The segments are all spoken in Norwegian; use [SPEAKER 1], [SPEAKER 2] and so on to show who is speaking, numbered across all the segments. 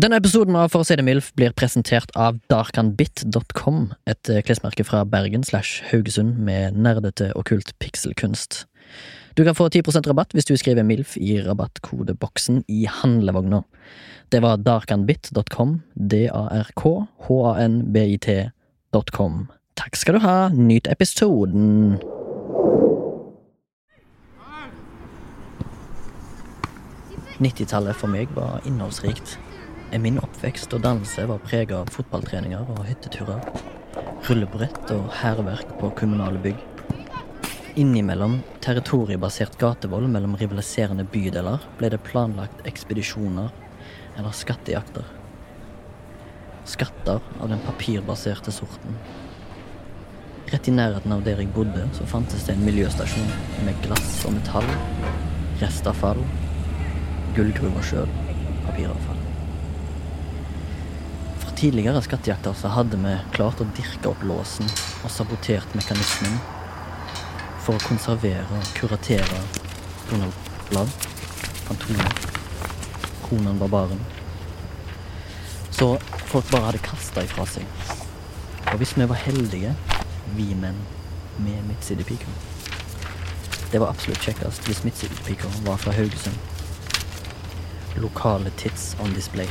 [SPEAKER 1] Denne episoden av For å si det mildt blir presentert av darkanbit.com, et eh, klesmerke fra Bergen slash Haugesund med nerdete okkult pikselkunst. Du kan få 10 rabatt hvis du skriver MILF i rabattkodeboksen i handlevogna. Det var darkanbit.com, d-a-r-k-h-a-n-b-i-t.com. Takk skal du ha, nyt episoden! Nittitallet for meg var innholdsrikt. Min oppvekst og dannelse var preget av fotballtreninger og hytteturer. Rullebrett og hærverk på kommunale bygg. Innimellom territoriebasert gatevold mellom rivaliserende bydeler ble det planlagt ekspedisjoner eller skattejakter. Skatter av den papirbaserte sorten. Rett i nærheten av der jeg bodde, så fantes det en miljøstasjon med glass og metall, restavfall, gullgruver sjøl, papiravfall. Fra tidligere skattejakter så hadde vi klart å dirke opp låsen og sabotert mekanismen for å konservere og kuratere Donald Blad, Fantomet, Konan Barbaren. Så folk bare hadde kasta ifra seg. Og hvis vi var heldige, vi menn med midtsidepiker Det var absolutt kjekkest hvis midtsidepiker var fra Haugesund. Lokale tits on display.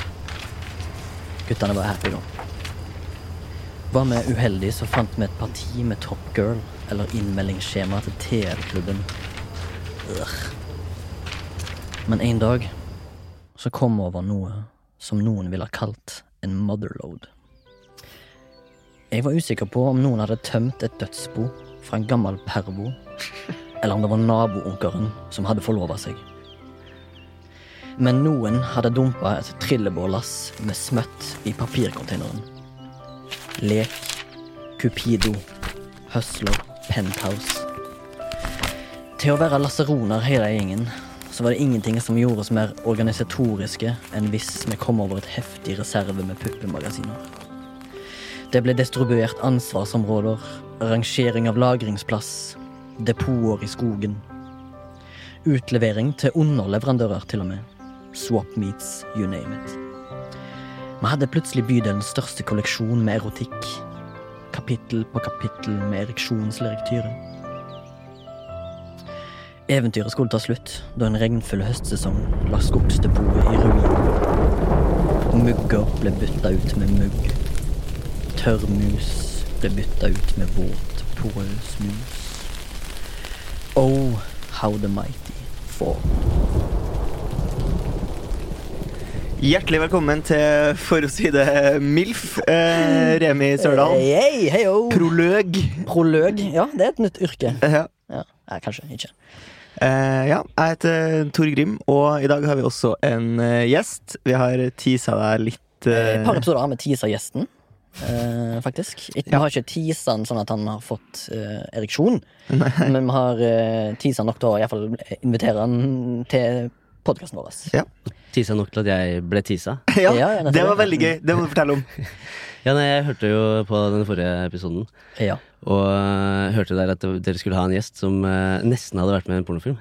[SPEAKER 1] Guttene var happy nå. Var vi uheldige, så fant vi et parti med Top Girl eller innmeldingsskjema til TL-klubben. Ugh. Men en dag så kom vi over noe som noen ville ha kalt en motherload. Jeg var usikker på om noen hadde tømt et dødsbo fra en gammel pervo, eller om det var naboonkelen som hadde forlova seg. Men noen hadde dumpa et trillebårlass med smøtt i papircontaineren. Lek, Cupido, Hustler, Penthouse. Til å være lasseroner hele gjengen, så var det ingenting som gjorde oss mer organisatoriske enn hvis vi kom over et heftig reserve med puppemagasiner. Det ble distribuert ansvarsområder, rangering av lagringsplass, depoter i skogen. Utlevering til underleverandører, til og med. Swap meets, you name it. Vi hadde plutselig bydelens største kolleksjon med erotikk. Kapittel på kapittel med ereksjonslerektyre. Eventyret skulle ta slutt da en regnfull høstsesong la skogsdepotet i ruiner. Mugger ble bytta ut med mugg. Tørr mus ble bytta ut med våt, porøs mus. Oh, how the mighty fall.
[SPEAKER 2] Hjertelig velkommen til For å si det MILF, eh, Remi Sørdal.
[SPEAKER 1] Hei, hei, oh.
[SPEAKER 2] Proløg.
[SPEAKER 1] Proløg. Ja, det er et nytt yrke.
[SPEAKER 2] Ja.
[SPEAKER 1] Ja, nei, kanskje ikke.
[SPEAKER 2] Eh, ja, jeg heter eh, Tor Grim, og i dag har vi også en eh, gjest. Vi har teasa deg litt
[SPEAKER 1] Et
[SPEAKER 2] eh,
[SPEAKER 1] par episoder har vi teasa gjesten, eh, faktisk. Ikke- Vi har ikke teasa han sånn at han har fått eh, ereksjon, men vi har eh, teasa nok til å i hvert fall invitere han til podkasten vår.
[SPEAKER 3] Tisa nok til at jeg ble tisa.
[SPEAKER 2] Ja,
[SPEAKER 1] Ja, ja, nettopp.
[SPEAKER 2] det var veldig gøy. Det må du fortelle om.
[SPEAKER 3] Ja, nei, Jeg hørte jo på den forrige episoden,
[SPEAKER 1] Ja.
[SPEAKER 3] og øh, hørte der at dere skulle ha en gjest som øh, nesten hadde vært med i en pornofilm.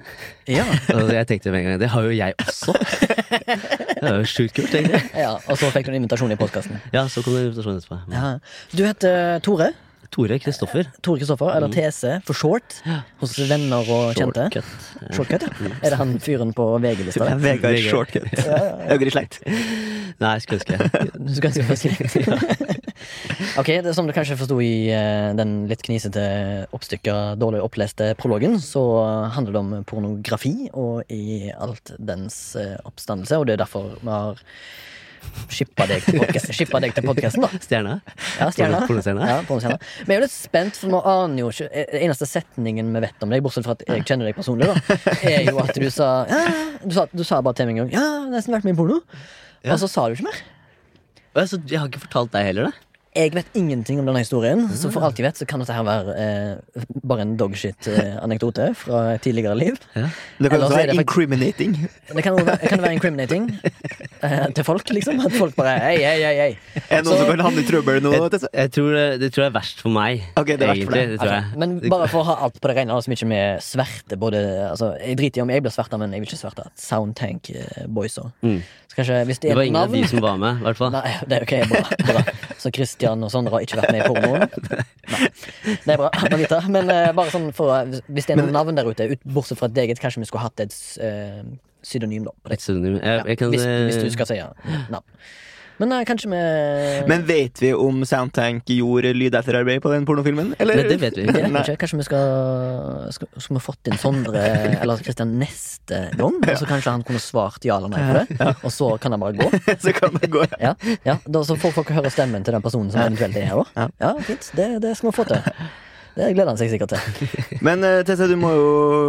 [SPEAKER 1] Ja.
[SPEAKER 3] Og jeg tenkte med en gang det har jo jeg også! Det er jo sjukt kult, egentlig.
[SPEAKER 1] ja. Og så fikk du en invitasjon i podkasten.
[SPEAKER 3] Ja, så kom det en invitasjon etterpå. Men
[SPEAKER 1] Ja. Du heter Tore.
[SPEAKER 3] Tore Kristoffer.
[SPEAKER 1] Tore Kristoffer, eller TC for short, hos venner og kjente.
[SPEAKER 3] Shortcut.
[SPEAKER 1] Shortcut, Mm. ja. Er det han fyren på VG-lista?
[SPEAKER 2] Vegard
[SPEAKER 3] Vegard.
[SPEAKER 2] Shortcut. Øyre i slekt.
[SPEAKER 3] Nei, skulle ønske jeg.
[SPEAKER 1] Du skal ganske forsiktig. ok, det er Som du kanskje forsto i eh, den litt knisete, oppstykka, dårlig oppleste prologen, så handler det om pornografi og i alt dens eh, oppstandelse, og det er derfor vi har shippa deg til podca- shippa deg til podkasten, da.
[SPEAKER 3] Stjerna.
[SPEAKER 1] Ja, stjerna.
[SPEAKER 3] Pornostjerna.
[SPEAKER 1] Ja, pornostjerna. Vi er jo litt spent, for vi aner jo ikke eh, Eneste setningen vi vet om deg, bortsett fra at jeg kjenner deg personlig, da, er jo at du sa ja, Du sa, du sa bare til meg en gang 'Ja, jeg har nesten vært med i porno', og så sa du ikke mer.
[SPEAKER 3] Å, ja, så jeg har ikke fortalt deg heller, da?
[SPEAKER 1] jeg vet ingenting om denne historien, så for alt jeg vet, så kan dette her være eh, bare en dogshit-anekdote fra et tidligere liv.
[SPEAKER 2] Det kan
[SPEAKER 1] Ellers er det
[SPEAKER 2] også være
[SPEAKER 1] fakt-
[SPEAKER 2] incriminating.
[SPEAKER 1] Det kan, jo være- kan det være incriminating eh, til folk, liksom. At folk bare Hei, hei, hei. hei.
[SPEAKER 2] Er det noen som kan havne i trøbbel nå?
[SPEAKER 3] Jeg, jeg tror det, det tror jeg er verst for meg.
[SPEAKER 2] Ok, det er verst for
[SPEAKER 3] egentlig.
[SPEAKER 2] deg.
[SPEAKER 3] Det tror jeg.
[SPEAKER 1] Altså, Men bare for å ha alt på det rene, altså, mye med sverte både, altså, Jeg driter i om jeg blir sverta, men jeg vil ikke sverte Soundtank-boysa.
[SPEAKER 3] Mm.
[SPEAKER 1] Så kanskje, hvis det
[SPEAKER 3] det
[SPEAKER 1] er
[SPEAKER 3] var
[SPEAKER 1] et
[SPEAKER 3] ingen av
[SPEAKER 1] navn
[SPEAKER 3] de som var med, i hvert fall.
[SPEAKER 1] Nei, det er ok, bra, bra. Så Christian og Sondre har ikke vært med i pornoen? Nei. Det er bra å vite. Men eh, bare sånn for, å- hvis det er noen navn der ute, ut, bortsett fra et eget, kanskje vi skulle hatt et eh, synonym da, på det.
[SPEAKER 3] Et pseudonym. Jeg, jeg kan,
[SPEAKER 1] hvis,
[SPEAKER 3] eh,
[SPEAKER 1] hvis du skal si ja. navn. Men eh, kanskje vi
[SPEAKER 2] Men vet vi om Soundtank gjorde lydetterarbeid på den pornofilmen? Eller?
[SPEAKER 3] Nei, det vet vi
[SPEAKER 1] Det
[SPEAKER 3] ikke.
[SPEAKER 1] vet vi
[SPEAKER 2] Nei.
[SPEAKER 1] ikke. Kanskje vi skal, skal, skal vi fått inn Sondre eller Christian neste gang? Og så kanskje han kunne svart ja eller nei på det, og så kan han bare gå?
[SPEAKER 2] Så kan det gå.
[SPEAKER 1] Ja, ja. Da, så får folk høre stemmen til den personen som eventuelt er her. Da. Ja, fint. Det, det skal vi få til. Det gleder han seg sikkert til.
[SPEAKER 2] Men eh, Tessa, du må jo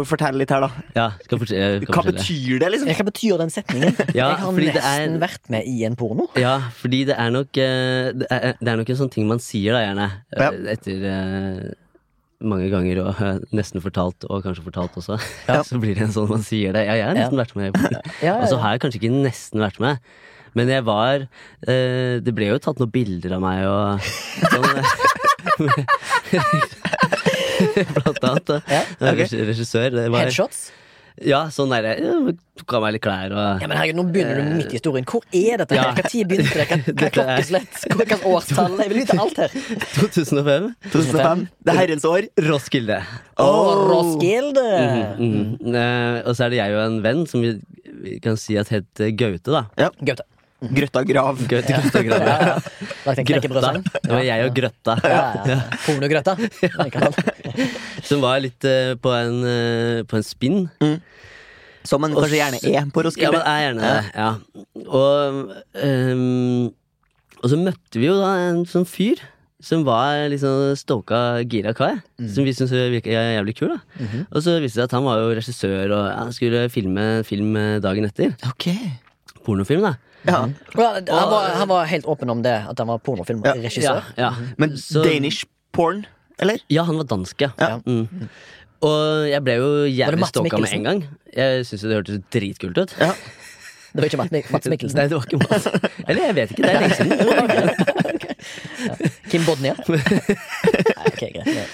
[SPEAKER 2] fortelle litt her, da.
[SPEAKER 3] Ja, skal jeg fortelle, jeg kan
[SPEAKER 2] Hva
[SPEAKER 3] fortelle.
[SPEAKER 2] betyr det, liksom?
[SPEAKER 1] Hva betyr den setningen?
[SPEAKER 3] Ja,
[SPEAKER 1] jeg har
[SPEAKER 3] fordi det
[SPEAKER 1] nesten
[SPEAKER 3] er-
[SPEAKER 1] vært med i en porno.
[SPEAKER 3] Ja, fordi det er nok eh, Det er, det er nok en sånn ting man sier da, gjerne. eh,
[SPEAKER 2] Ja.
[SPEAKER 3] Etter eh, mange ganger og eh, nesten fortalt, og kanskje fortalt også.
[SPEAKER 2] Ja.
[SPEAKER 3] Så blir det en sånn man sier det. Ja, jeg har nesten vært med.
[SPEAKER 1] Ja, ja,
[SPEAKER 3] Og så
[SPEAKER 1] ja.
[SPEAKER 3] har jeg kanskje ikke nesten vært med. Men jeg var eh, Det ble jo tatt noen bilder av meg og sånn. eh, Blant annet. da.
[SPEAKER 1] Ja,
[SPEAKER 3] Jeg er
[SPEAKER 2] ok.
[SPEAKER 3] regi- Regissør. Det var,
[SPEAKER 1] Headshots?
[SPEAKER 3] ja, sånn derre Tok av meg litt klær og
[SPEAKER 1] Ja, men herregud, Nå begynner du midt i historien. Hvor er dette?
[SPEAKER 3] Ja.
[SPEAKER 1] her? Hva tid begynte det? Hva, hva
[SPEAKER 3] Dette er-
[SPEAKER 1] klokkeslett? Hva hva årstall? Jeg vil vite alt her.
[SPEAKER 3] 2005.
[SPEAKER 2] 2005. Det er herrens år.
[SPEAKER 3] Roskilde.
[SPEAKER 1] Å,
[SPEAKER 2] Oh.
[SPEAKER 1] Roskilde!
[SPEAKER 3] Mm. Eh, og så er det jeg og en venn som vi, vi kan si at het eh, Gaute, da.
[SPEAKER 1] Gaute.
[SPEAKER 2] Grøtta grav.
[SPEAKER 3] Gaute Grøtta
[SPEAKER 1] Ja, ja.
[SPEAKER 3] Grøtta.
[SPEAKER 1] Lagt en
[SPEAKER 3] Grøtta.
[SPEAKER 1] knekkebrødsang.
[SPEAKER 3] Det var jeg og Grøtta.
[SPEAKER 1] Ja, ja. Pornogrøtta.
[SPEAKER 3] Som var litt eh, på en, eh, på en spinn.
[SPEAKER 2] Som man kanskje gjerne er på
[SPEAKER 3] Ja, men
[SPEAKER 2] Roskilde.
[SPEAKER 3] jeg er gjerne det. Ja. Og, ehm, og så møtte vi jo da en sånn fyr som var liksom stoka gira kar. Som vi syntes virka jævlig kul. da Og så viste det seg at han var jo regissør, og ja, han skulle filme en film eh, dagen etter.
[SPEAKER 2] Ok.
[SPEAKER 3] Pornofilm, da.
[SPEAKER 2] Ja.
[SPEAKER 1] Ja, han, var, han var helt åpen om det, at han var pornofilmregissør.
[SPEAKER 3] Ja, ja.
[SPEAKER 2] Mhm. Men
[SPEAKER 3] Mm. Så-
[SPEAKER 2] Danish porn, eller?
[SPEAKER 3] Ja, han var dansk, ja.
[SPEAKER 2] Ja.
[SPEAKER 3] Mm. Og jeg ble jo jævlig
[SPEAKER 1] Mats
[SPEAKER 3] stalka med
[SPEAKER 1] Mikkelsen?
[SPEAKER 3] en gang. Jeg syntes jo det hørtes dritkult ut.
[SPEAKER 2] Ja.
[SPEAKER 1] Det var ikke Mats Mik- Mats Mikkelsen.
[SPEAKER 3] Nei, det var ikke Mats. Eller jeg vet ikke, det er lenge siden.
[SPEAKER 1] Kim Bodnia. Nei, ok, greit. Ja.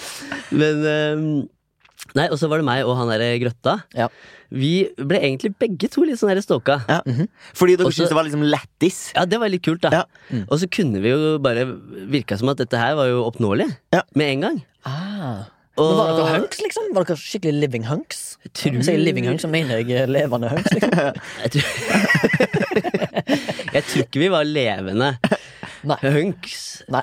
[SPEAKER 3] Men ehm, Nei, og så var det meg og han derre Grøtta.
[SPEAKER 1] Ja.
[SPEAKER 3] Vi ble egentlig begge to litt sånn der stalka.
[SPEAKER 2] Ja. Fordi dere
[SPEAKER 3] Også-
[SPEAKER 2] syntes det var liksom lættis.
[SPEAKER 3] Ja, det var litt kult, da.
[SPEAKER 2] Ja.
[SPEAKER 3] Og så kunne vi jo bare virka som at dette her var jo oppnåelig
[SPEAKER 2] Ja.
[SPEAKER 3] med en gang.
[SPEAKER 1] Ah.
[SPEAKER 3] Og
[SPEAKER 1] Men var dere hunks, liksom? Var dere skikkelig living hunks?
[SPEAKER 3] Tror-
[SPEAKER 1] Når jeg sier living hunks, så mener jeg eh, levende hunks. Liksom.
[SPEAKER 3] Jeg tror, jeg tror ikke vi var levende
[SPEAKER 1] Nei.
[SPEAKER 3] hunks.
[SPEAKER 1] Nei.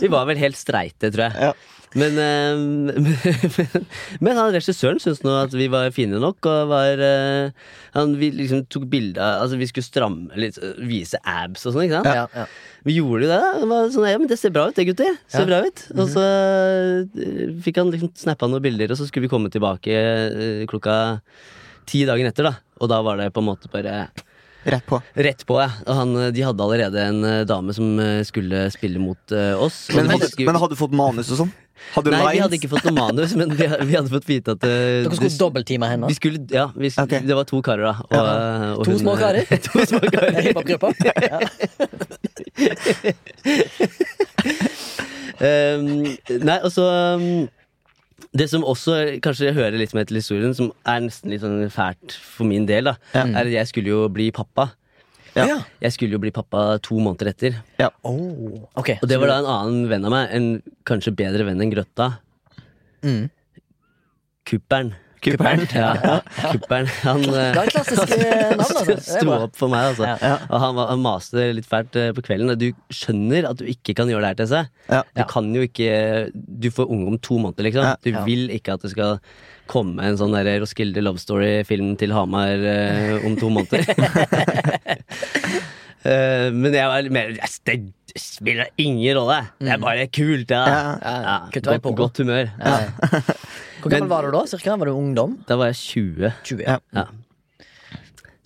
[SPEAKER 3] Vi var vel helt streite, tror jeg.
[SPEAKER 2] Ja.
[SPEAKER 3] Men, eh, men, men han regissøren syntes nå at vi var fine nok, og var eh, Han vi liksom tok bilde av Altså, vi skulle stramme litt, vise abs og sånn, ikke sant?
[SPEAKER 1] Ja, ja.
[SPEAKER 3] Vi gjorde jo det. da. Det var sånn, ja, men det ser bra ut, det, gutter. Ser bra ut.
[SPEAKER 2] Mhm.
[SPEAKER 3] Og så eh, fikk han liksom snappa noen bilder, og så skulle vi komme tilbake eh, klokka ti dagen etter, da. Og da var det på en måte bare
[SPEAKER 2] Rett på.
[SPEAKER 3] Rett på, ja. Og han, de hadde allerede en eh, dame som eh, skulle spille mot eh, oss. Og
[SPEAKER 2] Men
[SPEAKER 3] vi
[SPEAKER 2] hadde,
[SPEAKER 3] skulle-
[SPEAKER 2] men hadde du fått manus og sånn? Hadde du
[SPEAKER 3] Nei, vi
[SPEAKER 2] lines?
[SPEAKER 3] hadde ikke fått noe manus, men vi, vi hadde fått vite at eh,
[SPEAKER 1] Dere
[SPEAKER 3] det-
[SPEAKER 1] skulle dobbeltteame henne.
[SPEAKER 3] vi skulle, ja, vi, sk-
[SPEAKER 2] Ok.
[SPEAKER 3] Det var to karer, da. Og, eh, og
[SPEAKER 1] To små karer?
[SPEAKER 3] to små karer.
[SPEAKER 1] Hiphopgruppa. Ja.
[SPEAKER 3] Um, nei, og så um, Det som også kanskje hører litt med til historien, som er nesten litt sånn fælt for min del, da, er at jeg skulle jo bli pappa.
[SPEAKER 2] Ja.
[SPEAKER 1] Ja.
[SPEAKER 3] Jeg skulle jo bli pappa to måneder etter.
[SPEAKER 1] Oh, ok.
[SPEAKER 3] Og det var da en annen venn av meg, en kanskje bedre venn enn Grøtta.
[SPEAKER 1] Mm.
[SPEAKER 3] Kuppern.
[SPEAKER 2] Kuppern.
[SPEAKER 3] Ja, Kuppern. Han eh,
[SPEAKER 1] Det er et klassisk eh, navn, altså. Det er
[SPEAKER 3] sto
[SPEAKER 1] bra.
[SPEAKER 3] opp for meg, altså.
[SPEAKER 1] Ja.
[SPEAKER 3] Og han, var- han maste litt fælt eh, på kvelden. Du skjønner at du ikke kan gjøre det her til seg.
[SPEAKER 2] Ja.
[SPEAKER 3] Du kan jo ikke Du får unge om to måneder, liksom.
[SPEAKER 2] Ja.
[SPEAKER 3] Du
[SPEAKER 1] Ja.
[SPEAKER 3] vil ikke at det skal komme en sånn der Roskilde Love Story-film til Hamar eh, om to måneder. Eh, men jeg var litt mer yes, Det spiller ingen rolle! Det er bare kult, ja.
[SPEAKER 2] Ja.
[SPEAKER 1] Mm. Ja,
[SPEAKER 3] Ja,
[SPEAKER 1] kutt vei på.
[SPEAKER 3] Godt, godt humør.
[SPEAKER 1] Ja. Hvor gammel
[SPEAKER 3] Men-
[SPEAKER 1] var du da? Cirka? Var du ungdom?
[SPEAKER 3] Da var jeg 20.
[SPEAKER 1] 20?
[SPEAKER 2] Ja.
[SPEAKER 3] Ja.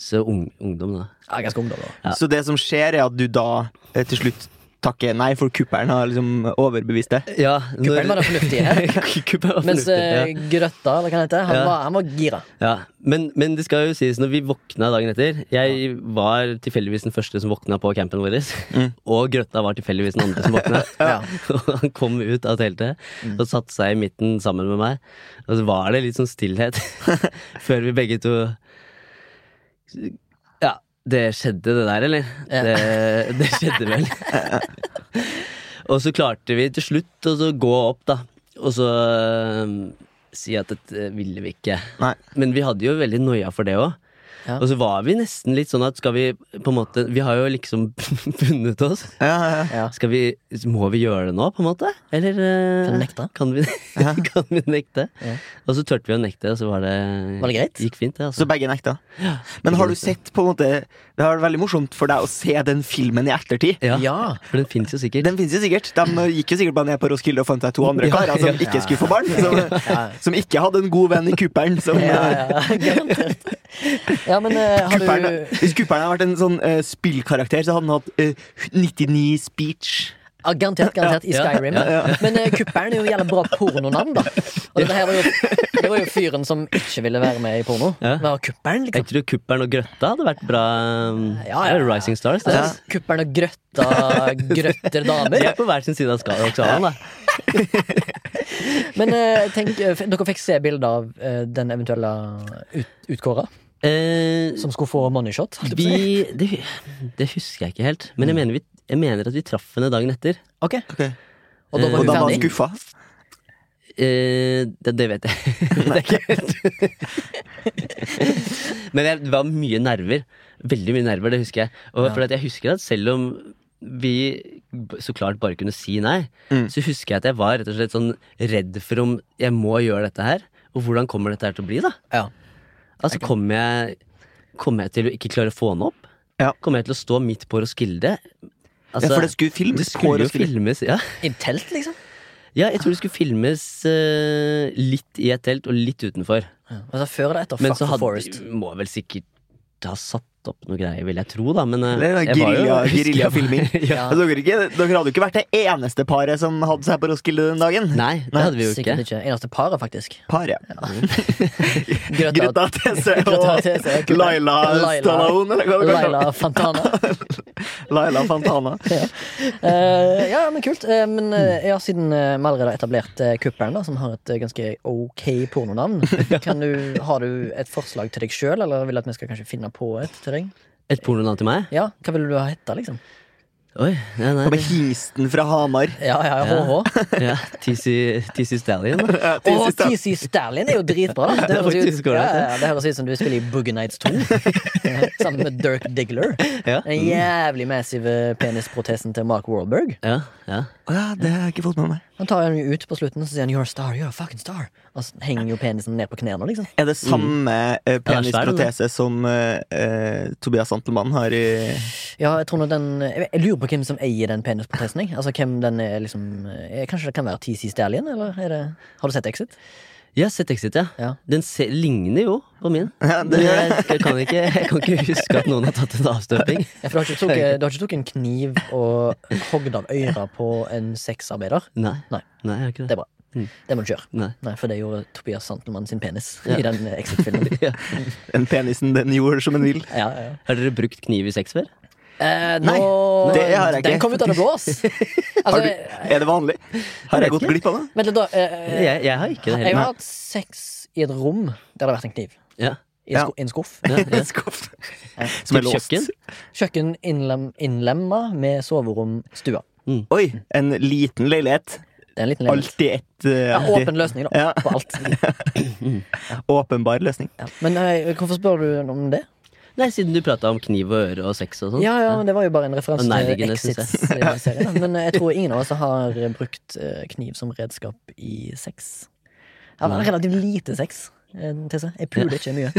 [SPEAKER 3] så ung, ungdom, da.
[SPEAKER 1] Ja, ganske ungdom, da.
[SPEAKER 3] Ja.
[SPEAKER 2] Så det som skjer, er at du da eh, til slutt takker nei, for kuppelen har liksom overbevist deg?
[SPEAKER 3] Ja,
[SPEAKER 1] Kuppelen var det fornuftige her.
[SPEAKER 3] Kuppelen var
[SPEAKER 1] Mens
[SPEAKER 3] fornuftig, ja.
[SPEAKER 1] eh, Grøtta, eller hva han heter, han,
[SPEAKER 3] Ja.
[SPEAKER 1] var, han var gira.
[SPEAKER 3] Ja, men, men det skal jo sies når vi våkna dagen etter Jeg var tilfeldigvis den første som våkna på campen vår. Og Grøtta var tilfeldigvis den andre som våkna.
[SPEAKER 1] Mm. Ja. Mm.
[SPEAKER 3] Og han kom ut av teltet og satte seg i midten sammen med meg. Og så var det litt sånn stillhet før vi begge to Ja, det skjedde det der, eller?
[SPEAKER 1] Ja.
[SPEAKER 3] Det, det skjedde vel. og så klarte vi til slutt å så gå opp, da. Og så øhm, si at dette ville vi ikke.
[SPEAKER 2] Nei.
[SPEAKER 3] Men vi hadde jo veldig noia for det òg.
[SPEAKER 1] Ja.
[SPEAKER 3] Og så var vi nesten litt sånn at skal vi på en måte Vi har jo liksom bundet oss.
[SPEAKER 2] Ja, ja, ja.
[SPEAKER 1] Ja.
[SPEAKER 3] Skal vi, må vi gjøre det nå, på en måte? Eller eh,
[SPEAKER 1] Kan vi nekte?
[SPEAKER 3] Kan vi, kan vi nekte?
[SPEAKER 1] Ja.
[SPEAKER 3] Og så turte vi å nekte, og så var det,
[SPEAKER 1] Var det greit?
[SPEAKER 3] gikk fint. det, Altså.
[SPEAKER 2] Så begge nekta. Men har du sett på en måte Det har vært veldig morsomt for deg å se den filmen i ettertid.
[SPEAKER 3] ja.
[SPEAKER 1] Ja.
[SPEAKER 3] For den fins jo sikkert.
[SPEAKER 2] Den finnes jo sikkert. De gikk jo sikkert bare ned på Roskilde og fant seg to andre
[SPEAKER 3] Ja,
[SPEAKER 2] karer som
[SPEAKER 3] ja.
[SPEAKER 2] ikke skulle få barn. Som, som ikke hadde en god venn i kuppelen. Som, eh,
[SPEAKER 1] Ja, ja, garantert. Ja, men eh, har
[SPEAKER 2] kuppelen,
[SPEAKER 1] du
[SPEAKER 2] hvis kuppelen hadde vært en sånn eh, spillkarakter, så hadde han hatt eh, 99 speech.
[SPEAKER 1] ja, Garantert, garantert i
[SPEAKER 3] Ja, ja,
[SPEAKER 1] Skyrim. Men uh, kuppelen er jo jævla bra pornonavn, da. Og dette her var jo, det var jo fyren som ikke ville være med i porno.
[SPEAKER 3] Ja.
[SPEAKER 1] Men kuppelen, liksom.
[SPEAKER 3] Jeg tror Kuppelen og Grøtta hadde vært bra eh,
[SPEAKER 1] Ja, ja. Altså,
[SPEAKER 3] det er Rising Stars. Det.
[SPEAKER 1] Ja. Kuppelen og grøtta grøtter
[SPEAKER 3] De
[SPEAKER 1] damer.
[SPEAKER 3] er på hver sin side av ska- skalaen. da.
[SPEAKER 1] Men eh, tenk, eh, f- dere fikk se bilder av eh, den eventuelle ut, utkåra
[SPEAKER 3] Eh,
[SPEAKER 1] som skulle få moneyshot. holdt jeg på å si. Mm.
[SPEAKER 3] vi, det, det husker jeg ikke helt, men jeg mener, vi, jeg mener at vi traff henne dagen etter.
[SPEAKER 1] Ok, Og da
[SPEAKER 3] Eh,
[SPEAKER 1] var
[SPEAKER 2] Og
[SPEAKER 1] hun
[SPEAKER 2] da var han
[SPEAKER 1] ferdig.
[SPEAKER 2] skuffa.
[SPEAKER 3] Eh, det, det vet jeg. det er ikke helt Men jeg- det var mye nerver. Veldig mye nerver, det husker jeg. Og for at jeg husker at selv om vi b- så klart bare kunne si nei,
[SPEAKER 2] Mm.
[SPEAKER 3] så husker jeg at jeg var rett og slett sånn redd for om jeg må gjøre dette her. Og hvordan kommer dette her til å bli, da?
[SPEAKER 1] Ja.
[SPEAKER 3] Altså, kommer jeg, kommer jeg til å ikke klare å få den opp?
[SPEAKER 2] Ja.
[SPEAKER 3] Kommer jeg til å stå midt på Roskilde?
[SPEAKER 2] Ja, for det skulle
[SPEAKER 3] Altså, det
[SPEAKER 2] filmes. på
[SPEAKER 3] skulle jo
[SPEAKER 2] Roskilde.
[SPEAKER 3] filmes, ja.
[SPEAKER 1] I telt, liksom?
[SPEAKER 3] Ja, jeg tror det skulle filmes eh, litt i et telt og litt utenfor.
[SPEAKER 1] Ja. Altså Før eller etter
[SPEAKER 3] Men
[SPEAKER 1] Fuck
[SPEAKER 3] så
[SPEAKER 1] the
[SPEAKER 3] hadde,
[SPEAKER 1] Forest?
[SPEAKER 3] må vel sikkert ha satt opp noe greier, vil jeg tro, da. Men eh,
[SPEAKER 2] Eller
[SPEAKER 3] jeg var jo-
[SPEAKER 2] guerilla-
[SPEAKER 3] husker jeg var-
[SPEAKER 2] guerillafilming.
[SPEAKER 3] ja.
[SPEAKER 2] Dere, ikke, dere hadde jo ikke vært det eneste paret som hadde seg på Roskilde den dagen.
[SPEAKER 3] Nei, det hadde vi jo
[SPEAKER 1] Sikkert ikke.
[SPEAKER 3] ikke.
[SPEAKER 1] Eneste paret, faktisk.
[SPEAKER 2] Par, ja.
[SPEAKER 1] Grøtta
[SPEAKER 2] Greta Tese
[SPEAKER 1] Greta
[SPEAKER 2] og
[SPEAKER 1] Tese, kuppelen.
[SPEAKER 2] Laila
[SPEAKER 1] Laila.
[SPEAKER 2] Stallone, eller hva det kalles.
[SPEAKER 1] Laila Fantana.
[SPEAKER 2] Laila Fantana.
[SPEAKER 1] Ja, Eh, ja men kult. Eh, men eh, ja, siden eh, vi allerede har etablert eh, kuppelen, da, som har et eh, ganske ok pornonavn, kan du, har du et forslag til deg sjøl, eller vil du at vi skal kanskje finne på et til deg?
[SPEAKER 3] Et pornonavn til meg?
[SPEAKER 1] Ja, Hva ville du ha hetta, liksom?
[SPEAKER 3] Oi, ja, nei.
[SPEAKER 2] Med hingsten fra Hamar.
[SPEAKER 1] Ja, ja, HH.
[SPEAKER 3] Ja, TC, TC Stallion. da.
[SPEAKER 2] Ja, til
[SPEAKER 1] Og
[SPEAKER 2] siste.
[SPEAKER 1] TC Stalin er jo dritbra, da. Det
[SPEAKER 3] er
[SPEAKER 1] høres,
[SPEAKER 3] faktisk
[SPEAKER 1] ut, ja,
[SPEAKER 3] korrekt, det.
[SPEAKER 1] ja, det høres ut som du spiller i Boogie Nights 2 ja, sammen med Dirk Digler.
[SPEAKER 3] Ja.
[SPEAKER 1] Den jævlig massive penisprotesen til Mark Wahlberg.
[SPEAKER 3] Ja, ja.
[SPEAKER 2] Å ja, det har jeg ikke fått med meg.
[SPEAKER 1] Han tar den jo ut på slutten og så sier han 'You're a star, you're a fucking star'. Og så henger jo penisen ned på knærne, liksom.
[SPEAKER 2] Er det samme eh, penisprotese som eh, eh, Tobias Santelmann har i
[SPEAKER 1] Ja, jeg tror nå den Jeg jeg lurer på hvem som eier den penisprotesen. jeg. Altså hvem den er liksom eh, Kanskje det kan være TC Stallion, eller er det Har du sett Exit?
[SPEAKER 3] Jeg har sett Exit, ja.
[SPEAKER 1] Ja.
[SPEAKER 3] Den se, ligner jo på min. Men jeg, jeg, kan ikke, jeg kan ikke huske at noen har tatt en avstøping.
[SPEAKER 1] Ja, for du har ikke tok, eh, du har ikke tok en kniv og hogd av øra på en sexarbeider?
[SPEAKER 3] Nei.
[SPEAKER 1] Nei.
[SPEAKER 3] Nei, jeg har ikke
[SPEAKER 1] Det
[SPEAKER 3] det.
[SPEAKER 1] er bra.
[SPEAKER 2] Mm.
[SPEAKER 1] Det må du ikke gjøre.
[SPEAKER 3] Nei.
[SPEAKER 1] Nei, for det gjorde Tobias Santelmann sin penis i den eh, Exit-filmen.
[SPEAKER 3] Ja.
[SPEAKER 2] Den penisen den gjorde som den vil?
[SPEAKER 1] Ja, ja, ja.
[SPEAKER 3] Har dere brukt kniv i sex før?
[SPEAKER 1] Eh, nå,
[SPEAKER 2] Nei, det har jeg ikke.
[SPEAKER 1] Den kom ut av det blå, ass! Altså,
[SPEAKER 2] Har du,
[SPEAKER 1] eh,
[SPEAKER 2] er det vanlig? Har
[SPEAKER 3] Jeg vet
[SPEAKER 2] jeg gått
[SPEAKER 3] ikke.
[SPEAKER 2] glipp av det?
[SPEAKER 1] vent litt, da. eh,
[SPEAKER 3] Jeg, jeg har ikke det
[SPEAKER 1] Jeg
[SPEAKER 3] heller.
[SPEAKER 1] har hatt sex i et rom der det har vært en kniv.
[SPEAKER 3] Ja.
[SPEAKER 1] I en,
[SPEAKER 2] Ja.
[SPEAKER 1] sko en skuff.
[SPEAKER 3] Ja, ja.
[SPEAKER 2] Skuff.
[SPEAKER 1] Ja.
[SPEAKER 2] Som er
[SPEAKER 3] Typ
[SPEAKER 2] låst.
[SPEAKER 3] kjøkken?
[SPEAKER 1] Kjøkken innlem, innlemma med soverom, stua.
[SPEAKER 2] Oi, en liten leilighet.
[SPEAKER 1] Det er en liten leilighet.
[SPEAKER 2] Alltid ett eh,
[SPEAKER 1] Ja,
[SPEAKER 2] alltid.
[SPEAKER 1] åpen løsning, da.
[SPEAKER 2] Ja.
[SPEAKER 1] På alt.
[SPEAKER 2] Åpenbar løsning.
[SPEAKER 1] Ja. Men eh, hvorfor spør du om det?
[SPEAKER 3] Nei, siden du prata om kniv og øre og sex og sånn.
[SPEAKER 1] Ja, ja, men Det var jo bare en referanse
[SPEAKER 3] Og
[SPEAKER 1] til
[SPEAKER 3] nærliggende, synes jeg.
[SPEAKER 1] Exit-serien. da. Men eh, jeg tror ingen av oss har eh, brukt eh, kniv som redskap i sex. Jeg har relativt lite sex. eh, Tisse. Jeg puler ikke mye.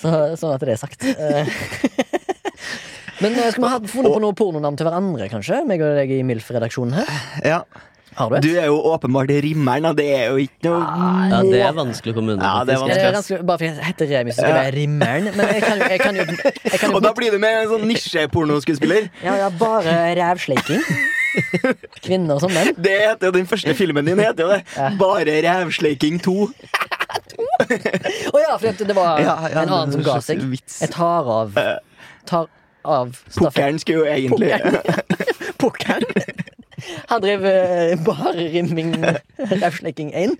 [SPEAKER 1] Så, sånn at det er sagt. Eh, Men eh, skal vi ha funnet på noe pornonavn til hverandre, kanskje? Meg og deg i MILF-redaksjonen her.
[SPEAKER 2] Ja.
[SPEAKER 1] Har du et?
[SPEAKER 2] Du er jo åpenbart rimmeren, og det er jo
[SPEAKER 1] Ah.
[SPEAKER 2] ikke noe
[SPEAKER 3] Ja, det er vanskelig å komme unna.
[SPEAKER 2] Ja, det er
[SPEAKER 3] faktisk.
[SPEAKER 1] Ja, det er ganske, bare fordi jeg heter Remi, så skal jeg være rimmeren. Men jeg kan jo, jeg kan jo, jeg kan jo
[SPEAKER 2] Og da blir du med en sånn nisjepornoskuespiller.
[SPEAKER 1] ja, ja, bare rævsleiking. Kvinner som menn.
[SPEAKER 2] Det heter jo den første filmen din. heter jo det Bare rævsleiking 2.
[SPEAKER 1] Å ja, for det- det var
[SPEAKER 2] Ja, ja,
[SPEAKER 1] en annen som ga seg.
[SPEAKER 2] vits.
[SPEAKER 1] Jeg tar av
[SPEAKER 2] Eh.
[SPEAKER 1] Tar av stafett-
[SPEAKER 2] Pukkeren skulle jo egentlig
[SPEAKER 1] Pukkeren. Han drev eh, bare rimming, rævsleiking 1.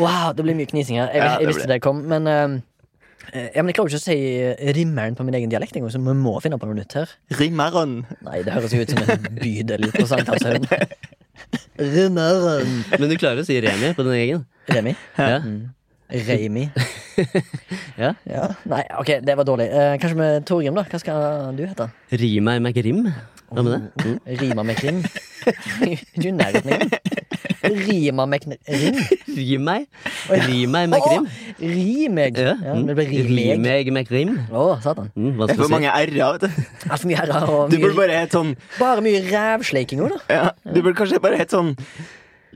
[SPEAKER 1] Wow, det blir mye knising her. Jeg,
[SPEAKER 2] Ja, det
[SPEAKER 1] jeg visste
[SPEAKER 2] blir.
[SPEAKER 1] det kom, men eh, ja, men Jeg klarer jo ikke å si eh, rimmeren på min egen dialekt engang, så vi må finne på noe nytt her.
[SPEAKER 2] Rimmeren.
[SPEAKER 1] Nei, det høres jo ut som en bydel på Sankthanshaugen. Rimmeren.
[SPEAKER 3] Men du klarer å si Remi på din egen.
[SPEAKER 1] Remi?
[SPEAKER 3] Ja.
[SPEAKER 1] Reimi.
[SPEAKER 3] Ja.
[SPEAKER 1] Ja. Nei, ok, det var dårlig. Eh, kanskje med Torgrim, da? Hva skal du hete?
[SPEAKER 3] Ri meg McRim. Hva med det?
[SPEAKER 2] Mm.
[SPEAKER 1] Rima Mekrim? Mm. Du er i nærheten igjen. Rima Mekrim?
[SPEAKER 3] Ri meg. Ri meg McRim.
[SPEAKER 1] Rimeg.
[SPEAKER 3] Ja.
[SPEAKER 1] Ja,
[SPEAKER 3] mm.
[SPEAKER 1] det blir
[SPEAKER 3] Ri
[SPEAKER 1] Rimeg.
[SPEAKER 3] meg McRim.
[SPEAKER 1] Å, satan.
[SPEAKER 3] Mm, hva
[SPEAKER 2] Det er
[SPEAKER 3] skal
[SPEAKER 2] for
[SPEAKER 3] man si?
[SPEAKER 2] mange r-er, vet du.
[SPEAKER 1] Altfor mye herrer og
[SPEAKER 2] Du burde
[SPEAKER 1] mye,
[SPEAKER 2] bare hett sånn
[SPEAKER 1] bare mye rævsleiking òg, da.
[SPEAKER 2] ja, Du burde kanskje bare hett sånn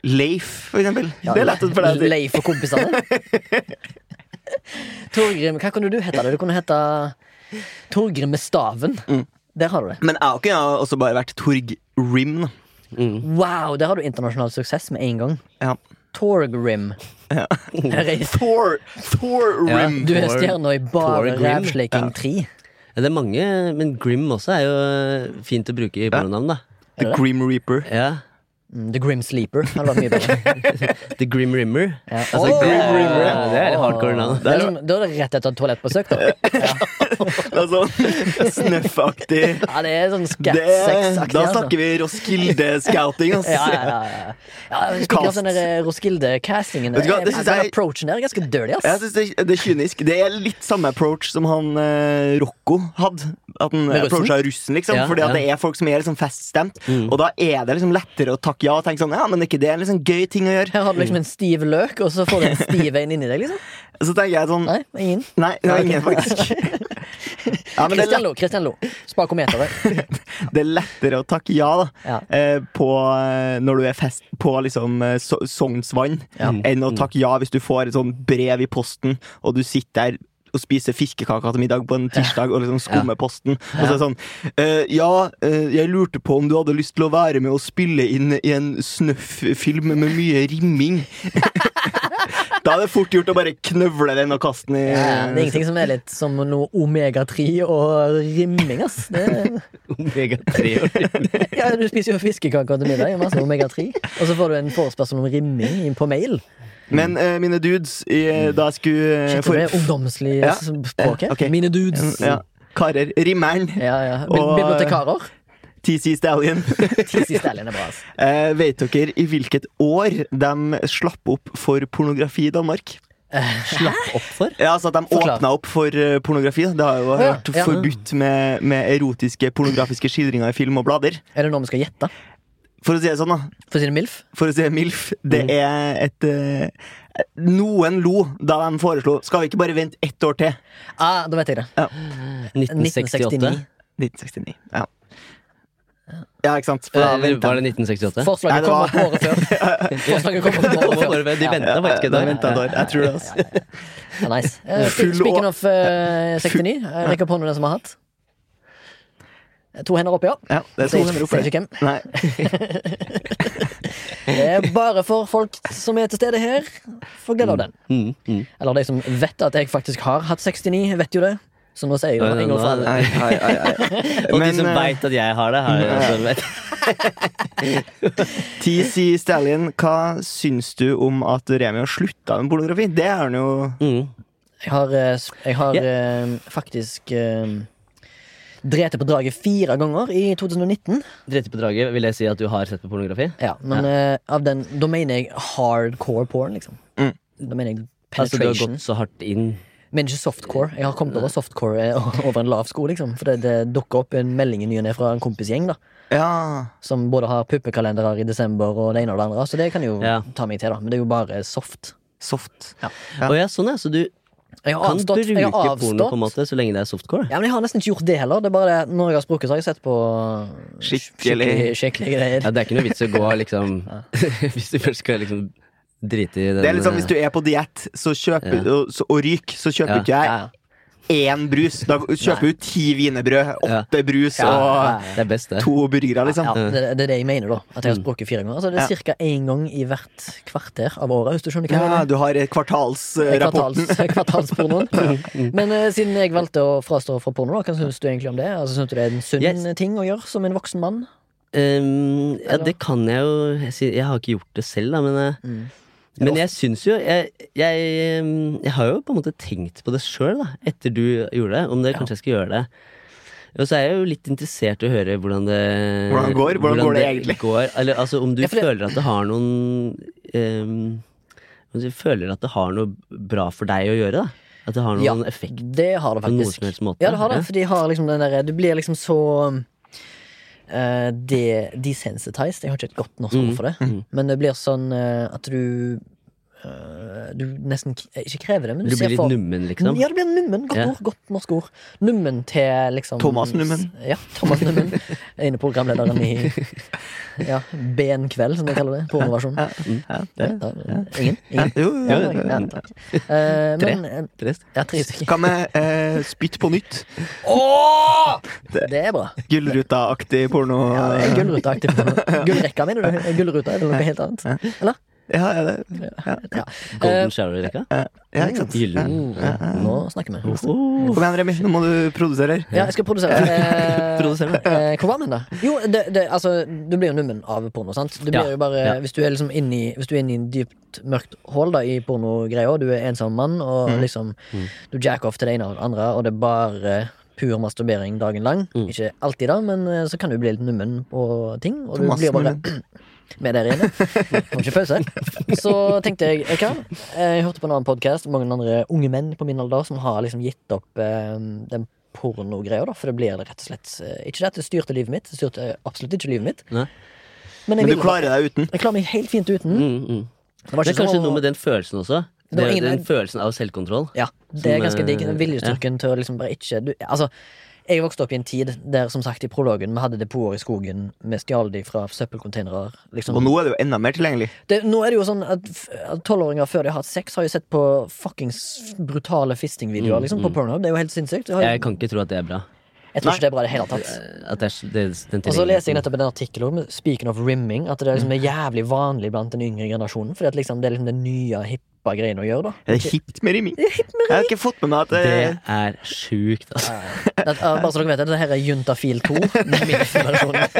[SPEAKER 2] Leif, for eksempel. Det er lettest for deg. å si.
[SPEAKER 1] Leif og kompisene. Torgrim, hva kunne du hete? da? Du kunne hete Torgrim med staven.
[SPEAKER 2] Mm.
[SPEAKER 1] Der har du det.
[SPEAKER 2] Men jeg kunne ha også bare vært Torgrim. da.
[SPEAKER 1] Wow, der har du internasjonal suksess med en gang.
[SPEAKER 2] Ja.
[SPEAKER 1] Torgrim.
[SPEAKER 2] Ja.
[SPEAKER 1] Her er-
[SPEAKER 2] Thor, Thorrim.
[SPEAKER 1] Du er
[SPEAKER 3] Tor-
[SPEAKER 1] stjerna i bare
[SPEAKER 3] Torgrim.
[SPEAKER 1] rævsleiking 3.
[SPEAKER 3] Ja, Det er mange, men Grim også er jo eh, fint å bruke i pornonavn, da.
[SPEAKER 2] The Grim Reaper.
[SPEAKER 3] Ja.
[SPEAKER 1] Mm, The Grim Sleeper. Det hadde vært mye bedre.
[SPEAKER 3] The Grim Rimmer.
[SPEAKER 1] Ja.
[SPEAKER 3] Altså,
[SPEAKER 1] Åh!
[SPEAKER 3] Grim Rimmer. Ja, det er litt hardcore navn.
[SPEAKER 1] Det er liksom, da er det rett etter et toalettbesøk, da.
[SPEAKER 2] Det er sånn snøffaktig.
[SPEAKER 1] Ja, det er sånn
[SPEAKER 2] Det,
[SPEAKER 1] skat-sex-aktig.
[SPEAKER 2] da snakker vi Roskilde-scouting, ass.
[SPEAKER 1] altså. Ja, ja, ja. ja. ja Speaking av
[SPEAKER 2] Cast.
[SPEAKER 1] den sånn der eh, Roskilde-castingen.
[SPEAKER 2] Vet du hva, det synes jeg-
[SPEAKER 1] Approachen der er ganske dirty,
[SPEAKER 2] Jeg
[SPEAKER 1] ass.
[SPEAKER 2] synes det, det er kynisk. Det er litt samme approach som han eh, Rocco hadde. At han
[SPEAKER 1] Med russen?
[SPEAKER 2] approacha russen, liksom.
[SPEAKER 3] Ja,
[SPEAKER 2] fordi at
[SPEAKER 3] ja.
[SPEAKER 2] det er folk som er liksom feststemt.
[SPEAKER 1] Mm.
[SPEAKER 2] Og da er det liksom lettere å takke ja og tenke sånn Ja, men er ikke det er en liksom gøy ting å gjøre.
[SPEAKER 1] Her har du liksom en stiv løk, og så får du en stiv en inni deg, liksom.
[SPEAKER 2] Så tenker jeg sånn Nei,
[SPEAKER 1] Nei, ingen.
[SPEAKER 2] det er ingen, faktisk. Ja, men det er,
[SPEAKER 1] Kristian Lo, Kristian Lo. Spakometeret.
[SPEAKER 2] lett, det er lettere å takke ja da
[SPEAKER 1] Ja.
[SPEAKER 2] eh, på, eh, når du er fest på liksom eh, so Sognsvann,
[SPEAKER 1] Ja. Mm.
[SPEAKER 2] enn å takke ja hvis du får et sånn brev i posten, og du sitter der og spiser fiskekaker til middag på en tirsdag og liksom skummer posten. Og så er det sånn eh, Ja, eh, jeg lurte på om du hadde lyst til å være med og spille inn i en snøff-film med mye rimming. da er det fort gjort å bare knøvle den og kaste den i
[SPEAKER 1] Ja, det er ingenting som er litt som noe omega-3 og rimming, ass. Det er,
[SPEAKER 3] Omega 3 og
[SPEAKER 1] ja, du spiser jo fiskekaker til middag, masse omega-3, og så får du en forespørsel om rimming inn på mail.
[SPEAKER 2] Men eh, mine dudes, i,
[SPEAKER 1] Mm.
[SPEAKER 2] da jeg skulle eh,
[SPEAKER 1] Shit,
[SPEAKER 2] for-
[SPEAKER 1] det er ungdomslig
[SPEAKER 2] Ja.
[SPEAKER 1] språk.
[SPEAKER 2] Eh, ok.
[SPEAKER 1] Mine dudes.
[SPEAKER 2] Ja. Karer. Rimmeren.
[SPEAKER 1] Ja, ja. Bi-
[SPEAKER 2] Og- eh,
[SPEAKER 1] Bibliotekarer.
[SPEAKER 2] TC Stallion.
[SPEAKER 1] Tizzy Stalin er bra, ass.
[SPEAKER 2] Eh, vet dere i hvilket år de slapp opp for pornografi i Danmark?
[SPEAKER 3] Slapp opp for.
[SPEAKER 2] Ja, altså at de
[SPEAKER 1] Forklar.
[SPEAKER 2] åpna opp for eh, pornografi. da. Det har jo
[SPEAKER 1] Å, ja.
[SPEAKER 2] vært
[SPEAKER 1] Ja.
[SPEAKER 2] forbudt med, med erotiske pornografiske skildringer i film og blader.
[SPEAKER 1] Er det noe vi skal gjette?
[SPEAKER 2] For å si det sånn, da.
[SPEAKER 1] For å si det MILF?
[SPEAKER 2] For å si det MILF. Det er et eh, Noen lo da de foreslo Skal vi ikke bare vente ett år til?
[SPEAKER 1] Ah, da vet jeg det.
[SPEAKER 3] 1968.
[SPEAKER 1] 1969.
[SPEAKER 2] 1969. Ja, ja ikke sant? For da
[SPEAKER 3] Eller
[SPEAKER 2] venter
[SPEAKER 3] Eh, var
[SPEAKER 2] de.
[SPEAKER 3] det 1968?
[SPEAKER 2] Nei,
[SPEAKER 1] Forslaget
[SPEAKER 2] det
[SPEAKER 1] kom
[SPEAKER 2] var-
[SPEAKER 1] opp året før. Forslaget kom opp året før.
[SPEAKER 3] De venta faktisk et
[SPEAKER 2] Da
[SPEAKER 3] år.
[SPEAKER 2] venter de et år. Jeg tror det, altså.
[SPEAKER 1] Ja, nice. Eh, sp-
[SPEAKER 2] Full
[SPEAKER 1] Speaking
[SPEAKER 2] å-
[SPEAKER 1] of eh, 69, eh, rekk opp hånda den som har hatt. Eh, To hender opp, ja.
[SPEAKER 2] Ja, det er
[SPEAKER 1] Sier-
[SPEAKER 2] stort.
[SPEAKER 1] sier ikke hvem.
[SPEAKER 2] Nei.
[SPEAKER 1] Det er bare for folk som er til stede her. Får glede av den.
[SPEAKER 3] Mm, mm.
[SPEAKER 1] Eller de som vet at jeg faktisk har hatt 69, vet jo det. Så nå sier jeg jo
[SPEAKER 3] Nei, nei,
[SPEAKER 1] en gang for
[SPEAKER 3] nei.
[SPEAKER 1] alle.
[SPEAKER 2] Ai, ai, ai, ai.
[SPEAKER 3] Og
[SPEAKER 2] Men,
[SPEAKER 3] de som
[SPEAKER 2] eh,
[SPEAKER 3] veit at jeg har det, har jo også vet.
[SPEAKER 2] TC eh, Stallion, hva syns du om at Remi har slutta med pornografi? Det er han jo
[SPEAKER 3] Mm.
[SPEAKER 1] Jeg har, eh, s- jeg har
[SPEAKER 3] Ja.
[SPEAKER 1] eh, faktisk eh, drete på draget fire ganger i 2019.
[SPEAKER 3] Drite på draget, vil jeg si at du har sett på pornografi?
[SPEAKER 1] Ja, men eh, av den, da mener jeg hardcore porn, liksom.
[SPEAKER 2] Mm.
[SPEAKER 1] Da mener jeg
[SPEAKER 3] Altså, du har
[SPEAKER 1] penetration.
[SPEAKER 3] gått så hardt inn.
[SPEAKER 1] men ikke softcore. Jeg har kommet over softcore eh, over en lav sko, liksom. For det, det dukker opp en melding i ny og ne fra en kompisgjeng, da.
[SPEAKER 2] Ja.
[SPEAKER 1] Som både har puppekalendere i desember og det ene og det andre. Så det kan jeg jo
[SPEAKER 3] Ja.
[SPEAKER 1] ta meg til, da. Men det er jo bare soft.
[SPEAKER 2] Soft.
[SPEAKER 1] Ja.
[SPEAKER 2] Ja.
[SPEAKER 3] Å ja, sånn ja, så du
[SPEAKER 1] Jeg har
[SPEAKER 3] Kan
[SPEAKER 1] avstått.
[SPEAKER 3] bruke
[SPEAKER 1] Jeg har
[SPEAKER 3] porno på en
[SPEAKER 1] avstått.
[SPEAKER 3] måte så lenge det er softcore.
[SPEAKER 1] Ja, men Jeg har nesten ikke gjort det heller. Det er bare det, Når jeg har sprukket, så har jeg sett på uh,
[SPEAKER 2] Skikkelig.
[SPEAKER 1] skikkelig- skikkelige greier.
[SPEAKER 3] Ja, det er ikke noe vits å gå liksom Hvis du først skal liksom drite i den
[SPEAKER 2] Det er litt sånn, Hvis du er på diett så kjøper, og, så, og ryker, så kjøper
[SPEAKER 3] Ja.
[SPEAKER 2] ikke
[SPEAKER 1] Ja,
[SPEAKER 2] jeg én brus. Da kjøper du ti wienerbrød, åtte brus
[SPEAKER 1] Ja, ja,
[SPEAKER 2] og
[SPEAKER 1] ja.
[SPEAKER 3] Det er best, det.
[SPEAKER 2] to burgere, liksom.
[SPEAKER 1] ja, det, det er det jeg mener, da. At
[SPEAKER 3] Mm.
[SPEAKER 1] jeg har sprukket fire ganger. Altså, det er ca. én gang i hvert kvarter av året, hvis du skjønner hva jeg mener.
[SPEAKER 2] Ja, du har eh, kvartalsrapporten.
[SPEAKER 1] Kvartals, kvartalspornoen.
[SPEAKER 3] Mm.
[SPEAKER 1] Men eh, siden jeg valgte å frastå fra porno, da, hva syns du egentlig om det? Altså, syns du det er en sunn
[SPEAKER 3] Yes.
[SPEAKER 1] ting å gjøre som en voksen mann?
[SPEAKER 3] Ehm, ja,
[SPEAKER 1] Eller?
[SPEAKER 3] det kan jeg jo si. Jeg har ikke gjort det selv, da, men eh,
[SPEAKER 1] Mm.
[SPEAKER 3] Men jeg syns jo jeg, jeg, ehm, jeg har jo på en måte tenkt på det sjøl, da, etter du gjorde det. Om det kanskje jeg skal gjøre det. Og så er jeg jo litt interessert i å høre hvordan det
[SPEAKER 2] Hvordan det går? Hvordan går det egentlig?
[SPEAKER 3] går, eller altså om du
[SPEAKER 1] Ja, for det-
[SPEAKER 3] føler at det har noen ehm, Om du føler at det har noe bra for deg å gjøre, da. At det har noen
[SPEAKER 1] Ja.
[SPEAKER 3] effekt
[SPEAKER 1] Det har det
[SPEAKER 3] på noen
[SPEAKER 1] faktisk.
[SPEAKER 3] som helst måte.
[SPEAKER 1] Ja, det har det,
[SPEAKER 3] Ja.
[SPEAKER 1] for de har liksom den derre Du blir liksom så eh, de, desensitized. Jeg har ikke et godt norsk ord for det, men det blir sånn eh, at du eh, Du nesten k- ikke krever det, men du,
[SPEAKER 3] Du
[SPEAKER 1] ser
[SPEAKER 3] blir litt
[SPEAKER 1] for
[SPEAKER 3] nummen, liksom.
[SPEAKER 1] Ja, det blir nummen. Godt
[SPEAKER 3] Ja.
[SPEAKER 1] ord. Godt norsk ord. Nummen til liksom
[SPEAKER 2] Thomas Nummen.
[SPEAKER 1] Ja, Thomas Nummen. Jeg er inne på programlederen i ja, BN Kveld, som de kaller det. Pornoversjonen.
[SPEAKER 2] Ja,
[SPEAKER 1] Mm. Ja,
[SPEAKER 2] det-
[SPEAKER 1] da- Ingen?
[SPEAKER 2] ja,
[SPEAKER 1] Ingen?
[SPEAKER 2] jo,
[SPEAKER 1] Ja,
[SPEAKER 2] jo,
[SPEAKER 1] nei,
[SPEAKER 2] jo.
[SPEAKER 1] ja, takk. Eh, men, eh,
[SPEAKER 3] Trist.
[SPEAKER 1] ja, tre stykker.
[SPEAKER 2] Hva med eh, spytt på nytt?
[SPEAKER 1] Det er bra.
[SPEAKER 2] Gullruta-aktig porno.
[SPEAKER 1] Ja, det er Gullruta-aktig. Gullrekka, mener du? Gullruta er det noe helt annet? Eller?
[SPEAKER 2] Ja, er det?
[SPEAKER 1] Ja.
[SPEAKER 3] Golden shower-rekka?
[SPEAKER 2] ja, ikke sant?
[SPEAKER 3] Gyllen.
[SPEAKER 1] Eh, Nå snakker vi.
[SPEAKER 3] Oh.
[SPEAKER 2] Kom igjen, Remi. Nå må du produsere her.
[SPEAKER 1] Ja, jeg skal produsere. Eh,
[SPEAKER 3] Produsere.
[SPEAKER 1] eh, Hvor var vi da? Jo, det, det, altså, du blir jo nummen av porno, sant? Du blir
[SPEAKER 3] Ja,
[SPEAKER 1] jo bare,
[SPEAKER 3] ja.
[SPEAKER 1] Hvis du er liksom inne i Hvis du er inne i en dypt mørkt hull da, i pornogreia, du er ensom mann, og liksom du jacker off til det ene og det andre, og det er bare pur masturbering dagen lang. Ikke alltid, da, men eh, så kan du bli litt nummen på ting, og du
[SPEAKER 2] Thomas
[SPEAKER 1] blir bare
[SPEAKER 2] nummen.
[SPEAKER 1] med der inne. Kom ikke pause. Så tenkte jeg vet du hva? Jeg hørte på en annen podkast, mange andre unge menn på min alder som har liksom gitt opp eh, den pornogreia, da, for det blir rett og slett eh, Ikke det at det styrte livet mitt, det styrte eh, absolutt ikke livet mitt,
[SPEAKER 3] Nei.
[SPEAKER 1] men jeg,
[SPEAKER 2] Men du
[SPEAKER 1] vil-
[SPEAKER 2] klarer deg uten.
[SPEAKER 1] jeg klarer meg helt fint uten.
[SPEAKER 3] Mm, mm.
[SPEAKER 1] Det var
[SPEAKER 3] Det er
[SPEAKER 1] ikke
[SPEAKER 3] kanskje
[SPEAKER 1] sånn å-
[SPEAKER 3] noe med den følelsen også.
[SPEAKER 1] Det var
[SPEAKER 3] Det,
[SPEAKER 1] ingen-
[SPEAKER 3] den følelsen av selvkontroll.
[SPEAKER 1] Ja, det er
[SPEAKER 3] Som,
[SPEAKER 1] ganske digg.
[SPEAKER 3] eh,
[SPEAKER 1] Den viljestyrken til å liksom bare ikke du, Altså, jeg vokste opp i en tid der, som sagt, i prologen, vi hadde depoter i skogen, vi stjal de fra søppelkonteinere, liksom.
[SPEAKER 2] Og nå er det jo enda mer tilgjengelig.
[SPEAKER 1] Det, nå er det jo sånn at f- at tolvåringer før de har hatt sex, har jo sett på fuckings brutale fisting-videoer liksom, på Pornhub. Det er jo helt sinnssykt. Jeg, har,
[SPEAKER 3] Jeg
[SPEAKER 1] jeg,
[SPEAKER 3] kan ikke tro at det er bra. Eh,
[SPEAKER 1] tror ikke det er bra i det hele tatt.
[SPEAKER 3] At det er, s- det, den
[SPEAKER 1] Og så leser jeg
[SPEAKER 3] tilgjengeligheten.
[SPEAKER 1] nettopp en artikkel om speaking of rimming, at det er, liksom, er jævlig vanlig blant den yngre generasjonen. Fordi at liksom, det er liksom den nye, hippe greien å gjøre, da.
[SPEAKER 2] Er det hipt med rimming? Jeg har ikke fått med meg at eh, det
[SPEAKER 3] Det er sjukt, altså.
[SPEAKER 1] Det, ja, bare så dere vet det, det her er Juntafil 2. MILF-versjonen.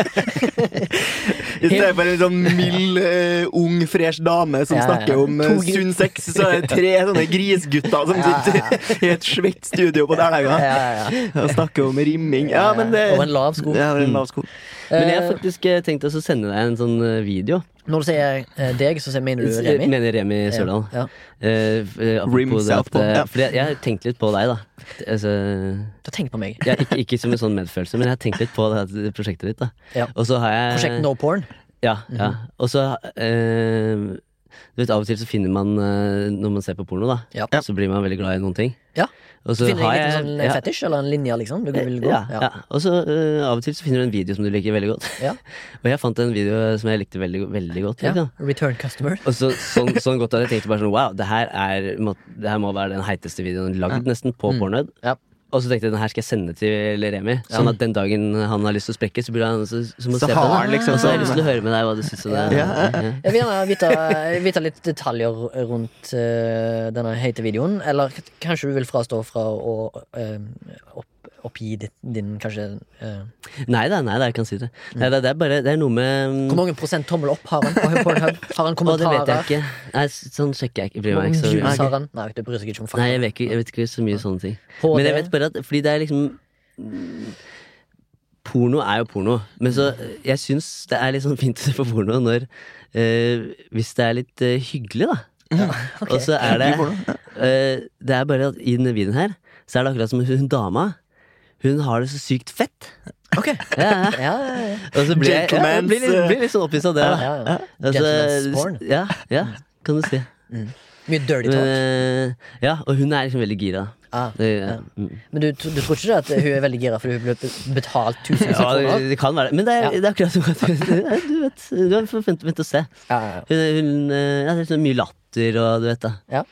[SPEAKER 2] I stedet for en sånn mild, eh, ung, fresh dame som
[SPEAKER 1] Ja, ja, ja.
[SPEAKER 2] snakker om eh,
[SPEAKER 1] To gutt-
[SPEAKER 2] sunn sex, så er det tre sånne grisgutter som
[SPEAKER 1] Ja, ja,
[SPEAKER 2] sitter i et svett studio på
[SPEAKER 1] Ja,
[SPEAKER 2] Dæhlenga
[SPEAKER 1] ja, ja.
[SPEAKER 2] og snakker om rimming. Ja, men det
[SPEAKER 1] Og en lav sko. Mm.
[SPEAKER 2] Ja, og en lav sko.
[SPEAKER 3] Men jeg har faktisk eh, tenkt oss å sende deg en sånn eh, video.
[SPEAKER 1] Når du sier eh, deg, så sier- mener du
[SPEAKER 3] Jeg
[SPEAKER 1] Remi?
[SPEAKER 3] Mener Remi Sørdal.
[SPEAKER 1] Ja.
[SPEAKER 3] Eh, f- eh, apropos
[SPEAKER 2] Rim
[SPEAKER 3] det at,
[SPEAKER 2] Southpaw,
[SPEAKER 3] eh,
[SPEAKER 2] ja.
[SPEAKER 3] fordi jeg, jeg har tenkt litt på deg, da. Altså,
[SPEAKER 1] Du har tenkt på meg.
[SPEAKER 3] jeg, ikke, ikke som en sånn medfølelse, men jeg har tenkt litt på det her prosjektet ditt. da
[SPEAKER 1] Ja.
[SPEAKER 3] Og så har jeg
[SPEAKER 1] Prosjekt No Porn.
[SPEAKER 3] Ja, ja.
[SPEAKER 1] Mhm.
[SPEAKER 3] Og så eh, Du vet, Av og til så finner man eh, Når man ser på porno, da
[SPEAKER 1] Ja.
[SPEAKER 3] så blir man veldig glad i noen ting.
[SPEAKER 1] Ja.
[SPEAKER 3] Og så
[SPEAKER 1] Finner du
[SPEAKER 3] har
[SPEAKER 1] en
[SPEAKER 3] jeg
[SPEAKER 1] liten sånn
[SPEAKER 3] ja,
[SPEAKER 1] fetisj eller en linje, liksom? Du vil gå?
[SPEAKER 3] ja, ja. Og så eh, av og til så finner du en video som du liker veldig godt.
[SPEAKER 1] Ja.
[SPEAKER 3] og jeg fant en video som jeg likte veldig, veldig godt.
[SPEAKER 1] Ja.
[SPEAKER 3] Liksom.
[SPEAKER 1] Return customer.
[SPEAKER 3] Og så, sånn, sånn godt at jeg tenkte bare sånn Wow, det her, er, må, det her må være den heiteste videoen lagd nesten
[SPEAKER 1] Mm.
[SPEAKER 3] på Pornhub.
[SPEAKER 1] Ja.
[SPEAKER 3] Og så tenkte jeg den her skal jeg sende til Remi, sånn at den dagen han har lyst til å sprekke, så, burde han, så, så må
[SPEAKER 2] Så
[SPEAKER 3] han se på
[SPEAKER 2] har
[SPEAKER 3] den.
[SPEAKER 2] han liksom
[SPEAKER 3] og så har jeg
[SPEAKER 2] sånn-
[SPEAKER 3] lyst til å høre med deg hva du syns om det.
[SPEAKER 2] Ja.
[SPEAKER 1] Jeg vil gjerne vite, eh, vite litt detaljer rundt eh, denne heite videoen. Eller k- kanskje du vil frastå fra å eh, opp, oppgi ditt, din kanskje eh,
[SPEAKER 3] Nei da, nei da, jeg kan si det. Nei, det, det er bare det er noe med mm,
[SPEAKER 1] Hvor mange prosent tommel opp har han på Pornhub? Har han
[SPEAKER 3] Å, det
[SPEAKER 1] kommentarer?
[SPEAKER 3] vet jeg ikke. Nei, s- sånn sjekker jeg ikke. Bryr
[SPEAKER 1] Hvor
[SPEAKER 3] meg
[SPEAKER 1] mange
[SPEAKER 3] ikke så mye.
[SPEAKER 1] views har han? Nei, det bryr seg ikke om
[SPEAKER 3] Nei,
[SPEAKER 1] fakta.
[SPEAKER 3] jeg vet ikke, jeg vet ikke så mye sånne ting.
[SPEAKER 1] På
[SPEAKER 3] Men jeg
[SPEAKER 1] det-
[SPEAKER 3] vet bare at Fordi det er liksom Porno er jo porno, men så jeg syns det er litt sånn fint å se på porno når eh, Hvis det er litt eh, hyggelig, da.
[SPEAKER 1] ok.
[SPEAKER 3] Og så er det
[SPEAKER 2] Hyggelig porno,
[SPEAKER 3] eh, Det er bare at i denne videoen her, så er det akkurat som hun dama. Hun har det så sykt fett.
[SPEAKER 1] Ok.
[SPEAKER 3] Ja, ja.
[SPEAKER 1] Ja, ja, ja.
[SPEAKER 3] Og så blir jeg, ja, jeg
[SPEAKER 2] Gentleman's,
[SPEAKER 3] blir, litt- blir litt sånn opphisset av det. da.
[SPEAKER 1] ja, ja.
[SPEAKER 3] Altså,
[SPEAKER 1] Gentleman's porn.
[SPEAKER 3] Ja, ja, kan du si.
[SPEAKER 1] Mye dirty
[SPEAKER 3] Men,
[SPEAKER 1] talk.
[SPEAKER 3] eh, ja, og hun er liksom veldig gira.
[SPEAKER 1] Ah,
[SPEAKER 3] Det,
[SPEAKER 1] ja.
[SPEAKER 3] mm.
[SPEAKER 1] Men du, du tror ikke det at hun er veldig gira fordi hun ble betalt 1000
[SPEAKER 3] ja,
[SPEAKER 2] sånn
[SPEAKER 1] kroner?
[SPEAKER 3] det, det kan være det. Men det er,
[SPEAKER 1] Ja.
[SPEAKER 3] det er akkurat som at Du vet, du har fått vente og se.
[SPEAKER 1] Ja, ja, ja.
[SPEAKER 3] Hun, hun eh, ja, det er så mye latter og du vet da.
[SPEAKER 1] Ja,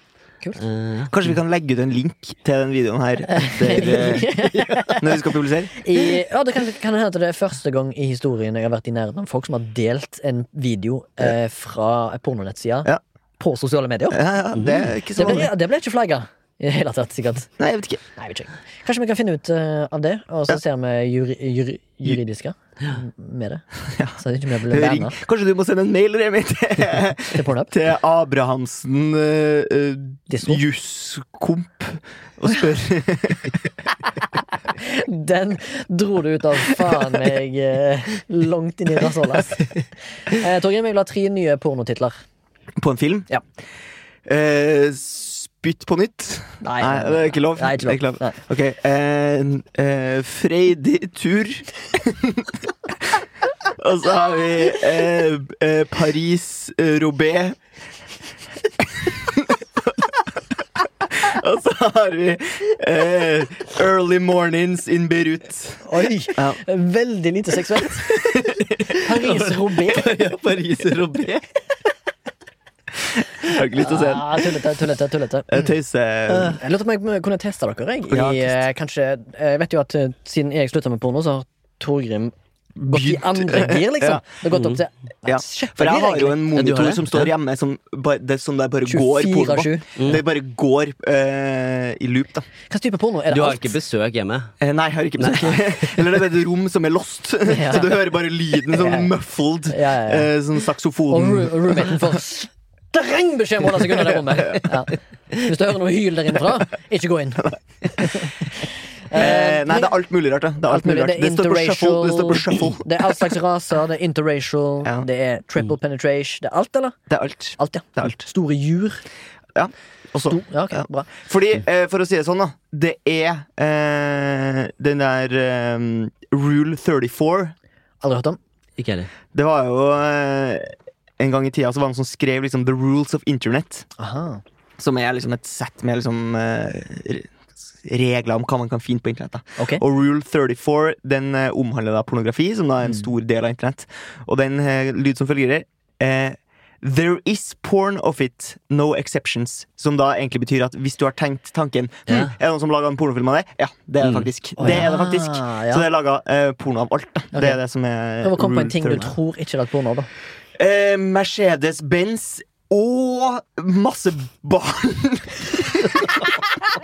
[SPEAKER 1] kult.
[SPEAKER 3] Eh,
[SPEAKER 2] Kanskje vi kan legge ut en link til den videoen her etter, eh, når vi skal publisere?
[SPEAKER 1] I, ja, det kan, kan hende at det er første gang i historien jeg har vært i nærheten av folk som har delt en video eh, fra pornonettsida
[SPEAKER 2] Ja.
[SPEAKER 1] på sosiale medier.
[SPEAKER 2] Ja, ja, det er ikke så
[SPEAKER 1] Det ble,
[SPEAKER 2] vanlig.
[SPEAKER 1] ja, det ble ikke flagga i det hele tatt, sikkert.
[SPEAKER 2] Nei, jeg vet ikke.
[SPEAKER 1] Nei, jeg vet ikke. Kanskje vi kan finne ut eh, av det, og så ser vi juri, juri, juridiske med det. Så ikke vi blir
[SPEAKER 2] Ring.
[SPEAKER 1] banna
[SPEAKER 2] Kanskje du må sende en mail Remi, til,
[SPEAKER 1] til pornhub.
[SPEAKER 2] til Abrahamsen eh, eh,
[SPEAKER 1] Disko.
[SPEAKER 2] Jusskomp og spørre
[SPEAKER 1] Den dro du ut av faen meg eh, langt inn i rasshølet. Eh, Torgrim, jeg vil ha tre nye pornotitler.
[SPEAKER 2] på en film.
[SPEAKER 1] Ja.
[SPEAKER 2] Eh, spytt på nytt.
[SPEAKER 1] Nei,
[SPEAKER 2] det er ikke lov.
[SPEAKER 1] Nei, ikke lov.
[SPEAKER 2] Det er ikke lov.
[SPEAKER 1] Nei.
[SPEAKER 2] Ok. Eh, eh, freidig tur. og så har vi eh, eh, Paris-Robé. og så har vi eh, Early Mornings in Beirut.
[SPEAKER 1] Oi!
[SPEAKER 2] Ja.
[SPEAKER 1] Veldig lite seksuelt. Paris-Robé.
[SPEAKER 2] Paris-Robé. Jeg har ikke lyst til å se den. Eh,
[SPEAKER 1] Ah, tullete, tullete, tullete.
[SPEAKER 2] Jeg tøyser.
[SPEAKER 1] Jeg lurte på om jeg kunne teste dere. Jeg,
[SPEAKER 2] Ja,
[SPEAKER 1] I, eh, kanskje, jeg vet jo at eh, Siden jeg slutta med porno, så har Torgrim gått i
[SPEAKER 2] Begynt.
[SPEAKER 1] andre gir, liksom.
[SPEAKER 2] Ja. Mm.
[SPEAKER 1] Det har gått opp til
[SPEAKER 2] Ja. For jeg har jo en
[SPEAKER 3] Ja, du har
[SPEAKER 2] monitor
[SPEAKER 3] det?
[SPEAKER 2] som står hjemme, som, bare, det, som det bare går
[SPEAKER 1] 24
[SPEAKER 2] porno
[SPEAKER 1] av
[SPEAKER 2] på. Mm.
[SPEAKER 1] 7.
[SPEAKER 2] Det bare går eh, i loop, da.
[SPEAKER 1] Hva slags type porno? Er
[SPEAKER 3] du
[SPEAKER 1] det
[SPEAKER 3] har
[SPEAKER 1] alt?
[SPEAKER 3] ikke besøk hjemme?
[SPEAKER 2] Eh, nei, jeg har ikke besøk. Eller det er bare et rom som er lost,
[SPEAKER 1] Ja.
[SPEAKER 2] så du hører bare lyden
[SPEAKER 1] Ja.
[SPEAKER 2] sånn muffled.
[SPEAKER 1] Ja, ja, ja.
[SPEAKER 2] eh, sånn
[SPEAKER 1] Og
[SPEAKER 2] saksofonen.
[SPEAKER 1] roo- roommaten får streng beskjed om å holde seg unna det rommet. Ja. Hvis du hører noe hyl der innenfra, ikke gå inn.
[SPEAKER 2] Eh, nei, det er alt mulig rart. da. Det, er alt mulig rart.
[SPEAKER 1] Det er
[SPEAKER 2] det står på shuffle. Det står på shuffle.
[SPEAKER 1] Det er all slags raser. Det er interracial.
[SPEAKER 2] Ja.
[SPEAKER 1] Det er triple penetration. Det er alt, eller?
[SPEAKER 2] Det er alt.
[SPEAKER 1] Alt, ja.
[SPEAKER 2] Det er alt.
[SPEAKER 1] Store jur.
[SPEAKER 2] Ja. Også.
[SPEAKER 1] Ja, ok,
[SPEAKER 2] Ja.
[SPEAKER 1] bra.
[SPEAKER 2] Fordi, eh, for å si det sånn, da. Det er eh, den der eh, Rule 34.
[SPEAKER 1] Aldri hørt om.
[SPEAKER 3] Ikke heller.
[SPEAKER 2] Det var jo eh, En gang i tida så var det noen som skrev liksom, The Rules of Internet.
[SPEAKER 1] Aha.
[SPEAKER 2] Som er liksom et sett med liksom, eh, re- regler om hva man kan finne på internett. Da.
[SPEAKER 1] Ok.
[SPEAKER 2] Og Rule 34 den eh, omhandler da pornografi, som da er
[SPEAKER 1] Mm.
[SPEAKER 2] en stor del av internett. Og den uh, lyd som følger eh, There is porn of it, no exceptions. Som da egentlig betyr at hvis du har tenkt tanken hm,
[SPEAKER 3] Ja.
[SPEAKER 2] Er det noen som laga en pornofilm av det? Ja, det er det
[SPEAKER 3] Mm.
[SPEAKER 2] faktisk.
[SPEAKER 1] Å,
[SPEAKER 2] det er det
[SPEAKER 1] ja,
[SPEAKER 2] faktisk.
[SPEAKER 1] ja.
[SPEAKER 2] Så det er laga porno av alt. Da.
[SPEAKER 1] Ok.
[SPEAKER 2] Det er det som er
[SPEAKER 1] Prøv å komme på
[SPEAKER 2] Rule
[SPEAKER 1] en ting du
[SPEAKER 2] 34.
[SPEAKER 1] tror ikke er lagt porno av, da.
[SPEAKER 2] Eh, Mercedes-Benz og masse barn.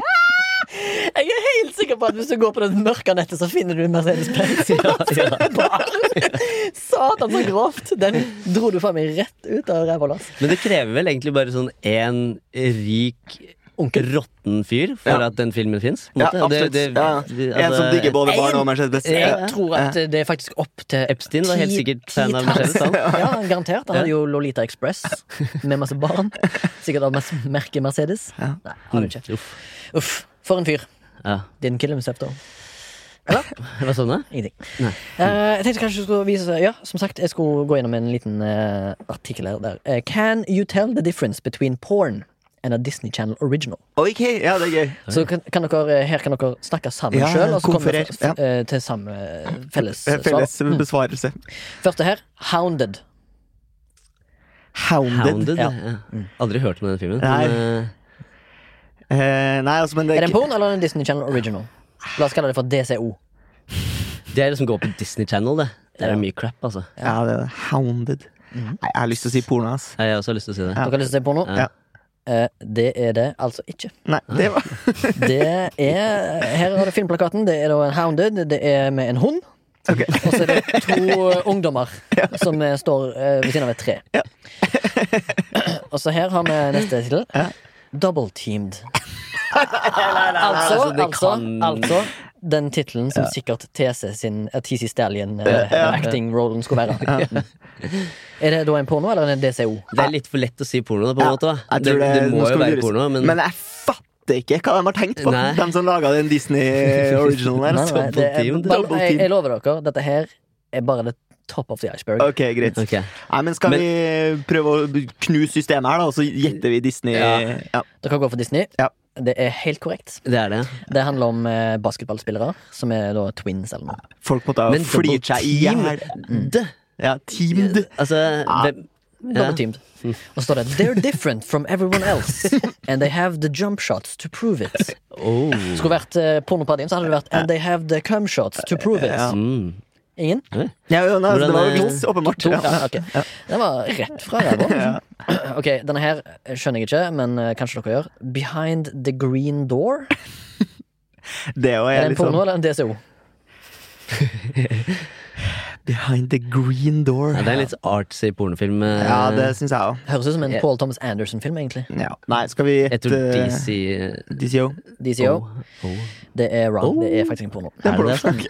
[SPEAKER 1] Jeg er helt sikker på at hvis du går på det mørke nettet, så finner du Mercedes-Benz. Satan, så grovt! Den dro du faen meg rett ut av ræva hans.
[SPEAKER 3] Men det krever vel egentlig bare sånn én rik
[SPEAKER 1] Onkel.
[SPEAKER 3] råtten fyr for
[SPEAKER 2] Ja.
[SPEAKER 3] at den filmen fins.
[SPEAKER 2] Ja, absolutt. Ja, ja. En
[SPEAKER 3] altså,
[SPEAKER 2] som digger både barn og Mercedes-Benz.
[SPEAKER 3] Ja.
[SPEAKER 1] Jeg tror at det er faktisk opp til
[SPEAKER 3] Epstein var helt
[SPEAKER 1] ti-
[SPEAKER 3] sikkert fan av
[SPEAKER 1] titalls-
[SPEAKER 3] Mercedes, han.
[SPEAKER 1] Ja, garantert. Han hadde
[SPEAKER 3] Ja.
[SPEAKER 1] jo Lolita Express med masse barn. Sikkert av mas- merket Mercedes.
[SPEAKER 2] Ja.
[SPEAKER 1] Nei, har du ikke.
[SPEAKER 3] Uff.
[SPEAKER 1] Uff. For en fyr.
[SPEAKER 3] Ja.
[SPEAKER 1] Didn't kill himself, though.
[SPEAKER 3] Hva sa du? nå?
[SPEAKER 1] Ingenting. Eh, jeg tenkte kanskje du skulle vise Ja, som sagt, jeg skulle gå gjennom en liten eh, artikkel her. Der. Eh, Can you tell the difference between porn and a Disney Channel original?
[SPEAKER 2] Ok, ja, det er gøy.
[SPEAKER 1] Så kan, kan dere, eh, her kan dere snakke sammen
[SPEAKER 2] Ja,
[SPEAKER 1] selv sjøl, og så kommer vi
[SPEAKER 2] konferer,
[SPEAKER 1] f- f- eh, til samme felles
[SPEAKER 2] Eh,
[SPEAKER 1] svar.
[SPEAKER 2] Felles
[SPEAKER 3] mm.
[SPEAKER 2] besvarelse.
[SPEAKER 1] Første her, Hounded.
[SPEAKER 2] Hounded.
[SPEAKER 3] Hounded?
[SPEAKER 1] Ja.
[SPEAKER 3] Ja. Mm. Aldri hørt om den filmen.
[SPEAKER 2] Nei.
[SPEAKER 3] Men, eh,
[SPEAKER 2] Eh, nei, altså, men det
[SPEAKER 1] Er
[SPEAKER 2] er
[SPEAKER 1] det en
[SPEAKER 2] ikke
[SPEAKER 1] porn eller en Disney Channel original? La oss kalle det for DCO.
[SPEAKER 3] det er det som går på Disney Channel. Det Det er mye crap, altså.
[SPEAKER 2] ja, det er Hounded.
[SPEAKER 3] Mm.
[SPEAKER 2] Nei, jeg har lyst til å si porno, ass.
[SPEAKER 3] Nei, Jeg har også lyst til å si det.
[SPEAKER 1] Dere har lyst til å se porno?
[SPEAKER 2] Ja.
[SPEAKER 1] Eh, det er det altså ikke.
[SPEAKER 2] Nei,
[SPEAKER 3] Ah.
[SPEAKER 2] det var
[SPEAKER 1] Det er, her har du filmplakaten. Det er da en hounded. Det er med en hund.
[SPEAKER 2] Ok.
[SPEAKER 1] Og så er det to eh, ungdommer som eh, står eh, ved siden av et tre. Og så her har vi neste tittel. Double teamed. altså,
[SPEAKER 3] altså, det
[SPEAKER 1] altså,
[SPEAKER 3] kan-
[SPEAKER 1] altså den tittelen som sikkert TC sin eh, TC Stallion eh, acting rollen skulle være. Mm. Er det da en porno eller en DCO?
[SPEAKER 3] Det er litt for lett å si porno, da, på en måte. da.
[SPEAKER 2] Jeg tror
[SPEAKER 3] det, det
[SPEAKER 2] nå
[SPEAKER 3] må
[SPEAKER 2] skal
[SPEAKER 3] jo
[SPEAKER 2] vi
[SPEAKER 3] være
[SPEAKER 2] lures.
[SPEAKER 3] porno, men,
[SPEAKER 2] jeg fatter ikke hva de har tenkt på,
[SPEAKER 3] Nei.
[SPEAKER 2] de som laga den Disney originalen
[SPEAKER 1] Nei,
[SPEAKER 2] der.
[SPEAKER 1] nei,
[SPEAKER 2] altså.
[SPEAKER 1] det er,
[SPEAKER 3] Double teamed.
[SPEAKER 1] bare, jeg, jeg lover dere, dette her er bare det top of the iceberg.
[SPEAKER 2] Ok, greit.
[SPEAKER 3] Ok.
[SPEAKER 2] Nei, men skal
[SPEAKER 3] Men-
[SPEAKER 2] vi prøve å knuse systemet her, da, og så gjetter vi Disney?
[SPEAKER 3] Ja.
[SPEAKER 2] Ja.
[SPEAKER 1] Dere går for Disney.
[SPEAKER 2] Ja.
[SPEAKER 1] Det er helt korrekt.
[SPEAKER 3] Det er det.
[SPEAKER 1] Det handler om eh, basketballspillere, som er da twins eller noe.
[SPEAKER 2] Folk måtte ha
[SPEAKER 3] Men
[SPEAKER 2] flirt seg i hjel. Mm.
[SPEAKER 3] teamed
[SPEAKER 2] Ja, teamed.
[SPEAKER 3] Altså,
[SPEAKER 2] Ah.
[SPEAKER 3] hvem
[SPEAKER 1] Double teamed. Og så står det They're different from everyone else, and they have the jump shots to prove it.
[SPEAKER 3] oh.
[SPEAKER 1] Skulle vært eh, pornoparodien, så hadde det vært And they have the cum shots to prove it.
[SPEAKER 3] mm.
[SPEAKER 1] Ingen?
[SPEAKER 2] Ja, ja, nei, altså, det var jo
[SPEAKER 3] Hvordan,
[SPEAKER 2] glass, åpenbart.
[SPEAKER 1] To?
[SPEAKER 2] Ja.
[SPEAKER 1] Ja, ok. Den var rett fra ræva. Ok, denne her skjønner jeg ikke, men eh, kanskje dere gjør. Behind the green door?
[SPEAKER 2] Det er jo
[SPEAKER 1] Er det
[SPEAKER 2] jeg,
[SPEAKER 1] en porno
[SPEAKER 2] liksom.
[SPEAKER 1] eller en DCO?
[SPEAKER 2] Behind the green door.
[SPEAKER 3] Ja, det er en litt artsy pornofilm. eh,
[SPEAKER 2] Ja, det syns jeg òg.
[SPEAKER 1] Høres ut som en
[SPEAKER 3] Ja.
[SPEAKER 1] Paul Thomas Anderson-film, egentlig.
[SPEAKER 2] Ja. Nei, skal vi
[SPEAKER 3] Jeg tror
[SPEAKER 2] gjette eh,
[SPEAKER 3] de sier
[SPEAKER 2] DCO?
[SPEAKER 1] DCO.
[SPEAKER 3] oh, oh.
[SPEAKER 1] Det er wrong. Det er faktisk en porno.
[SPEAKER 2] Det er
[SPEAKER 3] Er det det?
[SPEAKER 2] porno.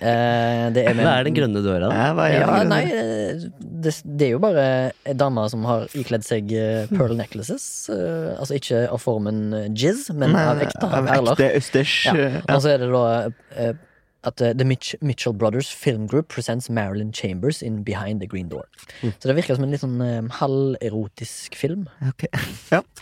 [SPEAKER 1] Eh, det er med
[SPEAKER 3] Hva er den grønne døra, da?
[SPEAKER 2] Ja, hva er
[SPEAKER 1] Ja,
[SPEAKER 2] det?
[SPEAKER 1] nei, eh, det, det er jo bare ei dame som har ikledd seg eh, pearl necklaces. eh, Altså ikke av formen eh, jizz, men
[SPEAKER 2] Nei,
[SPEAKER 1] av ekte
[SPEAKER 2] av
[SPEAKER 1] perler.
[SPEAKER 2] ekte østers.
[SPEAKER 1] Ja.
[SPEAKER 2] Ja.
[SPEAKER 1] Og så er det da eh, at eh, The Mitch, Mitchell Brothers Film Group presents Marilyn Chambers in Behind the Green Door.
[SPEAKER 3] Mm.
[SPEAKER 1] Så det virker som en litt sånn eh, halverotisk film.
[SPEAKER 2] ok.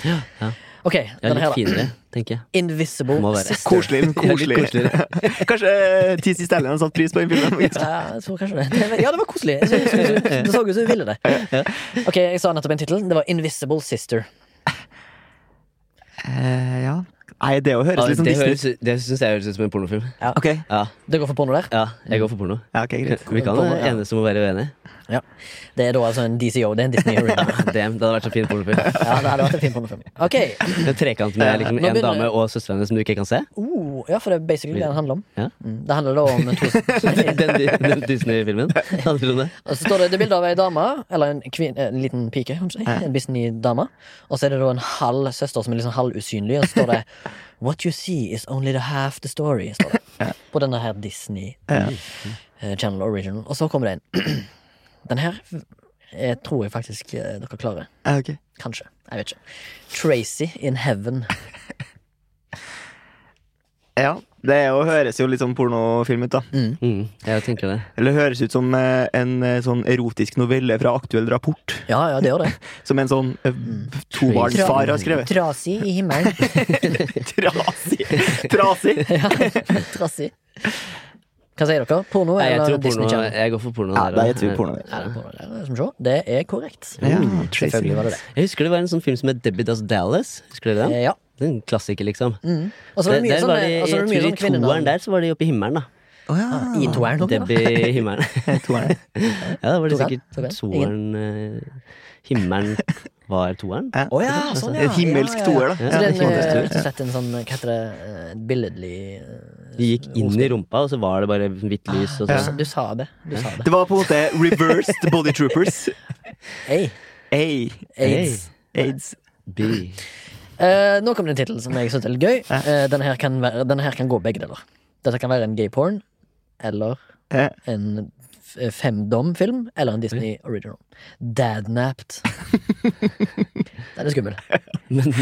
[SPEAKER 2] ja.
[SPEAKER 1] Ok,
[SPEAKER 3] Ja,
[SPEAKER 1] denne
[SPEAKER 3] litt
[SPEAKER 1] her, da.
[SPEAKER 3] finere, tenker jeg.
[SPEAKER 1] Invisible
[SPEAKER 3] Må være.
[SPEAKER 1] Sister.
[SPEAKER 2] Koselig. men koselig.
[SPEAKER 3] Ja, litt
[SPEAKER 2] Kanskje eh, T.C. Stallion har satt pris på den filmen. faktisk.
[SPEAKER 1] Ja, jeg tror kanskje det. Det var- Ja, det var koselig. Jeg synes- jeg synes- Det så ut som hun ville det. Ok, Jeg sa nettopp en tittel. Det var Invisible Sister.
[SPEAKER 2] Eh, ja. Nei, det òg høres
[SPEAKER 3] Ja,
[SPEAKER 2] litt som
[SPEAKER 3] det
[SPEAKER 2] Disney ut.
[SPEAKER 3] høres, det syns jeg høres ut som en pornofilm.
[SPEAKER 2] Ok,
[SPEAKER 3] Ja,
[SPEAKER 1] Det går for porno der.
[SPEAKER 3] ja jeg går for porno.
[SPEAKER 2] ja, ok, greit.
[SPEAKER 3] Vi kan
[SPEAKER 1] Porno,
[SPEAKER 3] porno,
[SPEAKER 1] ja.
[SPEAKER 3] enes om å være uenige.
[SPEAKER 1] Ja. Det er da altså en DCO. Det er en Disney Arena.
[SPEAKER 3] Damn, det hadde vært så fin pornofilm.
[SPEAKER 1] Ja, det hadde vært en fin pornofilm. Ok.
[SPEAKER 3] En trekant med liksom,
[SPEAKER 1] Nå
[SPEAKER 3] en
[SPEAKER 1] begynner
[SPEAKER 3] dame
[SPEAKER 1] jeg.
[SPEAKER 3] og søstrene som du ikke kan se.
[SPEAKER 1] Oh, ja, for det er basically det den handler om.
[SPEAKER 3] Ja.
[SPEAKER 1] Mm, Det handler da om to
[SPEAKER 3] Den, den Disney-filmen. Handler om det.
[SPEAKER 1] Og så står det, det er bilde av ei dame, eller en, kvin, en liten pike, kan du si. En Disney-dame. Og så er det da en halv søster som er liksom halv usynlig, og så står det What you see is only the half the story, står det. På denne her Disney eh, Channel Original. Og så kommer det en. Den her eh, tror jeg faktisk eh, dere klarer.
[SPEAKER 2] Ja, ok.
[SPEAKER 1] Kanskje. Jeg vet ikke. Tracy in Heaven.
[SPEAKER 2] Ja, det er jo, høres jo litt sånn pornofilm ut, da.
[SPEAKER 3] Mm, jeg tenker det.
[SPEAKER 2] Eller det høres ut som eh, en eh, sånn erotisk novelle fra Aktuell Rapport.
[SPEAKER 1] Ja, ja, det gjør det.
[SPEAKER 2] Som en sånn eh,
[SPEAKER 1] Mm.
[SPEAKER 2] tobarnsfar har skrevet.
[SPEAKER 1] Trasig i himmelen.
[SPEAKER 2] Trasig! Trasig!
[SPEAKER 1] Ja, Trassig. Hva sier dere? Porno
[SPEAKER 3] Nei, jeg,
[SPEAKER 1] eller
[SPEAKER 3] tror
[SPEAKER 1] Disney
[SPEAKER 3] porno
[SPEAKER 1] Channel?
[SPEAKER 3] jeg går for porno.
[SPEAKER 2] Ja,
[SPEAKER 3] der
[SPEAKER 2] da
[SPEAKER 3] også.
[SPEAKER 2] gjetter vi porno.
[SPEAKER 1] Ja, det er porno der, skal vi se. Det er korrekt. Mm,
[SPEAKER 2] Ja,
[SPEAKER 1] Selvfølgelig var det det.
[SPEAKER 3] Jeg husker det var en sånn film som het Debbie Does Dallas. Husker dere den?
[SPEAKER 1] Eh, Ja. Mm.
[SPEAKER 3] Det er en klassiker, liksom.
[SPEAKER 1] Og så var det mye
[SPEAKER 3] Der var
[SPEAKER 1] sånne,
[SPEAKER 3] de-
[SPEAKER 1] og så var det mye sånn
[SPEAKER 3] jeg tror I toeren
[SPEAKER 1] kvinnenavn.
[SPEAKER 3] der så var de oppe i himmelen, da.
[SPEAKER 2] Å Ah, ja.
[SPEAKER 1] I toeren.
[SPEAKER 3] Debbie i himmelen.
[SPEAKER 2] Toeren.
[SPEAKER 3] Ja, da var
[SPEAKER 1] Toeren,
[SPEAKER 3] det sikkert
[SPEAKER 1] toeren. Ingen.
[SPEAKER 3] toeren eh, Himmelen var toeren.
[SPEAKER 2] Ja.
[SPEAKER 1] Å ja, sånn, ja.
[SPEAKER 2] En himmelsk
[SPEAKER 1] Ja, ja, ja.
[SPEAKER 2] toer, da.
[SPEAKER 1] Så
[SPEAKER 2] Ja,
[SPEAKER 1] det er en,
[SPEAKER 2] himmelsk
[SPEAKER 1] eh,
[SPEAKER 2] toer.
[SPEAKER 1] rett og slett en sånn, hva heter det, eh, billedlig eh,
[SPEAKER 3] De gikk inn i rumpa, og så var det bare hvitt lys. Og sånn.
[SPEAKER 1] du,
[SPEAKER 3] så.
[SPEAKER 1] du sa det. Du sa det.
[SPEAKER 2] Det var på en måte reversed Body Troopers.
[SPEAKER 1] Hey,
[SPEAKER 2] Ei.
[SPEAKER 1] AIDS.
[SPEAKER 2] Aids.
[SPEAKER 3] B.
[SPEAKER 1] Eh, nå kom det en tittel som jeg syntes er litt gøy. Eh, denne, her kan være, denne her kan gå begge deler. Dette kan være en gay porn eller
[SPEAKER 2] Eh,
[SPEAKER 1] en f- eh, femdom-film eller en Disney original. Dadnapped. Den er skummel.
[SPEAKER 3] Men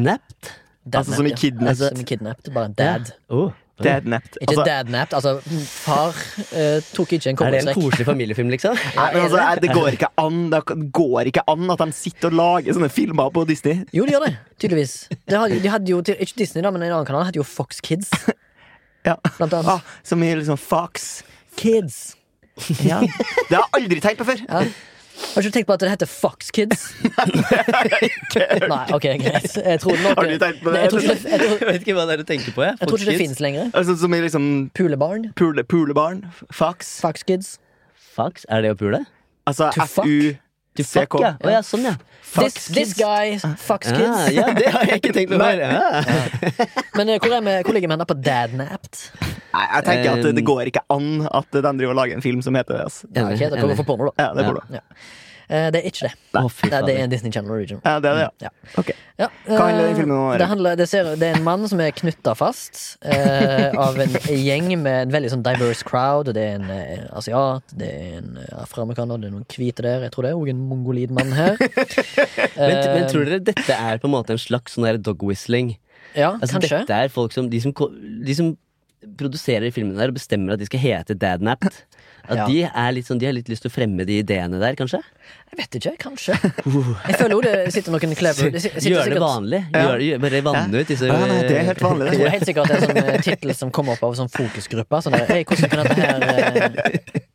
[SPEAKER 3] napt?
[SPEAKER 2] Altså som
[SPEAKER 1] Dadnapped,
[SPEAKER 2] i
[SPEAKER 1] ja.
[SPEAKER 2] kidnapped.
[SPEAKER 1] Altså, som i kidnapped, bare dad.
[SPEAKER 3] Oh.
[SPEAKER 2] Dadnapped.
[SPEAKER 1] Ikke
[SPEAKER 2] Altså,
[SPEAKER 1] dadnapped, altså mm, far eh, tok ikke en
[SPEAKER 3] Er det en
[SPEAKER 1] kobberstrekk.
[SPEAKER 3] koselig familiefilm, liksom?
[SPEAKER 2] nei, men altså, nei, det går ikke an Det går ikke an at de sitter og lager sånne filmer på Disney.
[SPEAKER 1] Jo, de gjør det, tydeligvis. De hadde, de hadde jo, til- ikke Disney, da, men en annen kanal hadde jo Fox Kids.
[SPEAKER 2] Ja.
[SPEAKER 1] Blant annet.
[SPEAKER 2] Ah, som i liksom Fox.
[SPEAKER 1] Kids.
[SPEAKER 2] Ja. Det har jeg aldri tenkt på før.
[SPEAKER 1] Ja. Har ikke du tenkt på at det heter Fox Kids? Nei, ok, greit. Jeg tror nok
[SPEAKER 2] Har du tenkt på det?
[SPEAKER 1] Nei, Jeg tror ikke det, jeg tror,
[SPEAKER 3] Jeg vet ikke hva det er du tenker på. Jeg,
[SPEAKER 1] jeg tror ikke det
[SPEAKER 3] Fox
[SPEAKER 1] finnes lenger.
[SPEAKER 2] Altså, som i liksom
[SPEAKER 1] Pulebarn.
[SPEAKER 2] pule, pulebarn. Fox.
[SPEAKER 1] Fox Kids.
[SPEAKER 3] Kids. Fox? Er det å pule?
[SPEAKER 2] Altså
[SPEAKER 1] To fuck.
[SPEAKER 3] Du fuck,
[SPEAKER 2] F-U-C-K.
[SPEAKER 3] ja. Å ja, sånn, ja.
[SPEAKER 1] This,
[SPEAKER 2] Fox
[SPEAKER 1] this guy, Fox Kids.
[SPEAKER 3] Ah, ja, det har jeg ikke tenkt på. Ja.
[SPEAKER 1] Men eh, hvor, er vi, hvor ligger vi henne på Dadnapped?
[SPEAKER 2] Nei, jeg tenker at det, det
[SPEAKER 3] Um,
[SPEAKER 2] går ikke an at de driver og lager en film som heter det. Altså.
[SPEAKER 1] Ja, ok, dere går for porno, da.
[SPEAKER 2] Ja, det burde du.
[SPEAKER 1] Ja. Eh, Det er ikke det.
[SPEAKER 3] Å,
[SPEAKER 1] Nei,
[SPEAKER 3] fy
[SPEAKER 1] det er
[SPEAKER 3] fader.
[SPEAKER 1] en Disney Channel Original.
[SPEAKER 2] Ja, det er det, ja.
[SPEAKER 1] Ja.
[SPEAKER 2] Ok.
[SPEAKER 1] Ja,
[SPEAKER 2] Hva handler den
[SPEAKER 1] eh,
[SPEAKER 2] filmen om, Erik?
[SPEAKER 1] Det, handler, det, ser, det er en mann som er knytta fast eh, av en gjeng med en veldig sånn diverse crowd. Og det er en eh, asiat, det er en eh, afroamerikaner, det er noen hvite der. Jeg tror det er òg en mongolid mann her. Eh,
[SPEAKER 3] Men, men tror dere dette er på en måte en slags sånn der dog whistling?
[SPEAKER 1] Ja,
[SPEAKER 3] Altså,
[SPEAKER 1] kanskje.
[SPEAKER 3] dette er folk som de, som ko- de som produserer filmene der og bestemmer at de skal hete Dadnapped, at
[SPEAKER 1] Ja.
[SPEAKER 3] de, er litt sånn, de har litt lyst til å fremme de ideene der, kanskje?
[SPEAKER 1] Jeg vet ikke, kanskje. Jeg føler jo det sitter noen clever det si- sitter
[SPEAKER 3] Gjør det
[SPEAKER 1] sikkert-
[SPEAKER 3] vanlig. Gjør det, bare vann ut disse
[SPEAKER 2] Ja, Ah, nei, det er helt vanlig.
[SPEAKER 1] Jeg tror
[SPEAKER 2] Det.
[SPEAKER 1] helt sikkert det er sånn eh, tittel som kommer opp av sånn fokusgrupper. Sånn der, «Hei, hvordan, kan dette her, eh,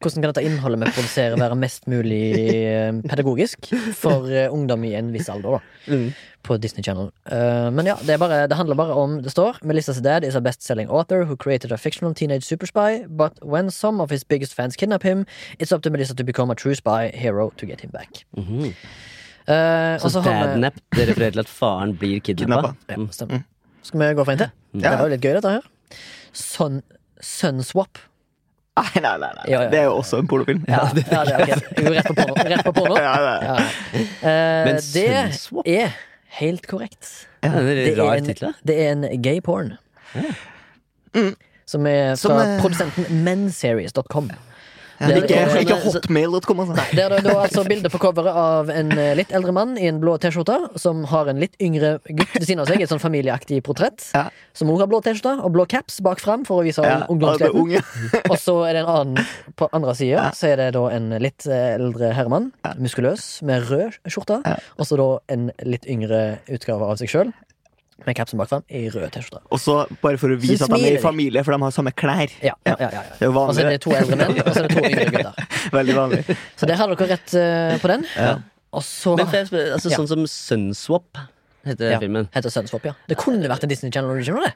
[SPEAKER 1] hvordan kan dette innholdet vi produserer være mest mulig eh, pedagogisk for eh, ungdom i en viss alder, da?
[SPEAKER 3] Mm.
[SPEAKER 1] På Disney Channel. Eh, men ja, det, er bare, det handler bare om Det står Melissa's dad is a best-selling author who created a fictional teenage superspy, but when some of his biggest fans kidnap him, it's up to Melissa to become a true spy hero to get him back.
[SPEAKER 3] Mhm.
[SPEAKER 1] Eh, og
[SPEAKER 3] Så
[SPEAKER 1] så har vi-
[SPEAKER 3] Dadnapped det refererer til at faren blir kidnappa.
[SPEAKER 2] Kidnappa.
[SPEAKER 1] Ja, stemmer. Mm. Skal vi gå for en til?
[SPEAKER 2] Ja.
[SPEAKER 1] Det var jo litt gøy, dette her. Sun, Sunswap.
[SPEAKER 2] Nei, nei, nei, nei.
[SPEAKER 1] Ja, ja.
[SPEAKER 2] Det er jo også en pornofilm.
[SPEAKER 1] Ja, det, ja, det er ok. Jo, Rett på porno. Rett på porno.
[SPEAKER 2] Ja, det er-
[SPEAKER 1] Ja. Eh,
[SPEAKER 3] Men Sunswap?
[SPEAKER 1] det er helt korrekt.
[SPEAKER 3] Ja, det er
[SPEAKER 1] Det
[SPEAKER 3] en rar
[SPEAKER 1] er
[SPEAKER 3] tittel.
[SPEAKER 1] en,
[SPEAKER 3] da.
[SPEAKER 1] det er en gay porn. Mm. Som er
[SPEAKER 2] Som,
[SPEAKER 1] fra
[SPEAKER 2] eh,
[SPEAKER 1] produsenten menseries.com.
[SPEAKER 2] Ja, det er
[SPEAKER 1] Det er-
[SPEAKER 2] ikke,
[SPEAKER 1] det
[SPEAKER 2] ikke
[SPEAKER 1] er-
[SPEAKER 2] hotmail.com, altså.
[SPEAKER 1] Der er det da altså bilde på coveret av en eh, litt eldre mann i en blå T-skjorte, som har en litt yngre gutt ved siden av seg, et sånn familieaktig portrett,
[SPEAKER 2] Ja.
[SPEAKER 1] som også har blå T-skjorte og blå caps bak fram for å vise
[SPEAKER 2] Ja, alle
[SPEAKER 1] ungdomsligheten.
[SPEAKER 2] unge.
[SPEAKER 1] Og så er det en annen på andre sida. Så er det da en litt eh, eldre herremann. Muskuløs, med rød skjorte. Og så da en litt yngre utgave av seg sjøl. Med capsen bak fram i rød T-skjorte.
[SPEAKER 2] Og så, bare for å vise
[SPEAKER 1] Så
[SPEAKER 2] at de
[SPEAKER 1] smiler
[SPEAKER 2] er i familie, for de har samme klær.
[SPEAKER 1] Ja, ja, ja, ja, ja.
[SPEAKER 2] Det er jo
[SPEAKER 1] Og så er
[SPEAKER 2] vanlig.
[SPEAKER 1] det to eldre menn, og så er det to yngre gutter.
[SPEAKER 2] Veldig vanlig.
[SPEAKER 1] Så der hadde dere rett eh, på den. Og så
[SPEAKER 3] Men får jeg spørre, altså,
[SPEAKER 1] Ja.
[SPEAKER 3] Sånn som Sunswap heter
[SPEAKER 1] ja,
[SPEAKER 3] filmen.
[SPEAKER 1] Heter Sønnsvopp, ja. Det kunne vært en Disney Channel Original, det.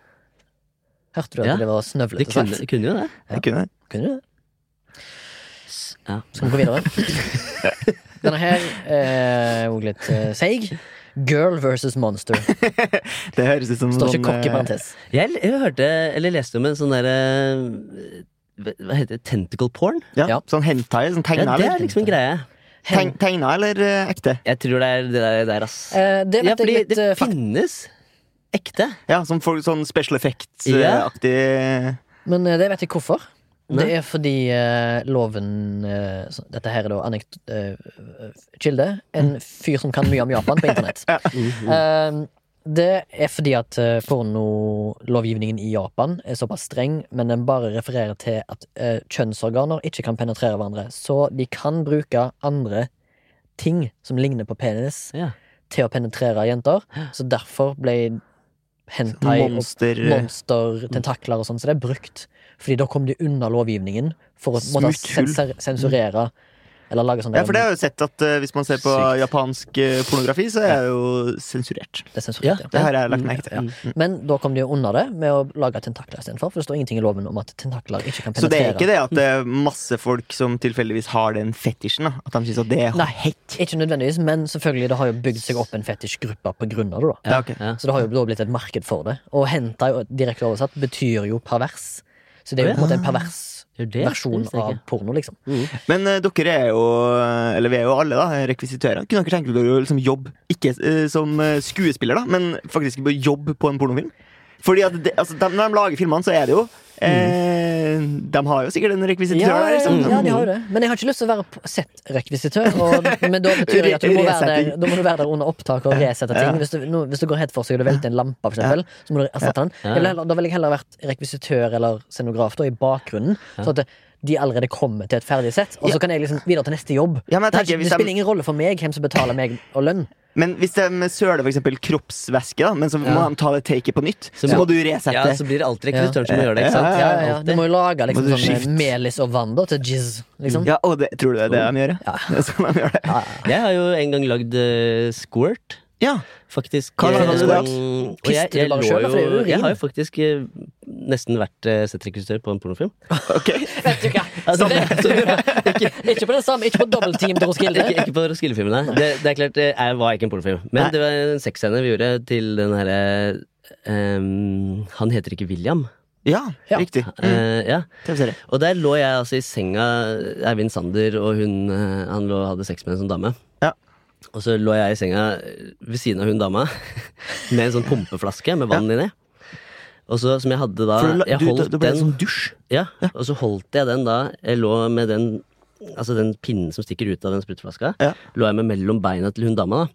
[SPEAKER 1] Hørte du at
[SPEAKER 3] Ja.
[SPEAKER 1] det var
[SPEAKER 3] Det
[SPEAKER 1] snøvlete
[SPEAKER 3] kunne,
[SPEAKER 1] sagt?
[SPEAKER 3] kunne jo det.
[SPEAKER 2] Jeg kunne
[SPEAKER 1] Kunne du det?
[SPEAKER 3] S- Ja.
[SPEAKER 1] Skal vi gå videre? Denne her er også litt eh, seig. Girl versus monster.
[SPEAKER 2] Det høres ut som
[SPEAKER 1] Står
[SPEAKER 2] sånn,
[SPEAKER 1] ikke kokk i
[SPEAKER 2] eh,
[SPEAKER 1] parentes.
[SPEAKER 3] Jeg, l- jeg hørte, eller leste om en sånn derre hva hva heter det? Tentacle porn?
[SPEAKER 2] Ja,
[SPEAKER 1] Ja.
[SPEAKER 2] sånn hentai, sånn
[SPEAKER 3] Ja,
[SPEAKER 2] tegna,
[SPEAKER 3] det
[SPEAKER 2] eller?
[SPEAKER 3] er liksom en greie.
[SPEAKER 2] Teg- Tegna eller eh, ekte?
[SPEAKER 3] Jeg tror det er det der, der ass.
[SPEAKER 1] Eh, det
[SPEAKER 3] Ja,
[SPEAKER 1] vet
[SPEAKER 3] fordi
[SPEAKER 1] jeg litt
[SPEAKER 3] det
[SPEAKER 1] eh, fakt,
[SPEAKER 3] finnes ekte.
[SPEAKER 2] Ja, sånn, folk- sånn special eh,
[SPEAKER 3] Ja.
[SPEAKER 2] effects-aktig
[SPEAKER 1] men eh, det vet jeg hvorfor. Det
[SPEAKER 3] Nei.
[SPEAKER 1] er fordi eh, loven eh, så- Dette her er da anekt... eh, eh, kilde. En fyr som kan mye om Japan på internett. Eh, det er fordi at eh, pornolovgivningen i Japan er såpass streng, men den bare refererer til at eh, kjønnsorganer ikke kan penetrere hverandre. Så de kan bruke andre ting som ligner på penis,
[SPEAKER 3] Ja.
[SPEAKER 1] til å penetrere jenter. Så derfor ble hentai og
[SPEAKER 2] monster...
[SPEAKER 1] monstertentakler og sånn, så det er brukt. Fordi da kom de unna lovgivningen for å måtte
[SPEAKER 2] Smutthull. Mm.
[SPEAKER 1] senser, sensurere. Eller lage sånn
[SPEAKER 2] Ja, for det har jeg jo sett at eh, hvis man ser på
[SPEAKER 3] Sykt.
[SPEAKER 2] japansk eh, pornografi, så er det jo sensurert.
[SPEAKER 1] det er sensurert,
[SPEAKER 3] Ja.
[SPEAKER 1] ja.
[SPEAKER 2] Det har jeg lagt merke til.
[SPEAKER 3] Ja.
[SPEAKER 1] Men da kom de jo unna det med å lage tentakler istedenfor. For det står ingenting i loven om at tentakler ikke kan
[SPEAKER 2] Så det
[SPEAKER 1] penetrere.
[SPEAKER 2] er ikke det
[SPEAKER 3] Mm.
[SPEAKER 2] at det er masse folk som tilfeldigvis har den fetisjen? da At de syns at det er
[SPEAKER 1] Nei, ikke nødvendigvis, men selvfølgelig det har jo bygd seg opp en fetisjgruppe på grunn av det. da
[SPEAKER 2] Ja, ok.
[SPEAKER 3] Ja.
[SPEAKER 1] Så det har jo da blitt et marked for det. Og hentai, og direkte oversatt, betyr jo pervers. Så det er jo på en måte en pervers
[SPEAKER 3] Gjør det?
[SPEAKER 1] versjon
[SPEAKER 3] Det visste jeg
[SPEAKER 1] av
[SPEAKER 3] ikke.
[SPEAKER 1] porno, liksom.
[SPEAKER 2] Men eh, dere er jo eh, Eller vi er jo alle, da, rekvisitører. Kunne dere tenke dere å liksom jobbe ikke eh, som eh, skuespiller, da, men faktisk på jobb på en pornofilm? Fordi at det, altså, de, Når de lager filmene, så er det jo eh, De har jo sikkert en rekvisitør
[SPEAKER 1] Ja,
[SPEAKER 2] der. Liksom.
[SPEAKER 1] ja, de har jo det. Men jeg har ikke lyst til å være på- sett rekvisitør. Og, men da betyr det at du må, være der, da må du være der under opptak og resette ting. Hvis du, nå, hvis du går helt for seg og det velter en lampe, for eksempel, så må du erstatte den. Jeg vil heller, da ville jeg heller vært rekvisitør eller scenograf da, i bakgrunnen. Sånn at det- de allerede kommer til et ferdig sett, og så kan jeg liksom videre til neste jobb.
[SPEAKER 2] Ja, men jeg
[SPEAKER 1] det, har
[SPEAKER 2] tenker
[SPEAKER 1] ikke-
[SPEAKER 2] hvis
[SPEAKER 1] det spiller
[SPEAKER 2] de-
[SPEAKER 1] ingen rolle for meg hvem som betaler meg og lønn.
[SPEAKER 2] Men hvis de søler for eksempel kroppsvæske, da, men så må de ta det taket på nytt, så,
[SPEAKER 3] Så
[SPEAKER 2] må
[SPEAKER 3] må-
[SPEAKER 2] du resette.
[SPEAKER 3] ja, så blir det alltid rekruttøren som gjør det.
[SPEAKER 2] Ja,
[SPEAKER 3] ikke sant?
[SPEAKER 1] Ja, ja, ja. Du må jo lage liksom,
[SPEAKER 2] Må du
[SPEAKER 1] sånn eh,
[SPEAKER 2] skifte?
[SPEAKER 1] melis og vann da, til jizz. Liksom.
[SPEAKER 2] Ja, og det, tror du det er det de gjør? Ja. Det er sånn de gjør det.
[SPEAKER 3] Jeg har jo en gang lagd eh, squirt.
[SPEAKER 2] Ja.
[SPEAKER 3] Faktisk.
[SPEAKER 2] Hva
[SPEAKER 3] eh,
[SPEAKER 2] lagde du da?
[SPEAKER 3] og
[SPEAKER 1] Piste
[SPEAKER 3] jeg,
[SPEAKER 1] du
[SPEAKER 3] jeg,
[SPEAKER 1] bare
[SPEAKER 3] lå
[SPEAKER 1] selv, da? For det er jo
[SPEAKER 3] jo,
[SPEAKER 1] urin.
[SPEAKER 3] jeg har jo faktisk eh, nesten vært uh, sett rekvisitør på en pornofilm.
[SPEAKER 2] Ok.
[SPEAKER 1] Vet du hva?
[SPEAKER 2] sånn.
[SPEAKER 1] Ikke, ikke på det samme, ikke på dobbeltteam til Roskilde.
[SPEAKER 3] Ikke, ikke på Roskilde-filmen, nei. Det, det er klart, det er- var ikke en pornofilm. Men
[SPEAKER 2] Nei.
[SPEAKER 3] det var en sexscene vi gjorde til den herre ehm, Han heter ikke William.
[SPEAKER 2] Ja,
[SPEAKER 1] Ja.
[SPEAKER 2] riktig.
[SPEAKER 3] Eh, ja.
[SPEAKER 2] TV-serie.
[SPEAKER 3] Og der lå jeg altså i senga Eivind Sander, og hun, eh, han lå, hadde sex med en sånn dame.
[SPEAKER 2] Ja.
[SPEAKER 3] Og så lå jeg i senga eh, ved siden av hun dama med en sånn pumpeflaske med vann inni. Og så, som jeg hadde da
[SPEAKER 2] For du, la-
[SPEAKER 3] jeg
[SPEAKER 2] du,
[SPEAKER 3] holdt
[SPEAKER 2] det ble en
[SPEAKER 3] den
[SPEAKER 2] sånn dusj.
[SPEAKER 3] ja, og så holdt jeg den da Jeg lå med den Altså den pinnen som stikker ut av den sprutflaska
[SPEAKER 2] Ja.
[SPEAKER 3] Lå jeg med mellom beina til hun dama da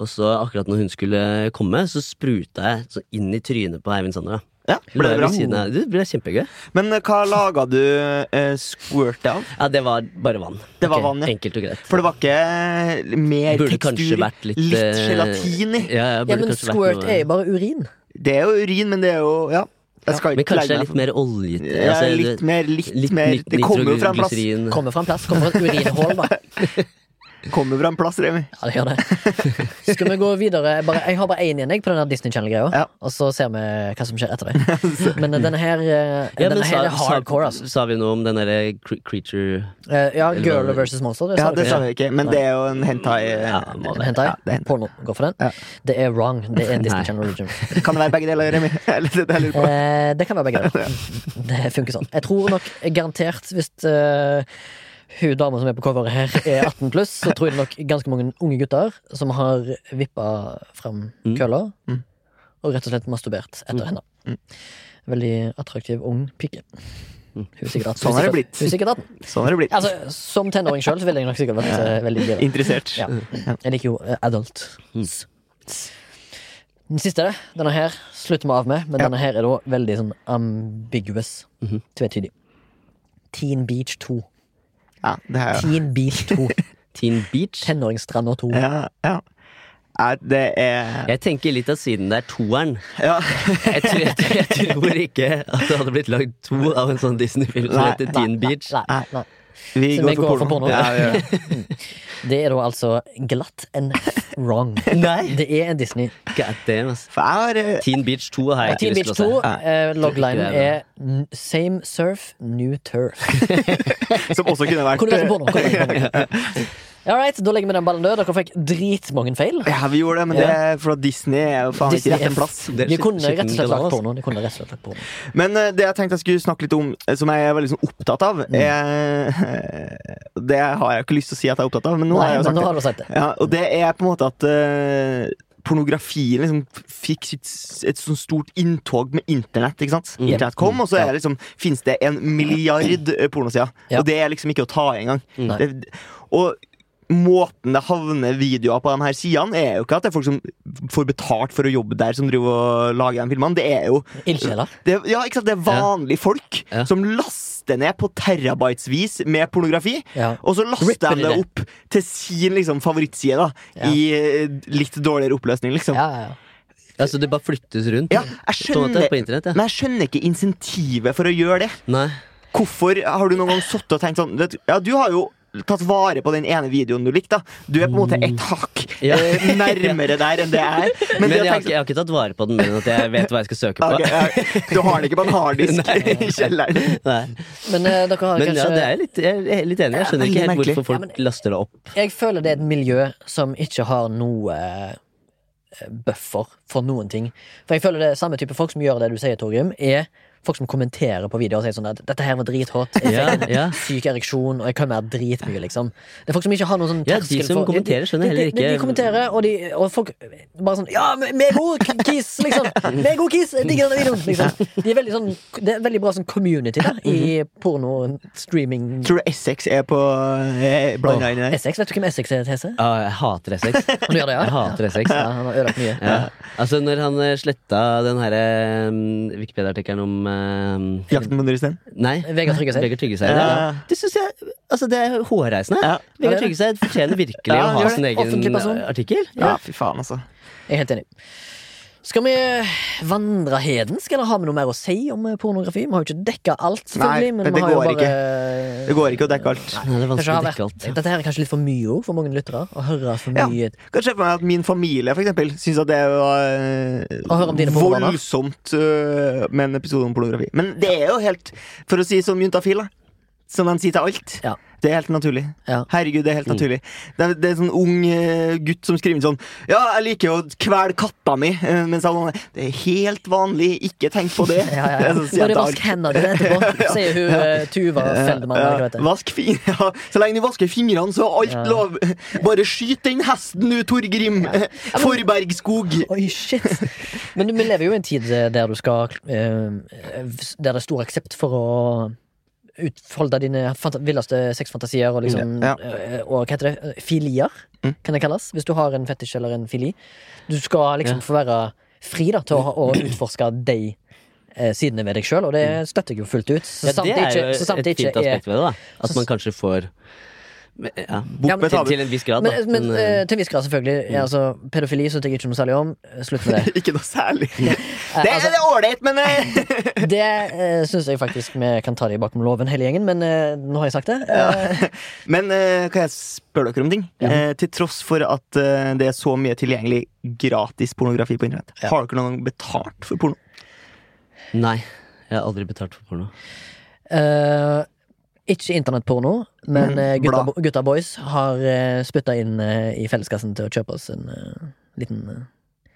[SPEAKER 3] og så akkurat når hun skulle komme, så spruta jeg så inn i sånn trynet på Eivind Sander. da
[SPEAKER 2] Ja, ble det
[SPEAKER 3] Lå jeg
[SPEAKER 2] bra?
[SPEAKER 3] ved siden av- Det ble kjempegøy.
[SPEAKER 2] Men eh, hva laga du eh, squirtet av?
[SPEAKER 3] Ja, det var bare vann.
[SPEAKER 2] Det var
[SPEAKER 3] Ok,
[SPEAKER 2] vann, ja.
[SPEAKER 3] Enkelt og greit.
[SPEAKER 2] For det var ikke eh, mer
[SPEAKER 3] Burde kanskje
[SPEAKER 2] tekstur,
[SPEAKER 3] vært litt
[SPEAKER 2] litt
[SPEAKER 3] eh,
[SPEAKER 2] gelatin i.
[SPEAKER 3] Ja, ja,
[SPEAKER 1] Ja,
[SPEAKER 3] burde
[SPEAKER 1] men
[SPEAKER 3] kanskje vært
[SPEAKER 1] squirt
[SPEAKER 3] noe-
[SPEAKER 1] er jo bare urin.
[SPEAKER 2] Det er jo urin, men det er jo Ja. Jeg skal
[SPEAKER 3] Men
[SPEAKER 2] ikke
[SPEAKER 3] kanskje
[SPEAKER 2] legge
[SPEAKER 3] det
[SPEAKER 2] meg
[SPEAKER 3] er litt mer altså, oljete.
[SPEAKER 2] Ja, litt mer, litt, mer Det kommer jo fra en plass.
[SPEAKER 3] plass.
[SPEAKER 1] Kommer fra en plass. Kommer fra et urinhull, da.
[SPEAKER 2] Kommer fra en plass, Remi.
[SPEAKER 1] Ja, det gjør det. Skal vi gå videre? Bare, jeg har bare én igjen jeg, på den der Disney Channel-greia.
[SPEAKER 2] Ja.
[SPEAKER 1] Og så ser vi hva som skjer etter det. Men denne her, eh,
[SPEAKER 3] Ja, men
[SPEAKER 1] denne
[SPEAKER 3] sa,
[SPEAKER 1] her er hardcore, altså.
[SPEAKER 3] sa, sa vi noe om den derre cre- creature
[SPEAKER 1] Eh, Ja,
[SPEAKER 3] Eller
[SPEAKER 1] Girl
[SPEAKER 3] hva-
[SPEAKER 1] versus Monster. Det
[SPEAKER 2] Ja,
[SPEAKER 1] sa
[SPEAKER 2] det
[SPEAKER 1] dere.
[SPEAKER 2] sa vi ikke, men det er jo en hentai. eh,
[SPEAKER 3] Ja, må det.
[SPEAKER 1] Hentai?
[SPEAKER 2] Ja, det er hentai.
[SPEAKER 1] Porno. Gå for den.
[SPEAKER 2] Ja.
[SPEAKER 1] Det er wrong. Det er en Disney
[SPEAKER 3] Nei.
[SPEAKER 1] Channel Origin.
[SPEAKER 2] Kan det være begge deler, Remi? Eller det jeg lurer på.
[SPEAKER 1] Eh, det kan være begge deler. Det funker sånn. Jeg tror nok garantert, hvis eh, hun dama som er på coveret her, er 18 pluss, så tror jeg det nok ganske mange unge gutter som har vippa frem
[SPEAKER 3] Mm.
[SPEAKER 1] kølla
[SPEAKER 2] Mm.
[SPEAKER 1] og rett og slett masturbert etter henne. Veldig attraktiv ung pike. Hun er sikkert 18.
[SPEAKER 2] Sånn har
[SPEAKER 1] Hun
[SPEAKER 2] det
[SPEAKER 1] er
[SPEAKER 2] blitt.
[SPEAKER 1] sikkert- Hun er sikkert 18.
[SPEAKER 2] Sånn har det blitt.
[SPEAKER 1] Altså, som tenåring sjøl ville jeg nok sikkert vært eh, veldig gira.
[SPEAKER 2] Interessert.
[SPEAKER 1] Ja.
[SPEAKER 3] Mm.
[SPEAKER 1] Jeg liker jo eh, adult. Den siste, denne her slutter vi av med, men denne her er da veldig sånn ambiguous.
[SPEAKER 3] Mhm.
[SPEAKER 1] Tvetydig. Teen Beach 2.
[SPEAKER 2] Ja, det er jo
[SPEAKER 1] Teen Beach 2.
[SPEAKER 3] Teen Beach?
[SPEAKER 1] Tenåringsstranda 2.
[SPEAKER 2] Ja, ja. Ja, det er
[SPEAKER 3] Jeg tenker litt at siden det er toeren
[SPEAKER 2] Ja.
[SPEAKER 3] jeg, tror- jeg, tror- jeg tror ikke at det hadde blitt lagd to av en sånn Disney-film som
[SPEAKER 2] Nei,
[SPEAKER 3] heter
[SPEAKER 1] Nei,
[SPEAKER 3] Teen Beach. Ah.
[SPEAKER 1] Nei, nei, nei.
[SPEAKER 2] Vi
[SPEAKER 1] Så
[SPEAKER 2] går
[SPEAKER 1] vi
[SPEAKER 2] for
[SPEAKER 1] går for porno.
[SPEAKER 2] porno. Ja, vi gjør det.
[SPEAKER 1] Det er da altså glatt and wrong.
[SPEAKER 3] Nei.
[SPEAKER 1] Det er en Disney.
[SPEAKER 3] God damn, ass.
[SPEAKER 2] For jeg har eh,
[SPEAKER 3] Teen Beach 2 har jeg
[SPEAKER 1] Teen
[SPEAKER 3] ikke
[SPEAKER 1] Beach
[SPEAKER 3] lyst
[SPEAKER 1] 2,
[SPEAKER 3] til å se.
[SPEAKER 1] eh, loglinen
[SPEAKER 3] Ikke det,
[SPEAKER 1] er n- same surf, new turf.
[SPEAKER 2] Som også kunne vært
[SPEAKER 1] Kunne vært en porno. kunne vært en porno. All right, da legger vi den ballen død. Dere fikk dritmange feil.
[SPEAKER 2] Ja, vi gjorde det, men det er for at Disney er jo faen ikke
[SPEAKER 1] Disney
[SPEAKER 2] rett
[SPEAKER 1] er-
[SPEAKER 2] en plass.
[SPEAKER 3] Det er
[SPEAKER 1] De
[SPEAKER 3] skit-
[SPEAKER 1] kunne rett og
[SPEAKER 3] skitten
[SPEAKER 1] slett
[SPEAKER 3] kanal,
[SPEAKER 1] lagt
[SPEAKER 3] ass.
[SPEAKER 1] porno. De kunne rett og slett lagt porno.
[SPEAKER 2] Men eh, det jeg tenkte jeg skulle snakke litt om, eh, som jeg er veldig sånn opptatt av
[SPEAKER 1] Mm.
[SPEAKER 2] er, eh, Det har jeg jo ikke lyst til å si at jeg er opptatt av, men nå
[SPEAKER 1] Nei,
[SPEAKER 2] har jeg jo
[SPEAKER 1] men nå
[SPEAKER 2] sagt det.
[SPEAKER 1] har du sagt det.
[SPEAKER 2] Ja, og det er på en måte at eh, pornografien liksom fikk sitt, et sånn stort inntog med internett. ikke sant? Internett kom, og så er det liksom, finnes det en milliard eh, pornosider.
[SPEAKER 1] Ja.
[SPEAKER 2] Og det er liksom ikke å ta i engang.
[SPEAKER 3] Nei.
[SPEAKER 2] Det- Og Måten det havner videoer på de her sidene, er jo ikke at det er folk som får betalt for å jobbe der, som driver og lager de filmene. Det er jo
[SPEAKER 1] Ildsjeler.
[SPEAKER 2] det, ja, ikke sant? det er vanlige folk
[SPEAKER 3] Ja.
[SPEAKER 2] som laster ned på terabytesvis med pornografi.
[SPEAKER 1] Ja.
[SPEAKER 2] Og så laster
[SPEAKER 1] Ripper de
[SPEAKER 2] de det
[SPEAKER 1] det.
[SPEAKER 2] opp til sin liksom, favorittside da,
[SPEAKER 1] Ja.
[SPEAKER 2] i eh, litt dårligere oppløsning. Liksom.
[SPEAKER 1] Ja, ja, ja.
[SPEAKER 3] Altså, det bare flyttes rundt?
[SPEAKER 2] Ja, jeg
[SPEAKER 3] Sånn at
[SPEAKER 2] skjønner,
[SPEAKER 3] det er på internett, ja.
[SPEAKER 2] men jeg skjønner ikke insentivet for å gjøre det.
[SPEAKER 3] Nei.
[SPEAKER 2] Hvorfor har du noen gang sittet og tenkt sånn vet du- Ja, du har jo tatt vare på den ene videoen du likte. da. Du er på en måte et hakk
[SPEAKER 3] Ja.
[SPEAKER 2] eh, nærmere der enn det jeg er. Men,
[SPEAKER 3] Men
[SPEAKER 2] det
[SPEAKER 3] jeg
[SPEAKER 2] å
[SPEAKER 3] har,
[SPEAKER 2] tenke
[SPEAKER 3] ikke, jeg har ikke tatt vare på den, men at jeg vet hva jeg skal søke på.
[SPEAKER 2] Ok, ja, Du har den ikke på en harddisk i kjelleren.
[SPEAKER 3] Nei.
[SPEAKER 1] Men eh, dere har
[SPEAKER 3] Men
[SPEAKER 1] kanskje
[SPEAKER 3] ja, det er litt, jeg er litt enig. Jeg skjønner ikke helt
[SPEAKER 2] Veldig merkelig.
[SPEAKER 3] hvorfor folk laster det opp.
[SPEAKER 1] Jeg føler det er et miljø som ikke har noe eh, buffer for noen ting. For jeg føler det er samme type folk som gjør det du sier, Torgrim, er folk som kommenterer på videoer og sier sånn at 'dette her var drithot', jeg
[SPEAKER 3] Ja,
[SPEAKER 1] fikk en
[SPEAKER 3] ja.
[SPEAKER 1] syk ereksjon, og jeg kommer her dritmye', liksom. Det er folk som ikke har noen sånn
[SPEAKER 3] Ja, de
[SPEAKER 1] terskel
[SPEAKER 3] som
[SPEAKER 1] for-
[SPEAKER 3] kommenterer skjønner
[SPEAKER 1] de- de-
[SPEAKER 3] heller
[SPEAKER 1] De, de
[SPEAKER 3] ikke-
[SPEAKER 1] kommenterer, og, de, og folk bare sånn 'ja, vi vi er gode kiss', liksom. 'Vi er gode kiss', jeg digger denne videoen, liksom. De er veldig sånn, det er veldig bra sånn community da, i porno-streaming.
[SPEAKER 2] Tror du Essex er på eh, blanda inn i der?
[SPEAKER 1] Essex, vet du hvem Essex er, Tese?
[SPEAKER 3] Ah, jeg hater S6.
[SPEAKER 1] Han gjør det, ja?
[SPEAKER 3] Jeg hater S6.
[SPEAKER 1] Ja, han har ødelagt mye.
[SPEAKER 3] Ja. Altså, når han eh, sletta den herre mm, Wikipedia-artikkelen om eh,
[SPEAKER 2] Jakten på Nordisten?
[SPEAKER 3] Nei.
[SPEAKER 1] Vegard Tryggeseid.
[SPEAKER 3] Vegard Tryggeseid, ja.
[SPEAKER 2] Ja.
[SPEAKER 3] Det synes jeg Altså, det er hårreisende.
[SPEAKER 2] Ja.
[SPEAKER 3] Vegard Tryggeseid fortjener virkelig
[SPEAKER 2] Ja, han
[SPEAKER 3] å
[SPEAKER 2] gjør
[SPEAKER 3] ha
[SPEAKER 2] det.
[SPEAKER 3] sin
[SPEAKER 1] Offentlig
[SPEAKER 3] egen
[SPEAKER 1] person.
[SPEAKER 3] artikkel.
[SPEAKER 2] Ja, fy faen, altså.
[SPEAKER 1] Jeg er helt enig. Skal vi vandre hedensk, eller har vi noe mer å si om eh, pornografi? Vi har jo ikke dekka alt, selvfølgelig,
[SPEAKER 2] Nei,
[SPEAKER 1] men
[SPEAKER 2] det
[SPEAKER 1] vi har jo
[SPEAKER 2] går
[SPEAKER 1] bare
[SPEAKER 2] Det går ikke å dekke alt.
[SPEAKER 3] Nei, det
[SPEAKER 1] Kanskje
[SPEAKER 3] er vanskelig
[SPEAKER 1] har
[SPEAKER 3] å dekke alt.
[SPEAKER 1] vært, dette her er kanskje litt for mye ord for mange lyttere. Å høre for
[SPEAKER 2] Ja.
[SPEAKER 1] mye
[SPEAKER 2] Kan se for meg at min familie for eksempel, syns at det
[SPEAKER 1] Å høre om
[SPEAKER 2] var eh,
[SPEAKER 1] dine pornobaner.
[SPEAKER 2] voldsomt eh, med en episode om pornografi. Men det er jo helt, for å si som juntafil, da, som de sier til alt.
[SPEAKER 1] Ja.
[SPEAKER 2] Det er helt naturlig.
[SPEAKER 1] Ja.
[SPEAKER 2] Herregud, det er helt naturlig. Det er, det er en sånn ung eh, gutt som skriver sånn Ja, jeg liker å kvele katta mi, eh, mens han Det er helt vanlig, ikke tenk på det.
[SPEAKER 1] ja, ja,
[SPEAKER 2] Det
[SPEAKER 1] ja.
[SPEAKER 2] er sånn, sier
[SPEAKER 1] Bare
[SPEAKER 2] jeg til
[SPEAKER 1] vask
[SPEAKER 2] alt.
[SPEAKER 1] hendene dine etterpå, sier hun eh, Tuva Feldman. eller hva
[SPEAKER 2] Ja,
[SPEAKER 1] det heter.
[SPEAKER 2] eh, vask fin- ja. Så lenge du vasker fingrene, så er alt
[SPEAKER 1] Ja.
[SPEAKER 2] lov. Bare skyt den hesten, du, Torgrim. Forbergskog.
[SPEAKER 1] Oi, shit! Men vi lever jo i en tid der du skal eh, Der det er stor aksept for å utfolde dine fanta- villeste sexfantasier og liksom
[SPEAKER 2] Ja.
[SPEAKER 1] eh, Og hva heter det? Filier, kan det kalles. Hvis du har en fetisj eller en fili. Du skal liksom få være fri da til å, å utforske de eh, sidene ved deg sjøl, og det støtter jeg jo fullt ut. Så
[SPEAKER 3] Ja,
[SPEAKER 1] sant
[SPEAKER 3] det
[SPEAKER 1] det
[SPEAKER 3] er
[SPEAKER 1] ikke,
[SPEAKER 3] jo
[SPEAKER 1] så sant
[SPEAKER 3] et
[SPEAKER 1] det ikke
[SPEAKER 3] fint aspekt
[SPEAKER 1] er
[SPEAKER 3] ved det. da At man kanskje får ja,
[SPEAKER 2] Bort med
[SPEAKER 3] til,
[SPEAKER 2] tabu.
[SPEAKER 3] til en viss grad, da.
[SPEAKER 1] men, men
[SPEAKER 3] eh,
[SPEAKER 1] eh, til en viss grad, selvfølgelig. Altså, pedofili syns jeg ikke noe særlig om. Slutt med det.
[SPEAKER 2] Ikke noe særlig.
[SPEAKER 1] Eh,
[SPEAKER 2] Det
[SPEAKER 1] altså-
[SPEAKER 2] er ålreit, men eh,
[SPEAKER 1] Det uh, syns jeg faktisk vi kan ta det i bakom låven, hele gjengen, men eh, nå har jeg sagt det. Eh,
[SPEAKER 2] Men eh, kan jeg spørre dere om ting? Eh, til tross for at eh, det er så mye tilgjengelig gratis pornografi på internett, har dere noen gang betalt for porno?
[SPEAKER 3] Nei, jeg har aldri betalt for porno.
[SPEAKER 1] eh, ikke internettporno, men eh, gutta,
[SPEAKER 2] Blad.
[SPEAKER 1] gutta Boys har uh, spytta inn eh, i felleskassen til å kjøpe oss en eh, liten eh,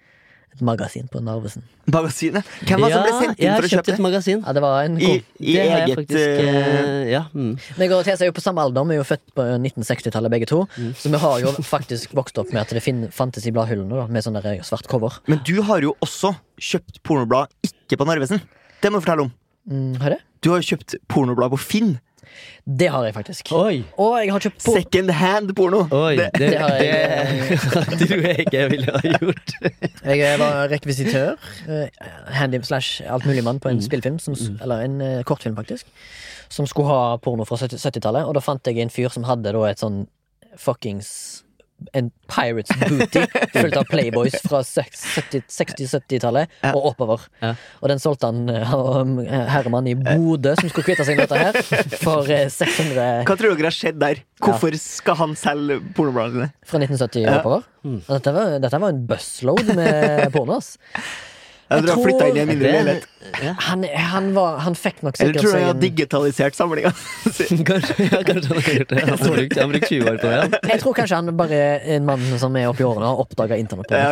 [SPEAKER 1] et magasin på Narvesen.
[SPEAKER 2] Magasinet? Hvem var det som ble sendt
[SPEAKER 3] jeg
[SPEAKER 2] inn
[SPEAKER 3] har
[SPEAKER 2] for å
[SPEAKER 3] kjøpt
[SPEAKER 2] kjøpe
[SPEAKER 3] et
[SPEAKER 2] det?
[SPEAKER 3] magasin.
[SPEAKER 1] Ja, det var en
[SPEAKER 2] I,
[SPEAKER 1] kom.
[SPEAKER 2] i
[SPEAKER 3] det har jeg
[SPEAKER 2] eget
[SPEAKER 3] faktisk
[SPEAKER 2] eh,
[SPEAKER 3] eh, Ja. Mm.
[SPEAKER 1] Meg og Therese er jo på samme alder, vi er jo født på 1960-tallet begge to. Så vi har jo faktisk vokst opp med at det fin- fantes i bladhyllene, da, med sånn der svart cover.
[SPEAKER 2] Men du har jo også kjøpt pornoblad ikke på Narvesen. Det må du fortelle om.
[SPEAKER 1] Mm, har jeg det?
[SPEAKER 2] Du har jo kjøpt pornoblad på Finn.
[SPEAKER 1] Det har jeg faktisk.
[SPEAKER 3] Oi!
[SPEAKER 1] Og jeg har kjøpt på
[SPEAKER 2] Second hand porno.
[SPEAKER 3] Oi, det, det,
[SPEAKER 1] det har jeg-
[SPEAKER 3] tror jeg ikke jeg ville ha gjort.
[SPEAKER 1] Jeg var rekvisitør. eh, Handy slash altmuligmann på en
[SPEAKER 3] Mm.
[SPEAKER 1] spillfilm, som, s- eller en eh, kortfilm, faktisk. Som skulle ha porno fra 70- 70-tallet, og da fant jeg en fyr som hadde da et sånn fuckings en Pirates booty fulgt av Playboys fra 60-70-tallet og oppover.
[SPEAKER 3] Ja.
[SPEAKER 1] Og den solgte han eh, han var en herremann i Bodø, som skulle kvitte seg med dette her, for eh, 600
[SPEAKER 2] Hva tror dere har skjedd der? Hvorfor skal han selge pornobladene dine?
[SPEAKER 1] fra 1970 og oppover.
[SPEAKER 3] Mm.
[SPEAKER 1] Og Dette var, dette var en busload med porno, ass.
[SPEAKER 2] Jeg tror han flytta inn i en mindre
[SPEAKER 3] Det-
[SPEAKER 2] leilighet.
[SPEAKER 3] ja.
[SPEAKER 1] Han, han, var, han fikk nok
[SPEAKER 2] Eller
[SPEAKER 1] sikkert
[SPEAKER 2] tror du han har
[SPEAKER 1] en-
[SPEAKER 2] digitalisert samlinga?
[SPEAKER 3] Kanskje, ja, kanskje han har gjort det. Han har brukt, han har brukt 20 år på det. han.
[SPEAKER 1] Jeg tror kanskje han bare er en mann som er oppi årene og har oppdaga internett. på det.
[SPEAKER 2] ja,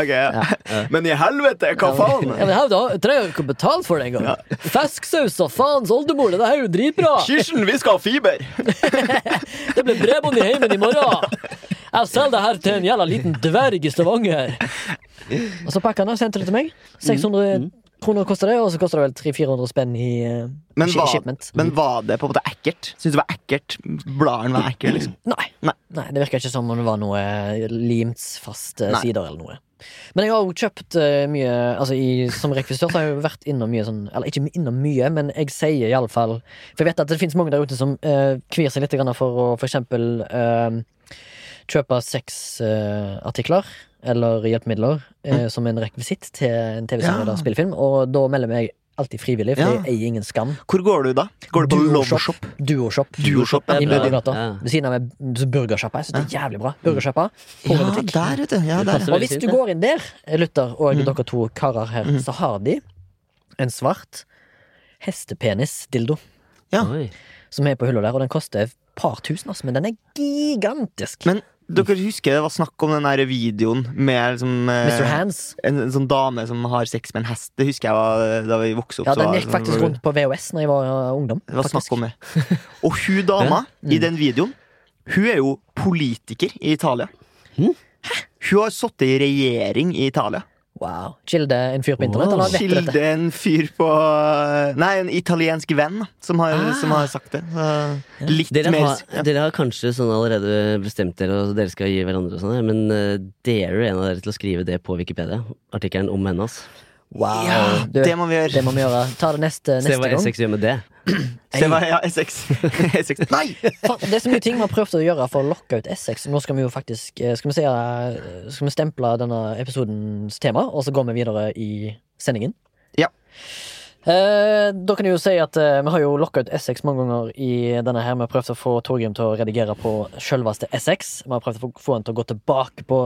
[SPEAKER 2] ok, ja. Men i helvete, hva faen?
[SPEAKER 1] Ja, men her, da, trenger jeg ikke betalt for det engang. Fersksaus og faens oldemor, det her er jo dritbra!
[SPEAKER 2] Kirsten, vi skal ha fiber!
[SPEAKER 1] Det blir bredbånd i heimen i morgen! Jeg selger det her til en jævla liten dverg i Stavanger. Og så pakka han det og sendte det til meg.
[SPEAKER 2] Mm.
[SPEAKER 1] 600 kroner koster det, og så koster det vel 300-400 spenn i eh,
[SPEAKER 2] Men
[SPEAKER 1] shi-
[SPEAKER 2] var,
[SPEAKER 1] shipment.
[SPEAKER 2] men var det på en måte ekkelt? Syns du det var ekkelt? Bladene var ekle, liksom?
[SPEAKER 1] Nei.
[SPEAKER 2] Nei.
[SPEAKER 1] Det virka ikke som om det var noe limt fast eh,
[SPEAKER 2] Nei.
[SPEAKER 1] sider eller noe. Men jeg har jo kjøpt eh, mye altså i, Som rekvisitør så har jeg jo vært innom mye sånn Eller ikke innom mye, men jeg sier iallfall For jeg vet at det finnes mange der ute som eh, kvir seg litt grann for å f.eks. Uh, kjøpe sexartikler eller hjelpemidler eh, som en rekvisitt til en TV-serie
[SPEAKER 2] Mm. Ja.
[SPEAKER 1] eller spillefilm, og da melder jeg meg alltid frivillig, for
[SPEAKER 2] Ja.
[SPEAKER 1] jeg eier ingen skam.
[SPEAKER 2] Hvor går du da? Går du på Loveshop?
[SPEAKER 1] Duoshop.
[SPEAKER 2] Duoshop, ja,
[SPEAKER 1] I
[SPEAKER 2] bra.
[SPEAKER 1] Mjøndegata.
[SPEAKER 3] Ja.
[SPEAKER 1] Ved siden av en burgersjappa. Jeg synes det er jævlig bra. Burgersjappa.
[SPEAKER 2] Ja,
[SPEAKER 1] Pornobutikk.
[SPEAKER 2] der, vet du. Ja, Mm. der.
[SPEAKER 3] passer
[SPEAKER 1] og
[SPEAKER 3] veldig
[SPEAKER 1] hvis
[SPEAKER 3] fint,
[SPEAKER 1] du
[SPEAKER 3] det.
[SPEAKER 1] går inn der, Luther og dere to karer her, så har de en svart hestepenis-dildo
[SPEAKER 2] Ja.
[SPEAKER 3] Oi.
[SPEAKER 1] som er på hylla der, og den koster et par tusen, altså, men den er gigantisk.
[SPEAKER 2] Men dere husker det var snakk om den der videoen med liksom, eh,
[SPEAKER 1] Mr. Hands.
[SPEAKER 2] en, en sånn dame som har sex med en hest? Det husker jeg var, da vi vokste opp.
[SPEAKER 1] Ja,
[SPEAKER 2] så var
[SPEAKER 1] den
[SPEAKER 2] det
[SPEAKER 1] gikk
[SPEAKER 2] sånn-
[SPEAKER 1] faktisk rundt på VHS når jeg var uh, ungdom.
[SPEAKER 2] Det var
[SPEAKER 1] faktisk. Mm.
[SPEAKER 2] snakk om det. Og hun dama i den videoen, hun er jo politiker i Italia.
[SPEAKER 1] Hm?
[SPEAKER 2] Hun har sittet i regjering i Italia.
[SPEAKER 1] Wow. Kilde en fyr på internett,
[SPEAKER 3] Wow.
[SPEAKER 1] eller vet du dette?
[SPEAKER 2] Kilde en fyr på Nei, en italiensk venn som har,
[SPEAKER 1] Ah.
[SPEAKER 2] som har sagt det. Så, litt
[SPEAKER 3] Dere
[SPEAKER 2] mer
[SPEAKER 3] har, dere har kanskje sånn allerede bestemt dere, og dere skal gi hverandre og sånn, her, men eh, dere er en av dere til å skrive det på Wikipedia. Artikkelen om henne, ass.
[SPEAKER 1] Wow.
[SPEAKER 2] Ja,
[SPEAKER 1] Du,
[SPEAKER 2] det må vi gjøre.
[SPEAKER 1] det må vi gjøre. Ta det neste,
[SPEAKER 3] Se
[SPEAKER 1] neste
[SPEAKER 3] hva
[SPEAKER 1] gang.
[SPEAKER 3] Essex gjør med det.
[SPEAKER 2] Se hva ja, E Essex. Essex. Nei!
[SPEAKER 1] Faen, Det er så mye ting vi har prøvd å gjøre for å lokke ut Essex. Nå skal vi jo faktisk eh, Skal vi, se, eh, skal vi stemple denne episodens tema, og så går vi videre i sendingen.
[SPEAKER 2] Ja.
[SPEAKER 1] Eh, da kan jeg jo si at eh, Vi har jo lokka ut Essex mange ganger i denne her. Vi har prøvd å få Torgrim til å redigere på sjølveste Essex. Vi har prøvd å få- få han til å gå tilbake på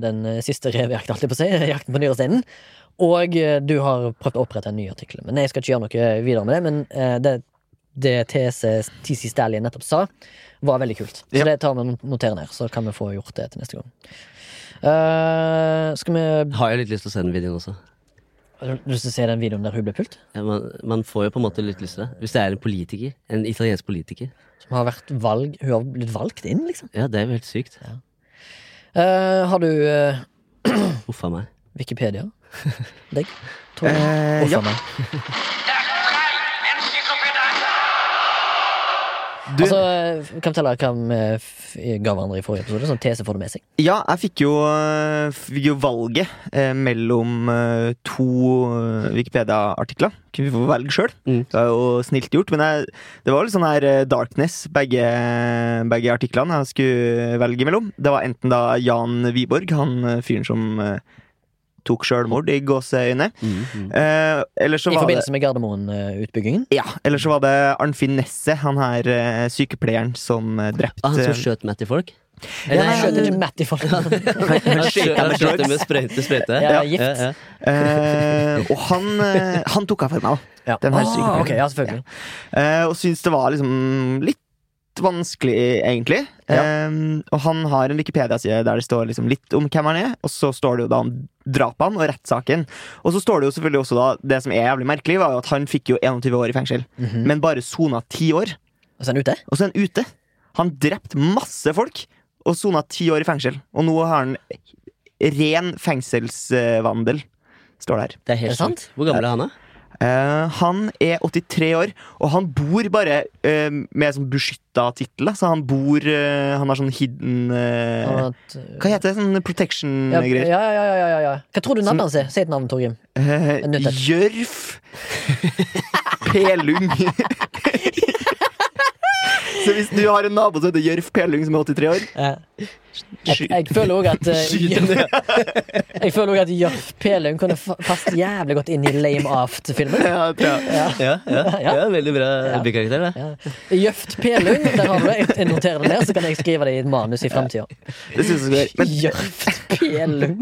[SPEAKER 1] den eh, siste revejakten, holdt jeg på å si. Jakten på nyresteinen. Og eh, du har prøvd å opprette en ny artikkel. Men jeg skal ikke gjøre noe videre med det. Men eh, det, det TC TC Stalin nettopp sa, var veldig kult. Så
[SPEAKER 2] Ja.
[SPEAKER 1] det tar vi og noterer ned, så kan vi få gjort det til neste gang. Eh, skal vi
[SPEAKER 3] Har jeg litt lyst til å se den videoen også.
[SPEAKER 1] Har du lyst til å se den videoen der hun ble pult?
[SPEAKER 3] Ja, man, man får jo på en måte litt lyst til det. Hvis det er en politiker. En italiensk politiker.
[SPEAKER 1] Som har vært valg Hun har blitt valgt inn, liksom.
[SPEAKER 3] Ja, det er jo helt sykt.
[SPEAKER 1] Eh, har du eh,
[SPEAKER 3] Huff a meg.
[SPEAKER 1] Wikipedia? Deg? Tor?
[SPEAKER 2] Eh,
[SPEAKER 1] Hvorfor
[SPEAKER 2] ja.
[SPEAKER 1] meg?
[SPEAKER 2] Du-
[SPEAKER 1] Altså, kan vi fortelle hva vi f- ga hverandre i forrige episode? Sånn tese får det med seg.
[SPEAKER 2] Ja, jeg fikk jo, eh, fikk jo valget eh, mellom eh, to eh, Wikipedia-artikler. Kunne vi få velge sjøl.
[SPEAKER 3] Mm.
[SPEAKER 2] Det var jo snilt gjort. Men jeg, det var litt sånn her eh, darkness, begge, begge artiklene jeg skulle velge mellom. Det var enten da Jan Wiborg, han eh, fyren som eh, tok sjølmord i gåseøyne.
[SPEAKER 3] Mm,
[SPEAKER 2] Eh, eller så
[SPEAKER 1] I
[SPEAKER 2] var det
[SPEAKER 1] forbindelse med Gardermoen-utbyggingen.
[SPEAKER 2] ja, eller så var det Arnfinn Nesset, han her eh, sykepleieren som eh, drepte
[SPEAKER 3] Ah, han som skjøt Matty folk?
[SPEAKER 1] Ja,
[SPEAKER 3] Eller-
[SPEAKER 1] jeg skjøter ikke Matt i folk.
[SPEAKER 3] Han
[SPEAKER 2] skjøt
[SPEAKER 3] skjøt
[SPEAKER 2] dem med
[SPEAKER 3] han skjøt
[SPEAKER 2] drugs.
[SPEAKER 3] dem med sprøyte. sprøyte.
[SPEAKER 1] Ja, gift.
[SPEAKER 2] Eh, og han, eh, han tok jeg for meg, da.
[SPEAKER 1] Ja.
[SPEAKER 2] Den her
[SPEAKER 1] Ah,
[SPEAKER 2] sykepleieren.
[SPEAKER 1] ok, ja, selvfølgelig.
[SPEAKER 2] Eh, og syntes det var liksom litt vanskelig, egentlig. Eh, og han har en Wikipedia-side der det står liksom litt om hvem han er, og så står det jo da om drapene og rettssaken. Og så står det jo selvfølgelig også da det som er jævlig merkelig, var jo at han fikk jo 21 år i fengsel,
[SPEAKER 1] Mhm.
[SPEAKER 2] men bare sona 10 år.
[SPEAKER 1] Og så er han ute.
[SPEAKER 2] Og så er han ute. Han drepte masse folk og sona ti år i fengsel. Og nå har han ren fengselsvandel, står det her.
[SPEAKER 3] Det er
[SPEAKER 1] Er
[SPEAKER 3] helt
[SPEAKER 1] det sant?
[SPEAKER 3] sant. Hvor gammel er han, da?
[SPEAKER 2] Eh, han er 83 år, og han bor bare eh, med sånn beskytta tittel. da. Så han bor eh, Han har sånn hidden eh,
[SPEAKER 1] Og at, uh,
[SPEAKER 2] Hva heter det? Sånn
[SPEAKER 1] ja,
[SPEAKER 2] protection-greier.
[SPEAKER 1] ja, ja, ja, ja, ja. Hva tror du navnet hans er? Si et navn, Torgrim.
[SPEAKER 2] Eh,
[SPEAKER 1] Jeg er nødt til.
[SPEAKER 2] Jørf Pelung. Så hvis du har en nabo som heter Jørf Pelung, som er 83 år
[SPEAKER 1] Jeg, jeg føler òg at uh, Jørn- Jeg føler også at Jørf Pelum kunne fa- passe jævlig godt inn i Lame Aft-filmen.
[SPEAKER 2] Ja, det tror jeg.
[SPEAKER 3] Ja, ja, ja. Veldig bra bykarakter, det.
[SPEAKER 1] Ja. Jøft Pelung, der har du det. Jeg noterer det ned, så kan jeg skrive det i et manus i framtida.
[SPEAKER 2] Det synes jeg skal gjøre. Men,
[SPEAKER 1] Jøft Pelung.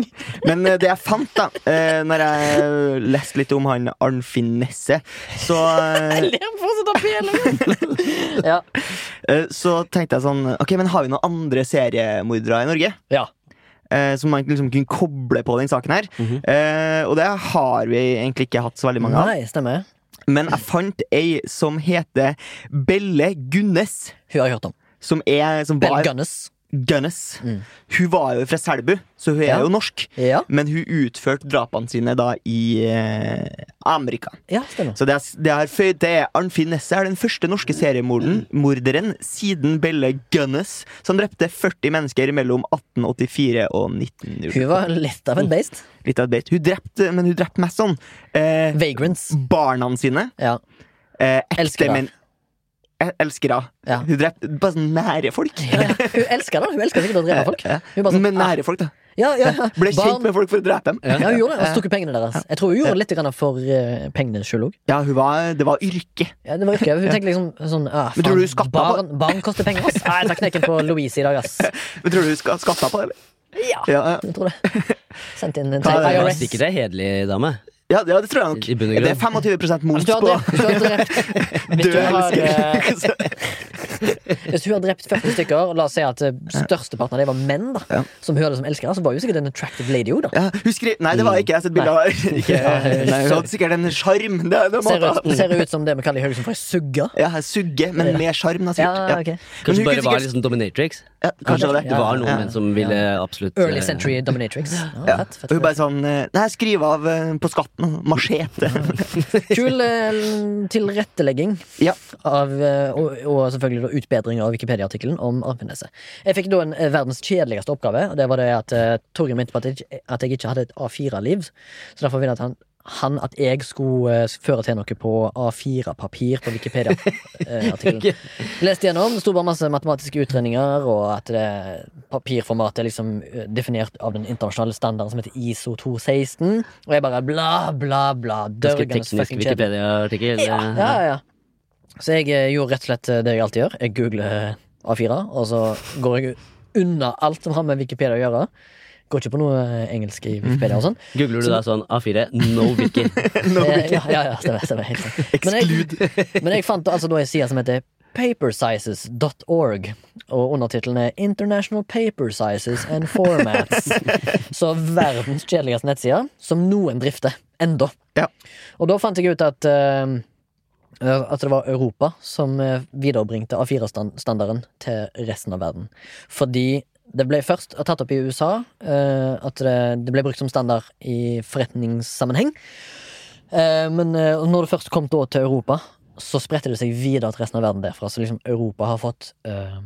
[SPEAKER 2] men eh, det jeg fant, da, eh, når jeg leste litt om han Arnfinn Nesse, så, eh,
[SPEAKER 1] Jeg ler fortsatt av Pelung! Ja.
[SPEAKER 2] eh, så tenkte jeg sånn Ok, men har vi noen andre seriemordere i Norge?
[SPEAKER 1] ja.
[SPEAKER 2] Eh, som man liksom kunne koble på den saken her.
[SPEAKER 1] Mhm.
[SPEAKER 2] eh, og det har vi egentlig ikke hatt så veldig mange av.
[SPEAKER 1] Nei, stemmer.
[SPEAKER 2] Men jeg fant ei som heter Belle Gunnes.
[SPEAKER 1] Hun har jeg hørt om.
[SPEAKER 2] Som er som
[SPEAKER 1] Bell
[SPEAKER 2] var
[SPEAKER 1] Gunnes.
[SPEAKER 2] Gunnes. Hun var jo fra Selbu, så hun
[SPEAKER 1] Mm.
[SPEAKER 2] er
[SPEAKER 1] Ja.
[SPEAKER 2] jo norsk.
[SPEAKER 1] Ja.
[SPEAKER 2] Men hun utførte drapene sine da i eh, Amerika.
[SPEAKER 1] ja, stemmer.
[SPEAKER 2] Så det er, det er føyd til Arnfinn Nesse er den første norske seriemorderen
[SPEAKER 1] Mm.
[SPEAKER 2] morderen siden Belle Gunnes, som drepte 40 mennesker mellom 1884 og 1900.
[SPEAKER 1] Hun var litt av
[SPEAKER 2] Mm.
[SPEAKER 1] en beist.
[SPEAKER 2] Litt av et beit. Hun drepte, men hun drepte mest sånn eh,
[SPEAKER 1] Vagrants.
[SPEAKER 2] barna sine.
[SPEAKER 1] Ja.
[SPEAKER 2] Eh, ekte
[SPEAKER 1] Elskere.
[SPEAKER 2] men- eh, Elskere.
[SPEAKER 1] Ja.
[SPEAKER 2] Hun drepte bare sånn nære folk.
[SPEAKER 1] Hun elsker det. Hun elsker sikkert å drepe folk. Hun bare sånn,
[SPEAKER 2] Men nære folk, da.
[SPEAKER 1] ah, ja, ja.
[SPEAKER 2] Ble kjent
[SPEAKER 1] Barn.
[SPEAKER 2] med folk for å drepe dem.
[SPEAKER 1] Ja, hun gjorde det, og så tok hun pengene deres. Jeg tror hun gjorde litt grann for eh, pengene sjøl òg.
[SPEAKER 2] Ja, hun var, det var yrke.
[SPEAKER 1] Ja, det var ikke, hun tenkte liksom sånn ah,
[SPEAKER 2] Men tror du hun skatta
[SPEAKER 1] faen, barn, barn koster penger, ass. Ah, jeg tar knekken på Louise i dag, ass.
[SPEAKER 2] Men tror du hun ska- skatta på det? eller?
[SPEAKER 1] Ja,
[SPEAKER 2] Ja, ja.
[SPEAKER 1] jeg tror det. Sendt inn en
[SPEAKER 2] Ta
[SPEAKER 1] til
[SPEAKER 2] det,
[SPEAKER 3] Det var
[SPEAKER 1] IRS.
[SPEAKER 3] sikkert ei hederlig dame.
[SPEAKER 2] Ja, ja, det tror jeg nok.
[SPEAKER 3] I bunn og grunn.
[SPEAKER 2] Det er 25 moms
[SPEAKER 1] Hvis Altså, du har
[SPEAKER 2] på
[SPEAKER 1] drept, hvis du har drept, hvis
[SPEAKER 2] død
[SPEAKER 1] du har, eh,
[SPEAKER 2] elsker.
[SPEAKER 1] hvis hun har drept 40 stykker, og la oss si at eh, størsteparten av dem var menn, da,
[SPEAKER 2] Ja.
[SPEAKER 1] som hun liksom elsker, så var hun sikkert en attractive lady òg, da.
[SPEAKER 2] Ja, hun skrev Nei, det var ikke jeg sitt bilde av her. Ikke- Nei, Hun hadde sikkert en sjarm. Det, det må
[SPEAKER 1] Ser
[SPEAKER 2] ta.
[SPEAKER 1] ut, ser ut som det vi kaller i Haugesund for ei sugge.
[SPEAKER 2] Ja, sugge, men med sjarm. da, sikkert.
[SPEAKER 1] Ja, ok.
[SPEAKER 2] Men
[SPEAKER 3] Kanskje
[SPEAKER 2] hun kunne
[SPEAKER 3] bare var
[SPEAKER 2] sikkert-
[SPEAKER 3] liksom dominatrix.
[SPEAKER 2] ja, kanskje det var det.
[SPEAKER 3] Det var
[SPEAKER 2] Ja.
[SPEAKER 3] noen menn som ville absolutt
[SPEAKER 1] Early
[SPEAKER 3] eh,
[SPEAKER 1] century dominatrix. Ja,
[SPEAKER 2] Ja.
[SPEAKER 1] fett,
[SPEAKER 2] Og
[SPEAKER 1] fett,
[SPEAKER 2] hun bare
[SPEAKER 1] fett.
[SPEAKER 2] sånn eh, Nei, skriv av eh, på skatten. Machete.
[SPEAKER 1] Kul eh, tilrettelegging
[SPEAKER 2] Ja.
[SPEAKER 1] av, eh, og, og selvfølgelig da utbedring av Wikipedia-artikkelen om Arnfinneset. Jeg fikk da en eh, verdens kjedeligste oppgave, og det var det at uh, Torgrim mente på at jeg, ikke- at jeg ikke hadde et A4-liv. Så derfor ville jeg at han, han at jeg skulle eh, føre til noe på A4-papir på Wikipedia-artikkelen.
[SPEAKER 3] Ok.
[SPEAKER 1] Leste gjennom, det sto bare masse matematiske utredninger, og at det papirformatet er liksom eh, definert av den internasjonale standarden som heter ISO 216, og jeg bare bla, bla, bla.
[SPEAKER 3] Ganske
[SPEAKER 1] Dørgende
[SPEAKER 3] teknisk
[SPEAKER 1] fucking kjedelig.
[SPEAKER 3] Wikipedia-artikkel.
[SPEAKER 1] Ja,
[SPEAKER 3] eh,
[SPEAKER 1] ja, ja. Så jeg eh, gjorde rett og slett eh, det jeg alltid gjør. Jeg googler A4, og så går jeg unna alt som har med Wikipedia å gjøre. Går ikke på noe eh, engelsk i Wikipedia og sånn.
[SPEAKER 3] Googler du da sånn A4, no wiki.
[SPEAKER 1] Eh, Ja, ja, ja, stemmer, stemmer helt sant. Men jeg, men jeg fant altså da en side som heter papersizes.org, og undertittelen er International Paper Sizes and Formats. Så verdens kjedeligste nettside, som noen drifter enda.
[SPEAKER 2] Ja.
[SPEAKER 1] Og da fant jeg ut at eh, at det var Europa som eh, viderebringte A4-standarden til resten av verden. Fordi det ble først tatt opp i USA, eh, at det, det ble brukt som standard i forretningssammenheng. Eh, Men eh, når det først kom da til Europa, Så spredte det seg videre til resten av verden derfra. Så liksom Europa har fått eh,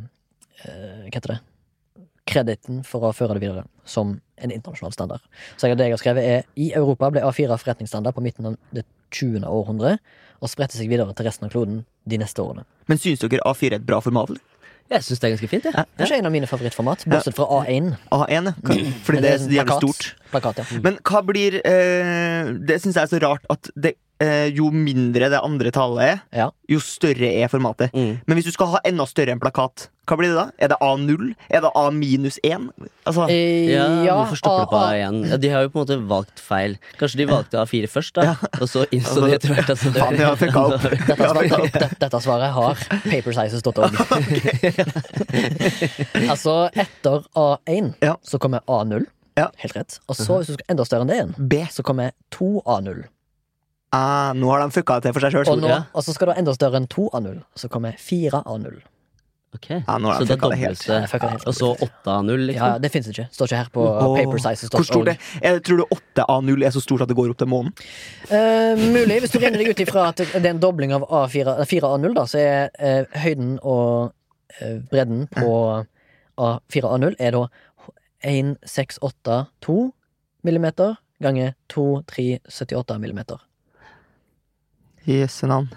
[SPEAKER 1] eh, Hva heter det? Krediten for å føre det videre som en internasjonal standard. Så jeg, det jeg har skrevet er I Europa ble A4 forretningsstandard på midten av det 20. århundret og spredte seg videre til resten av kloden de neste årene.
[SPEAKER 2] Men syns dere A4 er et bra format? eller?
[SPEAKER 3] Jeg syns det er ganske fint. jeg.
[SPEAKER 1] Kanskje en av mine favorittformat, bortsett fra A1.
[SPEAKER 2] A1, ja. Hva- fordi
[SPEAKER 1] Men
[SPEAKER 2] det er
[SPEAKER 1] sånn
[SPEAKER 2] så jævlig
[SPEAKER 1] plakat.
[SPEAKER 2] stort. Mm.
[SPEAKER 1] Plakat, ja.
[SPEAKER 2] Men hva blir eh, Det syns jeg er så rart at det, eh, jo mindre det andre tallet er,
[SPEAKER 1] Ja.
[SPEAKER 2] jo større er formatet.
[SPEAKER 3] Mm.
[SPEAKER 2] Men hvis du skal ha enda større enn plakat, hva blir det da? Er det A0? Er det A minus 1? Altså,
[SPEAKER 1] Eh,
[SPEAKER 3] Ja, hvorfor stopper det på
[SPEAKER 1] A- A-
[SPEAKER 3] A1? Ja, de har jo på en måte valgt feil. Kanskje de valgte A4 først, da, og så innså de etter hvert at
[SPEAKER 2] Altså,
[SPEAKER 3] Altså,
[SPEAKER 2] faen, jeg har fucka opp.
[SPEAKER 1] Dette svaret, dette, dette svaret har papersizes.org. altså, etter A1
[SPEAKER 2] Ja.
[SPEAKER 1] så kommer A0.
[SPEAKER 2] Ja. Mhm.
[SPEAKER 1] Helt rett. Og så, hvis du skal enda større enn det igjen,
[SPEAKER 2] B.
[SPEAKER 1] så kommer 2A0.
[SPEAKER 2] Ah, nå har de fucka det til for seg
[SPEAKER 1] Og,
[SPEAKER 2] sjøl.
[SPEAKER 1] nå,
[SPEAKER 3] Ja.
[SPEAKER 1] og så skal du ha enda større enn 2A0, så kommer 4A0.
[SPEAKER 3] Ok,
[SPEAKER 2] Ja, nå har
[SPEAKER 3] Så
[SPEAKER 2] jeg
[SPEAKER 3] da
[SPEAKER 2] fucka det helt.
[SPEAKER 3] dobles
[SPEAKER 1] Ja,
[SPEAKER 3] det.
[SPEAKER 1] jeg fucka det helt.
[SPEAKER 3] Og så
[SPEAKER 1] Ja,
[SPEAKER 3] 8-0,
[SPEAKER 1] ja,
[SPEAKER 3] liksom.
[SPEAKER 1] det fins ikke. Står ikke her på
[SPEAKER 2] Åh, Hvor stort
[SPEAKER 1] papersizes.org.
[SPEAKER 2] det er? det- Tror du 8A0 er så stort at det går opp til månen?
[SPEAKER 1] Eh, mulig, hvis du regner deg ut ifra at det er en dobling av A4, 4A0, da, så er eh, høyden og eh, bredden på A4A0 er da 1682 millimeter ganger 2378 millimeter.
[SPEAKER 2] Jøsse navn.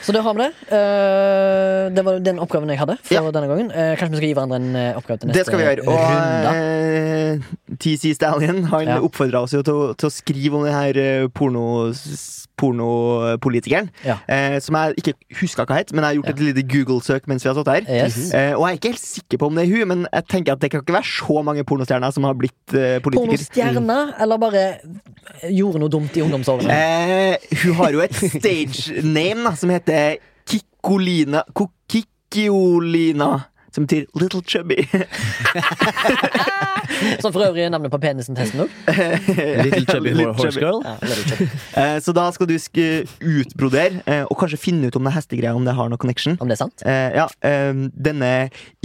[SPEAKER 1] Så det har vi det. Eh, det var den oppgaven jeg hadde for
[SPEAKER 2] Ja.
[SPEAKER 1] denne gangen. Eh, kanskje vi skal gi hverandre en eh, oppgave til neste
[SPEAKER 2] Det skal vi gjøre.
[SPEAKER 1] runde.
[SPEAKER 2] Og eh, TC Stallion han
[SPEAKER 1] Ja.
[SPEAKER 2] oppfordra oss jo til, å- til å skrive om den her eh, porno, s- pornopolitikeren.
[SPEAKER 1] Ja.
[SPEAKER 2] Eh, som jeg ikke huska hva het, men jeg har gjort et lite Google-søk mens vi har stått her.
[SPEAKER 1] Yes.
[SPEAKER 2] Eh, og jeg er ikke helt sikker på om det er hun, men jeg tenker at det kan ikke være så mange pornostjerner som har blitt eh, politiker.
[SPEAKER 1] Pornostjerne, eller bare gjorde noe dumt i ungdomsårene?
[SPEAKER 2] Eh, hun har jo et stage name da, som heter Kikkolina Ko- Kikkiolina. Som betyr Little Chubby.
[SPEAKER 1] Som for øvrig er navnet på penisen-testen òg.
[SPEAKER 3] Little Chubby
[SPEAKER 2] Little
[SPEAKER 3] Horse
[SPEAKER 2] Chubby.
[SPEAKER 3] Girl.
[SPEAKER 2] Eh, så da skal du sk utbrodere, eh, og kanskje finne ut om det hestegreia om det har noe connection.
[SPEAKER 1] Om det er sant?
[SPEAKER 2] Eh, ja, eh, denne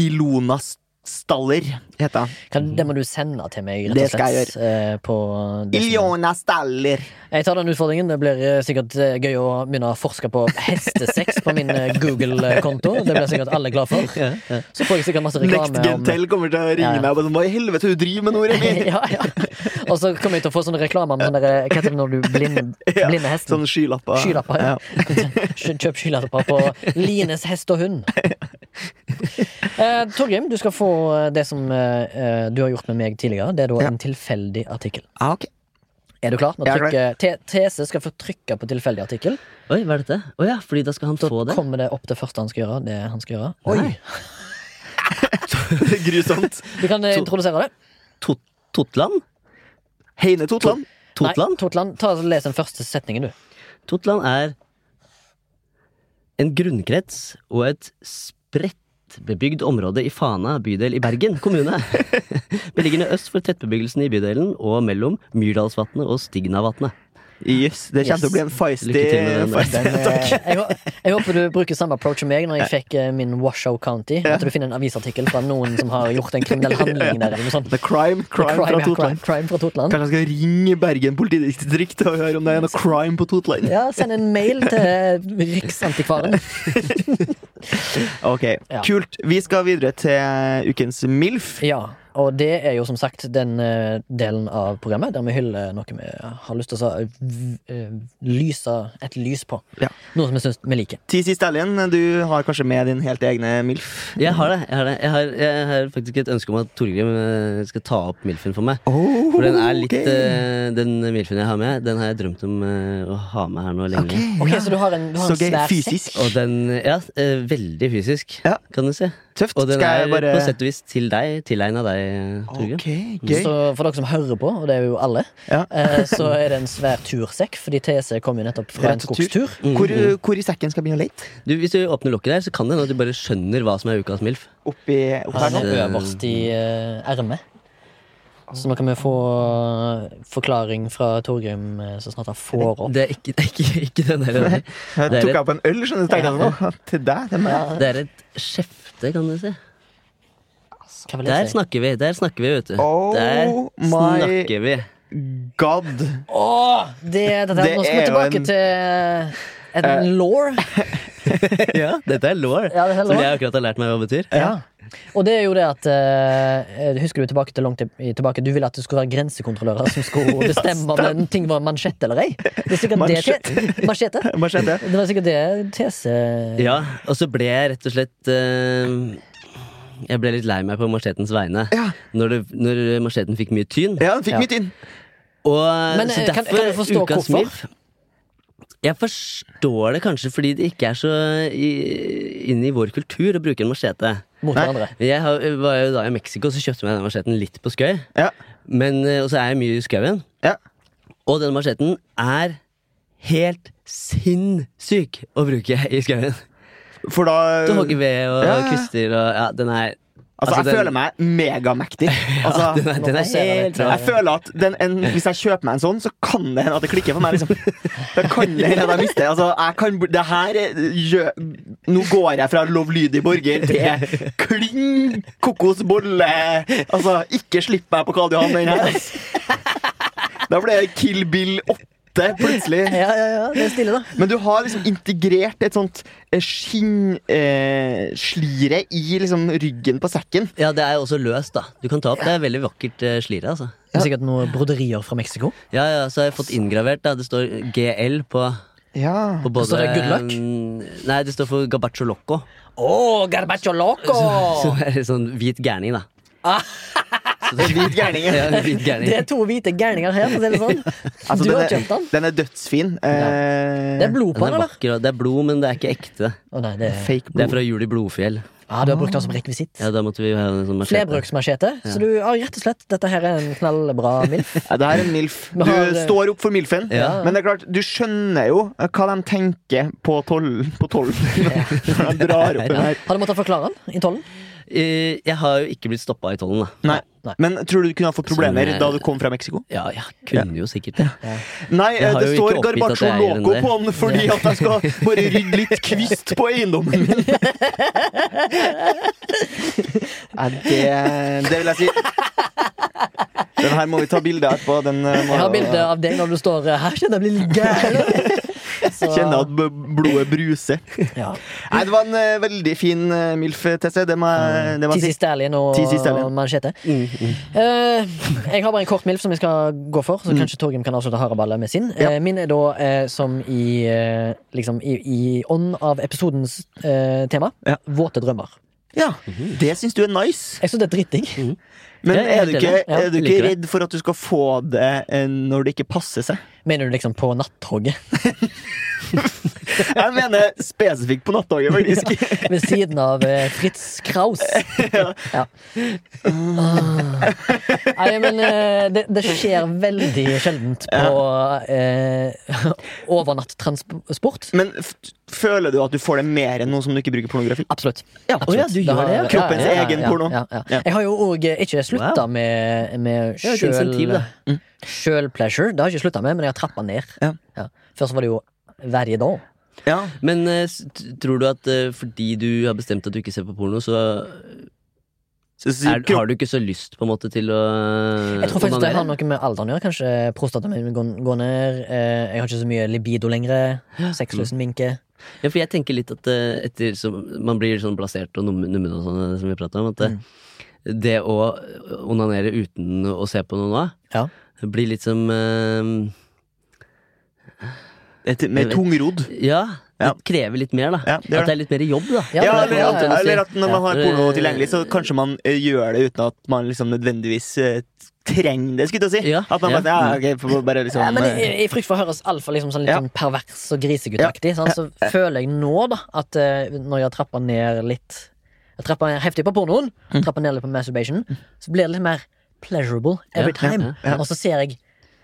[SPEAKER 2] Ilona S- Staller heter hun.
[SPEAKER 1] Kan, det må du sende til meg, rett
[SPEAKER 2] Mhm. Det
[SPEAKER 1] og
[SPEAKER 2] skal jeg
[SPEAKER 1] slett. eh, På det som-
[SPEAKER 2] Ilona Staller.
[SPEAKER 1] Jeg tar den utfordringen. Det blir eh, sikkert eh, gøy å begynne å forske på hestesex på min eh, Google-konto. Det blir sikkert alle glad for. Så får jeg sikkert masse
[SPEAKER 2] Next
[SPEAKER 1] reklame om
[SPEAKER 2] Gentel kommer til å
[SPEAKER 1] Ja,
[SPEAKER 2] ringe
[SPEAKER 1] ja.
[SPEAKER 2] meg og bare sånn, Hva i helvete du driver med nå, Remi?
[SPEAKER 1] ja, ja. Og så kommer jeg til å få sånne reklamer med sånne der, Hva heter det når du blind,
[SPEAKER 2] Ja,
[SPEAKER 1] blinder hesten?
[SPEAKER 2] Sånne Sånn skylapper.
[SPEAKER 1] Skylapper. Ja. Kjøp skylapper på Lines hest og hund. Eh, Torgrim, du skal få eh, det som eh, eh, du har gjort med meg tidligere. Det er da
[SPEAKER 2] Ja.
[SPEAKER 1] en tilfeldig artikkel.
[SPEAKER 2] Ah, ok.
[SPEAKER 1] Er du klar? Nå
[SPEAKER 2] Jeg er klar.
[SPEAKER 1] trykker, T- TC skal få trykke på tilfeldig artikkel.
[SPEAKER 3] Oi, hva er dette? Å ja, fordi da skal han
[SPEAKER 1] Så
[SPEAKER 3] få det.
[SPEAKER 1] kommer det opp det første han skal gjøre. Det han skal gjøre. Oi,
[SPEAKER 3] Nei.
[SPEAKER 2] Grusomt.
[SPEAKER 1] Vi kan eh, introdusere det.
[SPEAKER 3] Tot Totland?
[SPEAKER 2] Heine Totland.
[SPEAKER 1] Nei,
[SPEAKER 3] Totland?
[SPEAKER 1] Totland, ta og Les den første setningen, du.
[SPEAKER 3] Totland er en grunnkrets og et spredtbebygd område i Fana bydel i Bergen kommune. Beliggende øst for tettbebyggelsen i bydelen og mellom Myrdalsvatnet og Stignavatnet.
[SPEAKER 2] Yes, det kommer til å bli en feisty
[SPEAKER 3] Lykke til med den.
[SPEAKER 2] feisty-
[SPEAKER 1] Den, eh, jeg, hå- jeg håper du bruker samme approach som meg når jeg fikk eh, min Washoe County. At du finner en avisartikkel fra noen som har gjort en kriminell handling der. Eller noe sånt.
[SPEAKER 2] The crime, crime,
[SPEAKER 1] Crime,
[SPEAKER 2] fra
[SPEAKER 1] ja,
[SPEAKER 2] Totland.
[SPEAKER 1] crime, crime fra Totland.
[SPEAKER 2] Kanskje jeg skal ringe Bergen politidistrikt og høre om det er noe crime på Totland.
[SPEAKER 1] Ja, Send en mail til eh, Riksantikvaren.
[SPEAKER 2] Ok,
[SPEAKER 1] Ja.
[SPEAKER 2] Kult. Vi skal videre til ukens MILF.
[SPEAKER 1] Ja, og det er jo som sagt den eh, delen av programmet der vi hyller noe vi har lyst til å så- v- eh, lyse et lys på.
[SPEAKER 2] Ja.
[SPEAKER 1] Noe som vi syns vi liker.
[SPEAKER 2] TC Stallion, du har kanskje med din helt egne MILF?
[SPEAKER 3] Jeg har det. Jeg har, det. Jeg har, jeg har faktisk et ønske om at Torgrim eh, skal ta opp Milfen for meg.
[SPEAKER 2] Oh,
[SPEAKER 3] For den er litt
[SPEAKER 2] ok.
[SPEAKER 3] eh, Den Milfen jeg har med, den har jeg drømt om eh, å ha med her nå lenge.
[SPEAKER 1] Ok, Så du har en, du har
[SPEAKER 2] Så
[SPEAKER 1] en
[SPEAKER 2] gøy.
[SPEAKER 1] svær sekk?
[SPEAKER 2] Fysisk.
[SPEAKER 3] Og den Ja, eh, veldig fysisk,
[SPEAKER 2] Ja.
[SPEAKER 3] kan du si.
[SPEAKER 2] Tøft.
[SPEAKER 3] Og den
[SPEAKER 2] skal
[SPEAKER 3] er
[SPEAKER 2] jeg bare
[SPEAKER 3] på sett og vis til deg, tilegna deg, Torgrim.
[SPEAKER 2] Ok, gøy.
[SPEAKER 1] Så for dere som hører på, og det er jo alle,
[SPEAKER 2] Ja.
[SPEAKER 1] eh, så er det en svær tursekk, fordi TC kom jo nettopp fra en
[SPEAKER 2] Rett og tur.
[SPEAKER 1] skogstur.
[SPEAKER 2] Hvor, hvor i sekken skal jeg begynne å lete?
[SPEAKER 3] Du, hvis du åpner lokket der, så kan det hende at du bare skjønner hva som er ukas MILF.
[SPEAKER 2] Oppi opp her
[SPEAKER 1] Han
[SPEAKER 2] nå?
[SPEAKER 1] er øverst i eh, ermet. Så nå kan vi få eh, forklaring fra Torgrim eh, så snart han får opp.
[SPEAKER 3] Det er ikke, det er ikke, ikke den der.
[SPEAKER 2] Jeg
[SPEAKER 3] Det er
[SPEAKER 2] tok jeg
[SPEAKER 3] et-
[SPEAKER 2] opp en øl, skjønner du. tenkte jeg sånn, «Å, Til deg. Til meg.
[SPEAKER 3] Det er et skjefte, kan du si.
[SPEAKER 1] Hva vil
[SPEAKER 3] Der
[SPEAKER 1] jeg si?
[SPEAKER 3] snakker vi, der snakker vi, vet du.
[SPEAKER 2] Oh
[SPEAKER 3] der
[SPEAKER 2] my-
[SPEAKER 3] snakker vi.
[SPEAKER 2] God.
[SPEAKER 1] Åh, det, det, det,
[SPEAKER 2] Det
[SPEAKER 1] nå skal vi
[SPEAKER 2] er jo
[SPEAKER 1] tilbake
[SPEAKER 2] en-
[SPEAKER 1] til en law.
[SPEAKER 3] ja, dette er law,
[SPEAKER 1] Ja, det er
[SPEAKER 3] som
[SPEAKER 1] law.
[SPEAKER 3] jeg akkurat har lært meg hva betyr.
[SPEAKER 1] Ja. Og det er jo det at eh, Husker du tilbake til langt i- tilbake? Du ville at det skulle være grensekontrollører som skulle bestemme om en ting var mansjett eller ei. Det er sikkert det te- Machete?
[SPEAKER 2] Hva skjedde?
[SPEAKER 1] Det var sikkert det tese...
[SPEAKER 3] Ja, og så ble jeg rett og slett eh, Jeg ble litt lei meg på marsjetens vegne.
[SPEAKER 2] Ja.
[SPEAKER 3] Når, det, når marsjeten fikk mye tyn.
[SPEAKER 2] Ja, han fikk
[SPEAKER 1] Ja.
[SPEAKER 2] mitt inn.
[SPEAKER 3] Og
[SPEAKER 1] Men,
[SPEAKER 3] så
[SPEAKER 1] eh, kan-
[SPEAKER 3] derfor
[SPEAKER 1] kan du forstå
[SPEAKER 3] ukas
[SPEAKER 1] hvorfor?
[SPEAKER 3] MILF. Jeg forstår det kanskje fordi det ikke er så i- inne i vår kultur å bruke en machete.
[SPEAKER 1] mot
[SPEAKER 2] Nei.
[SPEAKER 1] hverandre.
[SPEAKER 3] Men Jeg har, var jo da i Mexico, så kjøpte jeg meg den macheten litt på skøy.
[SPEAKER 2] Ja.
[SPEAKER 3] Men, eh, Og så er jeg mye i skauen.
[SPEAKER 2] Ja.
[SPEAKER 3] Og den macheten er helt sinnssyk å bruke i skauen.
[SPEAKER 2] For da
[SPEAKER 3] Du hogger ved og
[SPEAKER 2] Ja, ja.
[SPEAKER 3] kvister og Ja, den er
[SPEAKER 2] Altså,
[SPEAKER 3] altså,
[SPEAKER 2] jeg
[SPEAKER 3] den-
[SPEAKER 2] føler meg megamektig. Altså,
[SPEAKER 3] den er, den er
[SPEAKER 1] passerer det
[SPEAKER 3] helt
[SPEAKER 1] til-
[SPEAKER 3] rå.
[SPEAKER 2] Jeg føler at den, en, Hvis jeg kjøper meg en sånn, så kan det hende at det klikker for meg. Liksom. Da kan det hende at jeg mister altså, jeg kan, bli- det her er- gjør, Nå går jeg fra lovlydig borger til kling kokos bolle. Altså, ikke slipp meg på Karl Johan. Den her. altså. Da ble det Kill Bill 8 plutselig.
[SPEAKER 1] Ja, ja, ja, det er stille, da.
[SPEAKER 2] Men du har liksom integrert et sånt eh, skinn eh, slire i liksom ryggen på sekken.
[SPEAKER 3] Ja, det er også løst, da. Du kan ta opp. Det er veldig vakkert eh, slire, altså.
[SPEAKER 1] Det er sikkert noen broderier fra Mexico.
[SPEAKER 3] Ja, ja, så har jeg fått inngravert, da. Det står GL på,
[SPEAKER 2] Ja.
[SPEAKER 3] på både
[SPEAKER 1] Står det good luck?
[SPEAKER 3] mm, Nei, det står for gabacho loco.
[SPEAKER 1] Oh, garbacho loco!
[SPEAKER 3] Som er litt sånn hvit gærning, da.
[SPEAKER 2] Hvit gærning.
[SPEAKER 3] Ja, en hvit
[SPEAKER 1] Det
[SPEAKER 3] gærning.
[SPEAKER 1] er to hvite gærninger her, for å si det sånn.
[SPEAKER 2] Altså,
[SPEAKER 1] du
[SPEAKER 2] den
[SPEAKER 1] har
[SPEAKER 2] er-
[SPEAKER 1] kjøpt den.
[SPEAKER 2] Den er dødsfin. Eh,
[SPEAKER 1] Det er blod på
[SPEAKER 3] Den
[SPEAKER 1] den,
[SPEAKER 3] er
[SPEAKER 1] eller?
[SPEAKER 3] vakker, og det er blod, men det er ikke ekte.
[SPEAKER 1] Å nei, det er...
[SPEAKER 2] Fake
[SPEAKER 3] Det
[SPEAKER 2] blod.
[SPEAKER 3] er fra Jul i Blodfjell.
[SPEAKER 1] ah, du har brukt den som rekvisitt.
[SPEAKER 3] Ja, da måtte vi ha en sånn machete.
[SPEAKER 1] Flerbruksmachete. Så du har rett og slett Dette her er en knallbra milf.
[SPEAKER 2] Ja, det her er en MILF.
[SPEAKER 1] Men
[SPEAKER 2] Du
[SPEAKER 1] har-
[SPEAKER 2] står opp for MILF-en.
[SPEAKER 3] Ja.
[SPEAKER 2] Men det er klart, du skjønner jo eh, hva de tenker på tollen. På tollen. Når de drar opp den her.
[SPEAKER 1] Har du måttet forklare den i tollen?
[SPEAKER 3] Eh, Jeg har jo ikke blitt stoppa i tollen, da.
[SPEAKER 2] Nei.
[SPEAKER 1] Nei.
[SPEAKER 2] Men tror du du kunne ha fått
[SPEAKER 3] Som
[SPEAKER 2] problemer
[SPEAKER 3] er-
[SPEAKER 2] da du kom fra Mexico?
[SPEAKER 3] Ja, jeg kunne jo sikkert det.
[SPEAKER 2] Nei, eh,
[SPEAKER 3] Jeg har
[SPEAKER 2] det
[SPEAKER 3] jo ikke
[SPEAKER 2] står
[SPEAKER 3] oppgitt at
[SPEAKER 2] Garbacho
[SPEAKER 3] jeg eier den
[SPEAKER 2] Loco
[SPEAKER 3] der.
[SPEAKER 2] på den fordi at jeg skal bare rydde litt kvist på eiendommen min. Nei, det, det vil jeg si. Den her må vi ta bilde av etterpå. Den eh, må,
[SPEAKER 1] Jeg har bilde av deg når du står eh, her. Kjenner jeg blir litt gæren. Så-
[SPEAKER 2] Kjenne at b- blodet bruser.
[SPEAKER 1] ja.
[SPEAKER 2] Nei, det var en eh, veldig fin eh, MILF-teste. Det må
[SPEAKER 3] Mm.
[SPEAKER 2] jeg det må jeg
[SPEAKER 1] Tizzy
[SPEAKER 2] si.
[SPEAKER 1] Stallion og
[SPEAKER 2] T.C. Stallion.
[SPEAKER 1] og machete.
[SPEAKER 2] Mm,
[SPEAKER 1] Eh, jeg har bare en kort milf som jeg skal gå for, så kanskje Torgrim kan avslutte haraballet med sin.
[SPEAKER 2] Mm. Ja.
[SPEAKER 1] Eh, min er da eh, som i eh, liksom i, i ånd av episodens eh, tema.
[SPEAKER 2] Ja.
[SPEAKER 1] Våte drømmer.
[SPEAKER 2] Ja, Mm-hmm. det syns du er nice.
[SPEAKER 1] Jeg syns det er drittdigg.
[SPEAKER 2] Men
[SPEAKER 3] Ja, jeg er
[SPEAKER 2] er du
[SPEAKER 3] helt
[SPEAKER 2] ikke,
[SPEAKER 3] enig.
[SPEAKER 1] Ja,
[SPEAKER 2] er du ikke
[SPEAKER 3] liker det.
[SPEAKER 2] redd for at du skal få det eh, når det ikke passer seg?
[SPEAKER 1] Mener du liksom på nattoget?
[SPEAKER 2] Jeg mener spesifikt på nattdagen, faktisk.
[SPEAKER 1] Ved siden av eh, Fritz Kraus. Ja. Ah. Nei, men eh, det, det skjer veldig sjeldent på eh, overnattransport.
[SPEAKER 2] Men f føler du at du får det mer enn noe som du ikke bruker pornografi?
[SPEAKER 1] Absolutt.
[SPEAKER 2] Ja,
[SPEAKER 1] Absolutt.
[SPEAKER 3] Å ja, du gjør det, ja.
[SPEAKER 2] Kroppens egen porno.
[SPEAKER 1] Ja, ja.
[SPEAKER 2] Ja.
[SPEAKER 1] Jeg har jo òg ikke slutta
[SPEAKER 3] Wow.
[SPEAKER 1] med, med
[SPEAKER 3] er jo et
[SPEAKER 1] sjøl-
[SPEAKER 3] insentiv, da.
[SPEAKER 1] sjølpleasure. Det har jeg ikke slutta med, men jeg har trappa ned.
[SPEAKER 2] Ja.
[SPEAKER 1] Før så var det jo hver dag.
[SPEAKER 2] Ja.
[SPEAKER 3] Men eh, s- t- tror du at eh, fordi du har bestemt at du ikke ser på porno, så
[SPEAKER 2] Så, så,
[SPEAKER 3] er,
[SPEAKER 2] kropp-
[SPEAKER 3] har du ikke så lyst på en måte til å
[SPEAKER 1] Jeg tror faktisk det har
[SPEAKER 3] onanere?
[SPEAKER 1] noe med alderen å gjøre. Kanskje prostataen min går, går ned. eh, Jeg har ikke så mye libido lenger. Sexlysten minker.
[SPEAKER 2] liksom.
[SPEAKER 3] Ja, for jeg tenker litt at eh, etter som man blir sånn blasert og nummen nummen og sånn, eh, som vi pratet om, at eh, det å onanere uten å se på noe nå,
[SPEAKER 1] Ja.
[SPEAKER 3] blir litt som eh,
[SPEAKER 2] et, med tungrodd.
[SPEAKER 3] Ja, det
[SPEAKER 2] Ja.
[SPEAKER 3] krever litt mer, da.
[SPEAKER 2] Ja, det gjør
[SPEAKER 3] at det er litt mer jobb, da.
[SPEAKER 1] Ja, men det
[SPEAKER 2] Ja, eller,
[SPEAKER 1] er
[SPEAKER 2] at,
[SPEAKER 1] det
[SPEAKER 3] du sier.
[SPEAKER 2] eller at når man har
[SPEAKER 3] Ja.
[SPEAKER 2] porno tilgjengelig, så kanskje man eh, gjør det uten at man liksom nødvendigvis eh, trenger det, skulle jeg til å si.
[SPEAKER 3] Ja,
[SPEAKER 2] At man
[SPEAKER 3] ja.
[SPEAKER 2] bare, ja, ok, får bare liksom
[SPEAKER 1] Ja, men
[SPEAKER 2] eh,
[SPEAKER 1] i, i frykt for å høres altfor liksom, sånn litt
[SPEAKER 2] Ja.
[SPEAKER 1] sånn pervers og griseguttaktig, sant, så føler jeg nå da at eh, når jeg trapper ned litt Jeg trapper ned heftig på pornoen,
[SPEAKER 2] Mm.
[SPEAKER 1] trapper ned litt på masturbation, så blir det litt mer pleasurable every
[SPEAKER 3] Ja, ja,
[SPEAKER 1] time.
[SPEAKER 2] ja, ja.
[SPEAKER 1] Og så ser jeg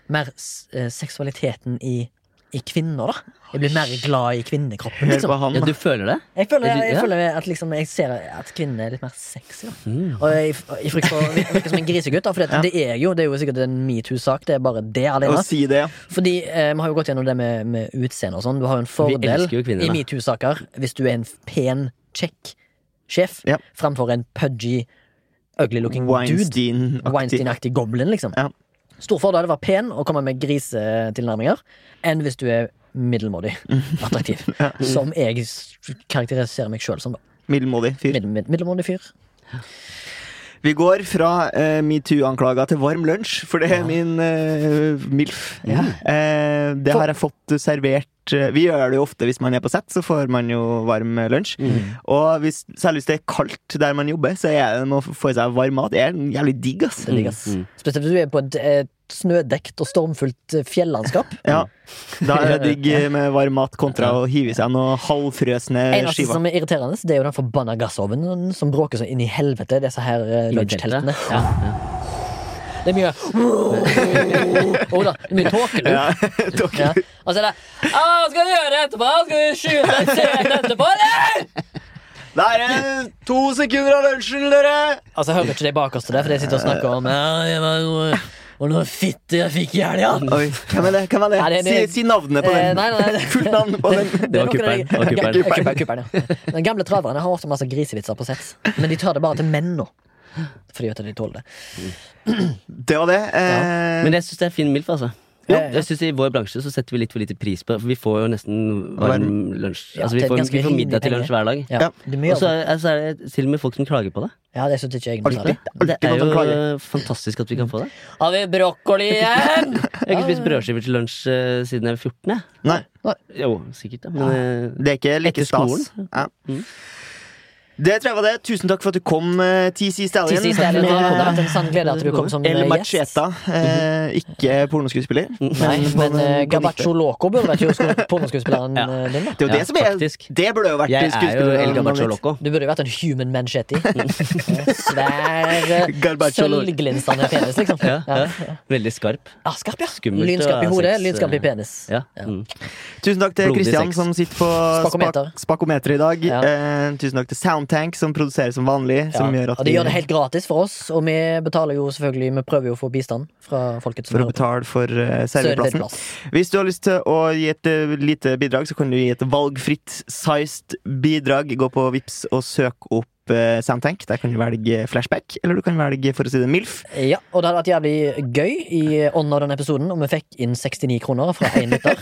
[SPEAKER 1] mer s- eh, seksualiteten i, i kvinner, da. Jeg blir mer glad i kvinnekroppen,
[SPEAKER 2] Hør på
[SPEAKER 1] liksom.
[SPEAKER 2] han.
[SPEAKER 3] Ja,
[SPEAKER 2] da.
[SPEAKER 3] du føler det?
[SPEAKER 1] Jeg føler, jeg,
[SPEAKER 3] Ja.
[SPEAKER 1] føler at liksom, jeg ser at kvinner er litt mer sexy, da.
[SPEAKER 3] Mm.
[SPEAKER 1] Og jeg, i frykt for å virke som en grisegutt, da, for det, det er jo det er jo sikkert en metoo-sak, det er bare det alene.
[SPEAKER 2] Å si det, ja.
[SPEAKER 1] Fordi eh, Vi har jo gått gjennom det med, med utseende og sånn. Du har jo en
[SPEAKER 3] Vi
[SPEAKER 1] fordel
[SPEAKER 3] elsker jo kvinner,
[SPEAKER 1] i
[SPEAKER 3] da.
[SPEAKER 1] metoo-saker hvis du er en pen, kjekk sjef
[SPEAKER 2] Ja.
[SPEAKER 1] framfor en pudgy, ugly-looking dude.
[SPEAKER 2] Weinstein-aktig.
[SPEAKER 1] Weinstein-aktig goblin, liksom.
[SPEAKER 2] Ja.
[SPEAKER 1] Stor fordel å være pen og komme med grisetilnærminger enn hvis du er middelmådig attraktiv. Som jeg s- karakteriserer meg sjøl som. da.
[SPEAKER 2] Middelmådig fyr.
[SPEAKER 1] Middel, mid, middelmådig fyr.
[SPEAKER 2] Vi går fra eh, metoo-anklager til varm lunsj, for det er min eh, MILF. Eh, det har jeg fått servert eh, Vi gjør det jo ofte hvis man er på sett, så får man jo varm eh, lunsj.
[SPEAKER 1] Mm.
[SPEAKER 2] Og hvis, særlig hvis det er kaldt der man jobber, så er det med å få i seg varm mat. Det er en jævlig digg, ass.
[SPEAKER 3] Mm.
[SPEAKER 1] Det ligger, ass. Spesielt hvis du er på et, et snødekt og stormfullt eh, fjellandskap.
[SPEAKER 2] Ja.
[SPEAKER 1] Mm.
[SPEAKER 2] Da er det digg med varm mat kontra å hive i seg noen halvfrøsne
[SPEAKER 3] Eh,
[SPEAKER 1] Eneste
[SPEAKER 2] skiver.
[SPEAKER 1] som er irriterende, det er jo den forbanna gassovnen som bråker sånn inn i helvete. Disse her eh, lunsjteltene.
[SPEAKER 3] Ja,
[SPEAKER 1] Det er mye Å da, det er mye tåkelur.
[SPEAKER 2] Ja, takk.
[SPEAKER 1] Ja. Og så er det «Ah, Hva skal du gjøre etterpå? Skal du skyte en scene etterpå, eller?
[SPEAKER 2] Da er det to sekunder av lunsjen, dere!
[SPEAKER 1] Altså, jeg hører ikke de bakerste der, for de sitter og snakker om Ja, det var noe, og noe fitte jeg fikk i helga.
[SPEAKER 2] Oi, hvem er det? Hvem er det?
[SPEAKER 1] Nei, det- det-
[SPEAKER 2] Si, si navnet på
[SPEAKER 1] Eh,
[SPEAKER 2] den.
[SPEAKER 1] nei, nei, nei.
[SPEAKER 2] Fullt navn på den.
[SPEAKER 1] Det er noen
[SPEAKER 3] var
[SPEAKER 1] av de-
[SPEAKER 3] kupperen, det var kupperen.
[SPEAKER 1] Ja, kupperen, kupperen, ja. Den gamle traverne har ofte masse grisevitser på sett, men de tar det bare til menn nå. Fordi at de tåler det.
[SPEAKER 2] Det var det. Eh,
[SPEAKER 3] Men jeg syns det er fin MILF, altså.
[SPEAKER 1] Ja, ja.
[SPEAKER 3] jeg synes I vår bransje så setter vi litt for lite pris på det, for vi får jo nesten varm lunsj.
[SPEAKER 1] Ja,
[SPEAKER 3] Altså,
[SPEAKER 1] til
[SPEAKER 3] vi,
[SPEAKER 1] et
[SPEAKER 3] får,
[SPEAKER 1] ganske
[SPEAKER 3] vi får middag til
[SPEAKER 1] rimelig
[SPEAKER 3] lunsj hver dag.
[SPEAKER 1] Ja,
[SPEAKER 2] Ja.
[SPEAKER 1] det er mye
[SPEAKER 3] Og så
[SPEAKER 1] av det.
[SPEAKER 3] er, altså, er det til og med folk som klager på det.
[SPEAKER 1] Ja, det syns ikke jeg. noe
[SPEAKER 2] Alltid.
[SPEAKER 1] særlig.
[SPEAKER 3] Det
[SPEAKER 2] Alltid
[SPEAKER 3] er
[SPEAKER 2] noen som klager.
[SPEAKER 3] jo fantastisk at vi kan få det.
[SPEAKER 1] Har vi brokkoli igjen?
[SPEAKER 3] Jeg har ikke spist brødskiver til lunsj eh, siden jeg var 14. Jeg.
[SPEAKER 2] Nei,
[SPEAKER 3] Jo, sikkert, da. Men eh,
[SPEAKER 2] det er ikke like
[SPEAKER 3] Etter skolen.
[SPEAKER 2] stas. Ja.
[SPEAKER 1] Mm.
[SPEAKER 2] Det tror jeg var det. Tusen takk for at du kom, eh, TC Stallion.
[SPEAKER 1] Siste isteden, Det har vært en sann glede at du kom som
[SPEAKER 2] El
[SPEAKER 1] eh, gjest. Mhm.
[SPEAKER 2] Macheta. Eh, ikke pornoskuespiller.
[SPEAKER 1] Nei, men eh, Gabacho Loco burde vært jo skues- pornoskuespilleren
[SPEAKER 3] Ja.
[SPEAKER 1] eh, din, da.
[SPEAKER 2] Det er jo
[SPEAKER 3] Ja,
[SPEAKER 2] det som er
[SPEAKER 3] faktisk.
[SPEAKER 2] Det burde jo vært
[SPEAKER 3] jeg er jo
[SPEAKER 2] skuespiller-
[SPEAKER 3] El Gabacho Loco.
[SPEAKER 1] Du burde jo vært en human Eh, manchetti. Svær, eh,
[SPEAKER 2] Garbacho Loco.
[SPEAKER 1] sølvglinsende penis, liksom.
[SPEAKER 3] Ja,
[SPEAKER 1] Ja.
[SPEAKER 3] ja. Veldig skarp.
[SPEAKER 1] Ah, skarp, ja.
[SPEAKER 3] Skummelt
[SPEAKER 1] lynskarp i
[SPEAKER 3] å ha
[SPEAKER 1] hodet,
[SPEAKER 3] sex,
[SPEAKER 1] lynskarp i
[SPEAKER 3] eh,
[SPEAKER 1] penis.
[SPEAKER 3] Ja. Mm.
[SPEAKER 2] Tusen takk til
[SPEAKER 3] Blodig
[SPEAKER 2] Kristian
[SPEAKER 3] sex.
[SPEAKER 2] som sitter på
[SPEAKER 1] Spakometer.
[SPEAKER 2] spak spakometeret i dag.
[SPEAKER 1] Ja.
[SPEAKER 2] Eh, tusen takk til Soundtank som produserer som vanlig. Som
[SPEAKER 1] Ja.
[SPEAKER 2] gjør at
[SPEAKER 1] og de gjør det helt gratis for oss, og vi betaler jo selvfølgelig Vi prøver jo å få bistand fra folket som
[SPEAKER 2] for å
[SPEAKER 1] hører på.
[SPEAKER 2] betale for eh,
[SPEAKER 1] Så er det
[SPEAKER 2] serveplassen. Hvis du har lyst til å gi et eh, lite bidrag, så kan du gi et valgfritt sized bidrag. Gå på Vips og søk opp eh, Soundtank. Der kan du velge flashback, eller du kan velge for å si det MILF.
[SPEAKER 1] Ja, og det hadde vært jævlig gøy i ånden av den episoden om vi fikk inn 69 kroner fra én lytter.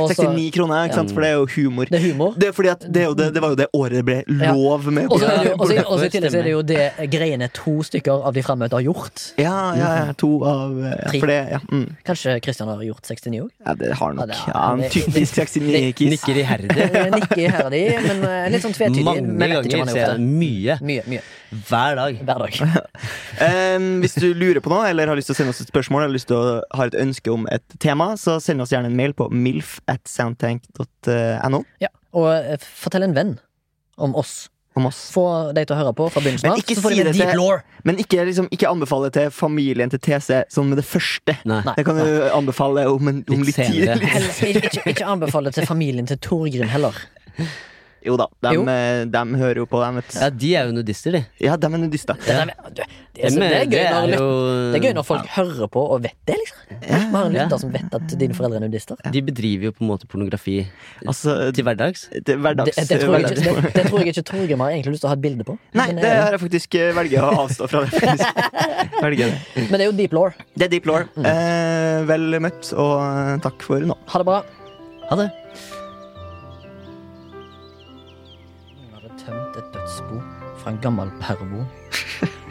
[SPEAKER 1] Og så-
[SPEAKER 2] 69 kroner, ikke sant? for det er jo humor.
[SPEAKER 1] Det er humor.
[SPEAKER 2] Det er fordi at det, er jo det, det var jo det året det ble lov med.
[SPEAKER 1] Og så er det jo- og så- og så i
[SPEAKER 3] Stemmer.
[SPEAKER 1] tillegg så er det jo det greiene to stykker av de fremmøtte har gjort.
[SPEAKER 2] Ja, ja, ja, to av eh, ja,
[SPEAKER 1] Tre.
[SPEAKER 2] For det, ja, mm.
[SPEAKER 1] Kanskje Kristian har gjort 69 òg?
[SPEAKER 2] ja, det har
[SPEAKER 1] Ja,
[SPEAKER 2] nok.
[SPEAKER 1] det er-
[SPEAKER 2] Ja, en
[SPEAKER 1] det-
[SPEAKER 2] typisk 69-kis.
[SPEAKER 3] Nikker iherdig.
[SPEAKER 1] Nikke her og de, men eh, litt sånn tvetydig.
[SPEAKER 3] Mange
[SPEAKER 1] men vet ikke om
[SPEAKER 3] ganger
[SPEAKER 1] han
[SPEAKER 3] ser
[SPEAKER 1] har gjort det.
[SPEAKER 3] jeg det. Mye.
[SPEAKER 1] Mye, mye.
[SPEAKER 3] Hver dag.
[SPEAKER 1] Hver dag.
[SPEAKER 2] Um, hvis du lurer på noe, eller har lyst til å sende oss et spørsmål, eller lyst til å ha et ønske om et tema, så send oss gjerne en mail på milf at soundtank.no
[SPEAKER 1] Ja. Og eh, fortell en venn om oss.
[SPEAKER 2] om oss.
[SPEAKER 1] Få de til å høre på fra begynnelsen
[SPEAKER 2] Men
[SPEAKER 1] av.
[SPEAKER 2] ikke
[SPEAKER 1] så får
[SPEAKER 2] si
[SPEAKER 1] de en
[SPEAKER 2] det til-
[SPEAKER 1] deep lore.
[SPEAKER 2] Men ikke, liksom, ikke anbefale til familien til TC sånn med det første.
[SPEAKER 3] Nei.
[SPEAKER 2] Det kan du anbefale om, en, om litt,
[SPEAKER 3] Litt
[SPEAKER 2] tid.
[SPEAKER 3] senere.
[SPEAKER 2] Litt.
[SPEAKER 1] Eller, ikke, ikke- ikke anbefale til familien til Torgrim heller.
[SPEAKER 2] Jo da, de,
[SPEAKER 1] Jo.
[SPEAKER 2] hører jo på, dem, vet du.
[SPEAKER 3] Ja, de er jo nudister, de.
[SPEAKER 2] Ja, de er nudister.
[SPEAKER 1] Det, er- det, er- det, er gøy når, lyt- det er gøy når folk hører på og vet det, liksom. Vi har en lytter som vet at dine foreldre er nudister.
[SPEAKER 3] De bedriver jo på en måte pornografi
[SPEAKER 2] Altså,
[SPEAKER 3] til hverdags.
[SPEAKER 2] det er
[SPEAKER 1] Det,
[SPEAKER 2] hverdags...
[SPEAKER 1] det, tror jeg ikke,
[SPEAKER 2] hverdags-
[SPEAKER 1] det, det tror jeg ikke Torgrim har egentlig lyst til å ha et bilde på.
[SPEAKER 2] Nei,
[SPEAKER 1] men,
[SPEAKER 2] det
[SPEAKER 1] eh,
[SPEAKER 2] har jeg faktisk eh, velger å avstå fra. Det, faktisk. Velger det.
[SPEAKER 1] men det er jo deep lore.
[SPEAKER 2] det er Deep Law.
[SPEAKER 1] Mm.
[SPEAKER 2] Eh, vel møtt, og eh, takk for nå.
[SPEAKER 1] Ha det bra.
[SPEAKER 3] Ha det.
[SPEAKER 1] Hun hadde tømt et dødsbo fra en gammel pervo.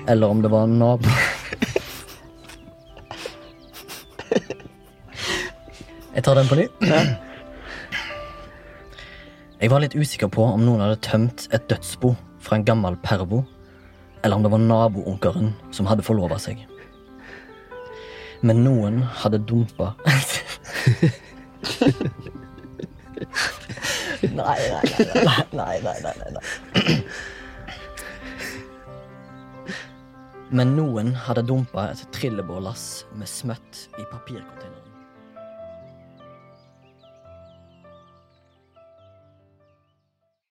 [SPEAKER 1] Eller om det var en nabo. Jeg tar den på ny. Jeg var litt usikker på om noen hadde tømt et dødsbo fra en gammel pervo, eller om det var naboonkelen som hadde forlova seg. Men noen hadde dumpa Nei, nei, nei, nei, nei, nei, nei, nei, nei. Men noen hadde dumpa et trillebårlass med smøtt i papircontaineren.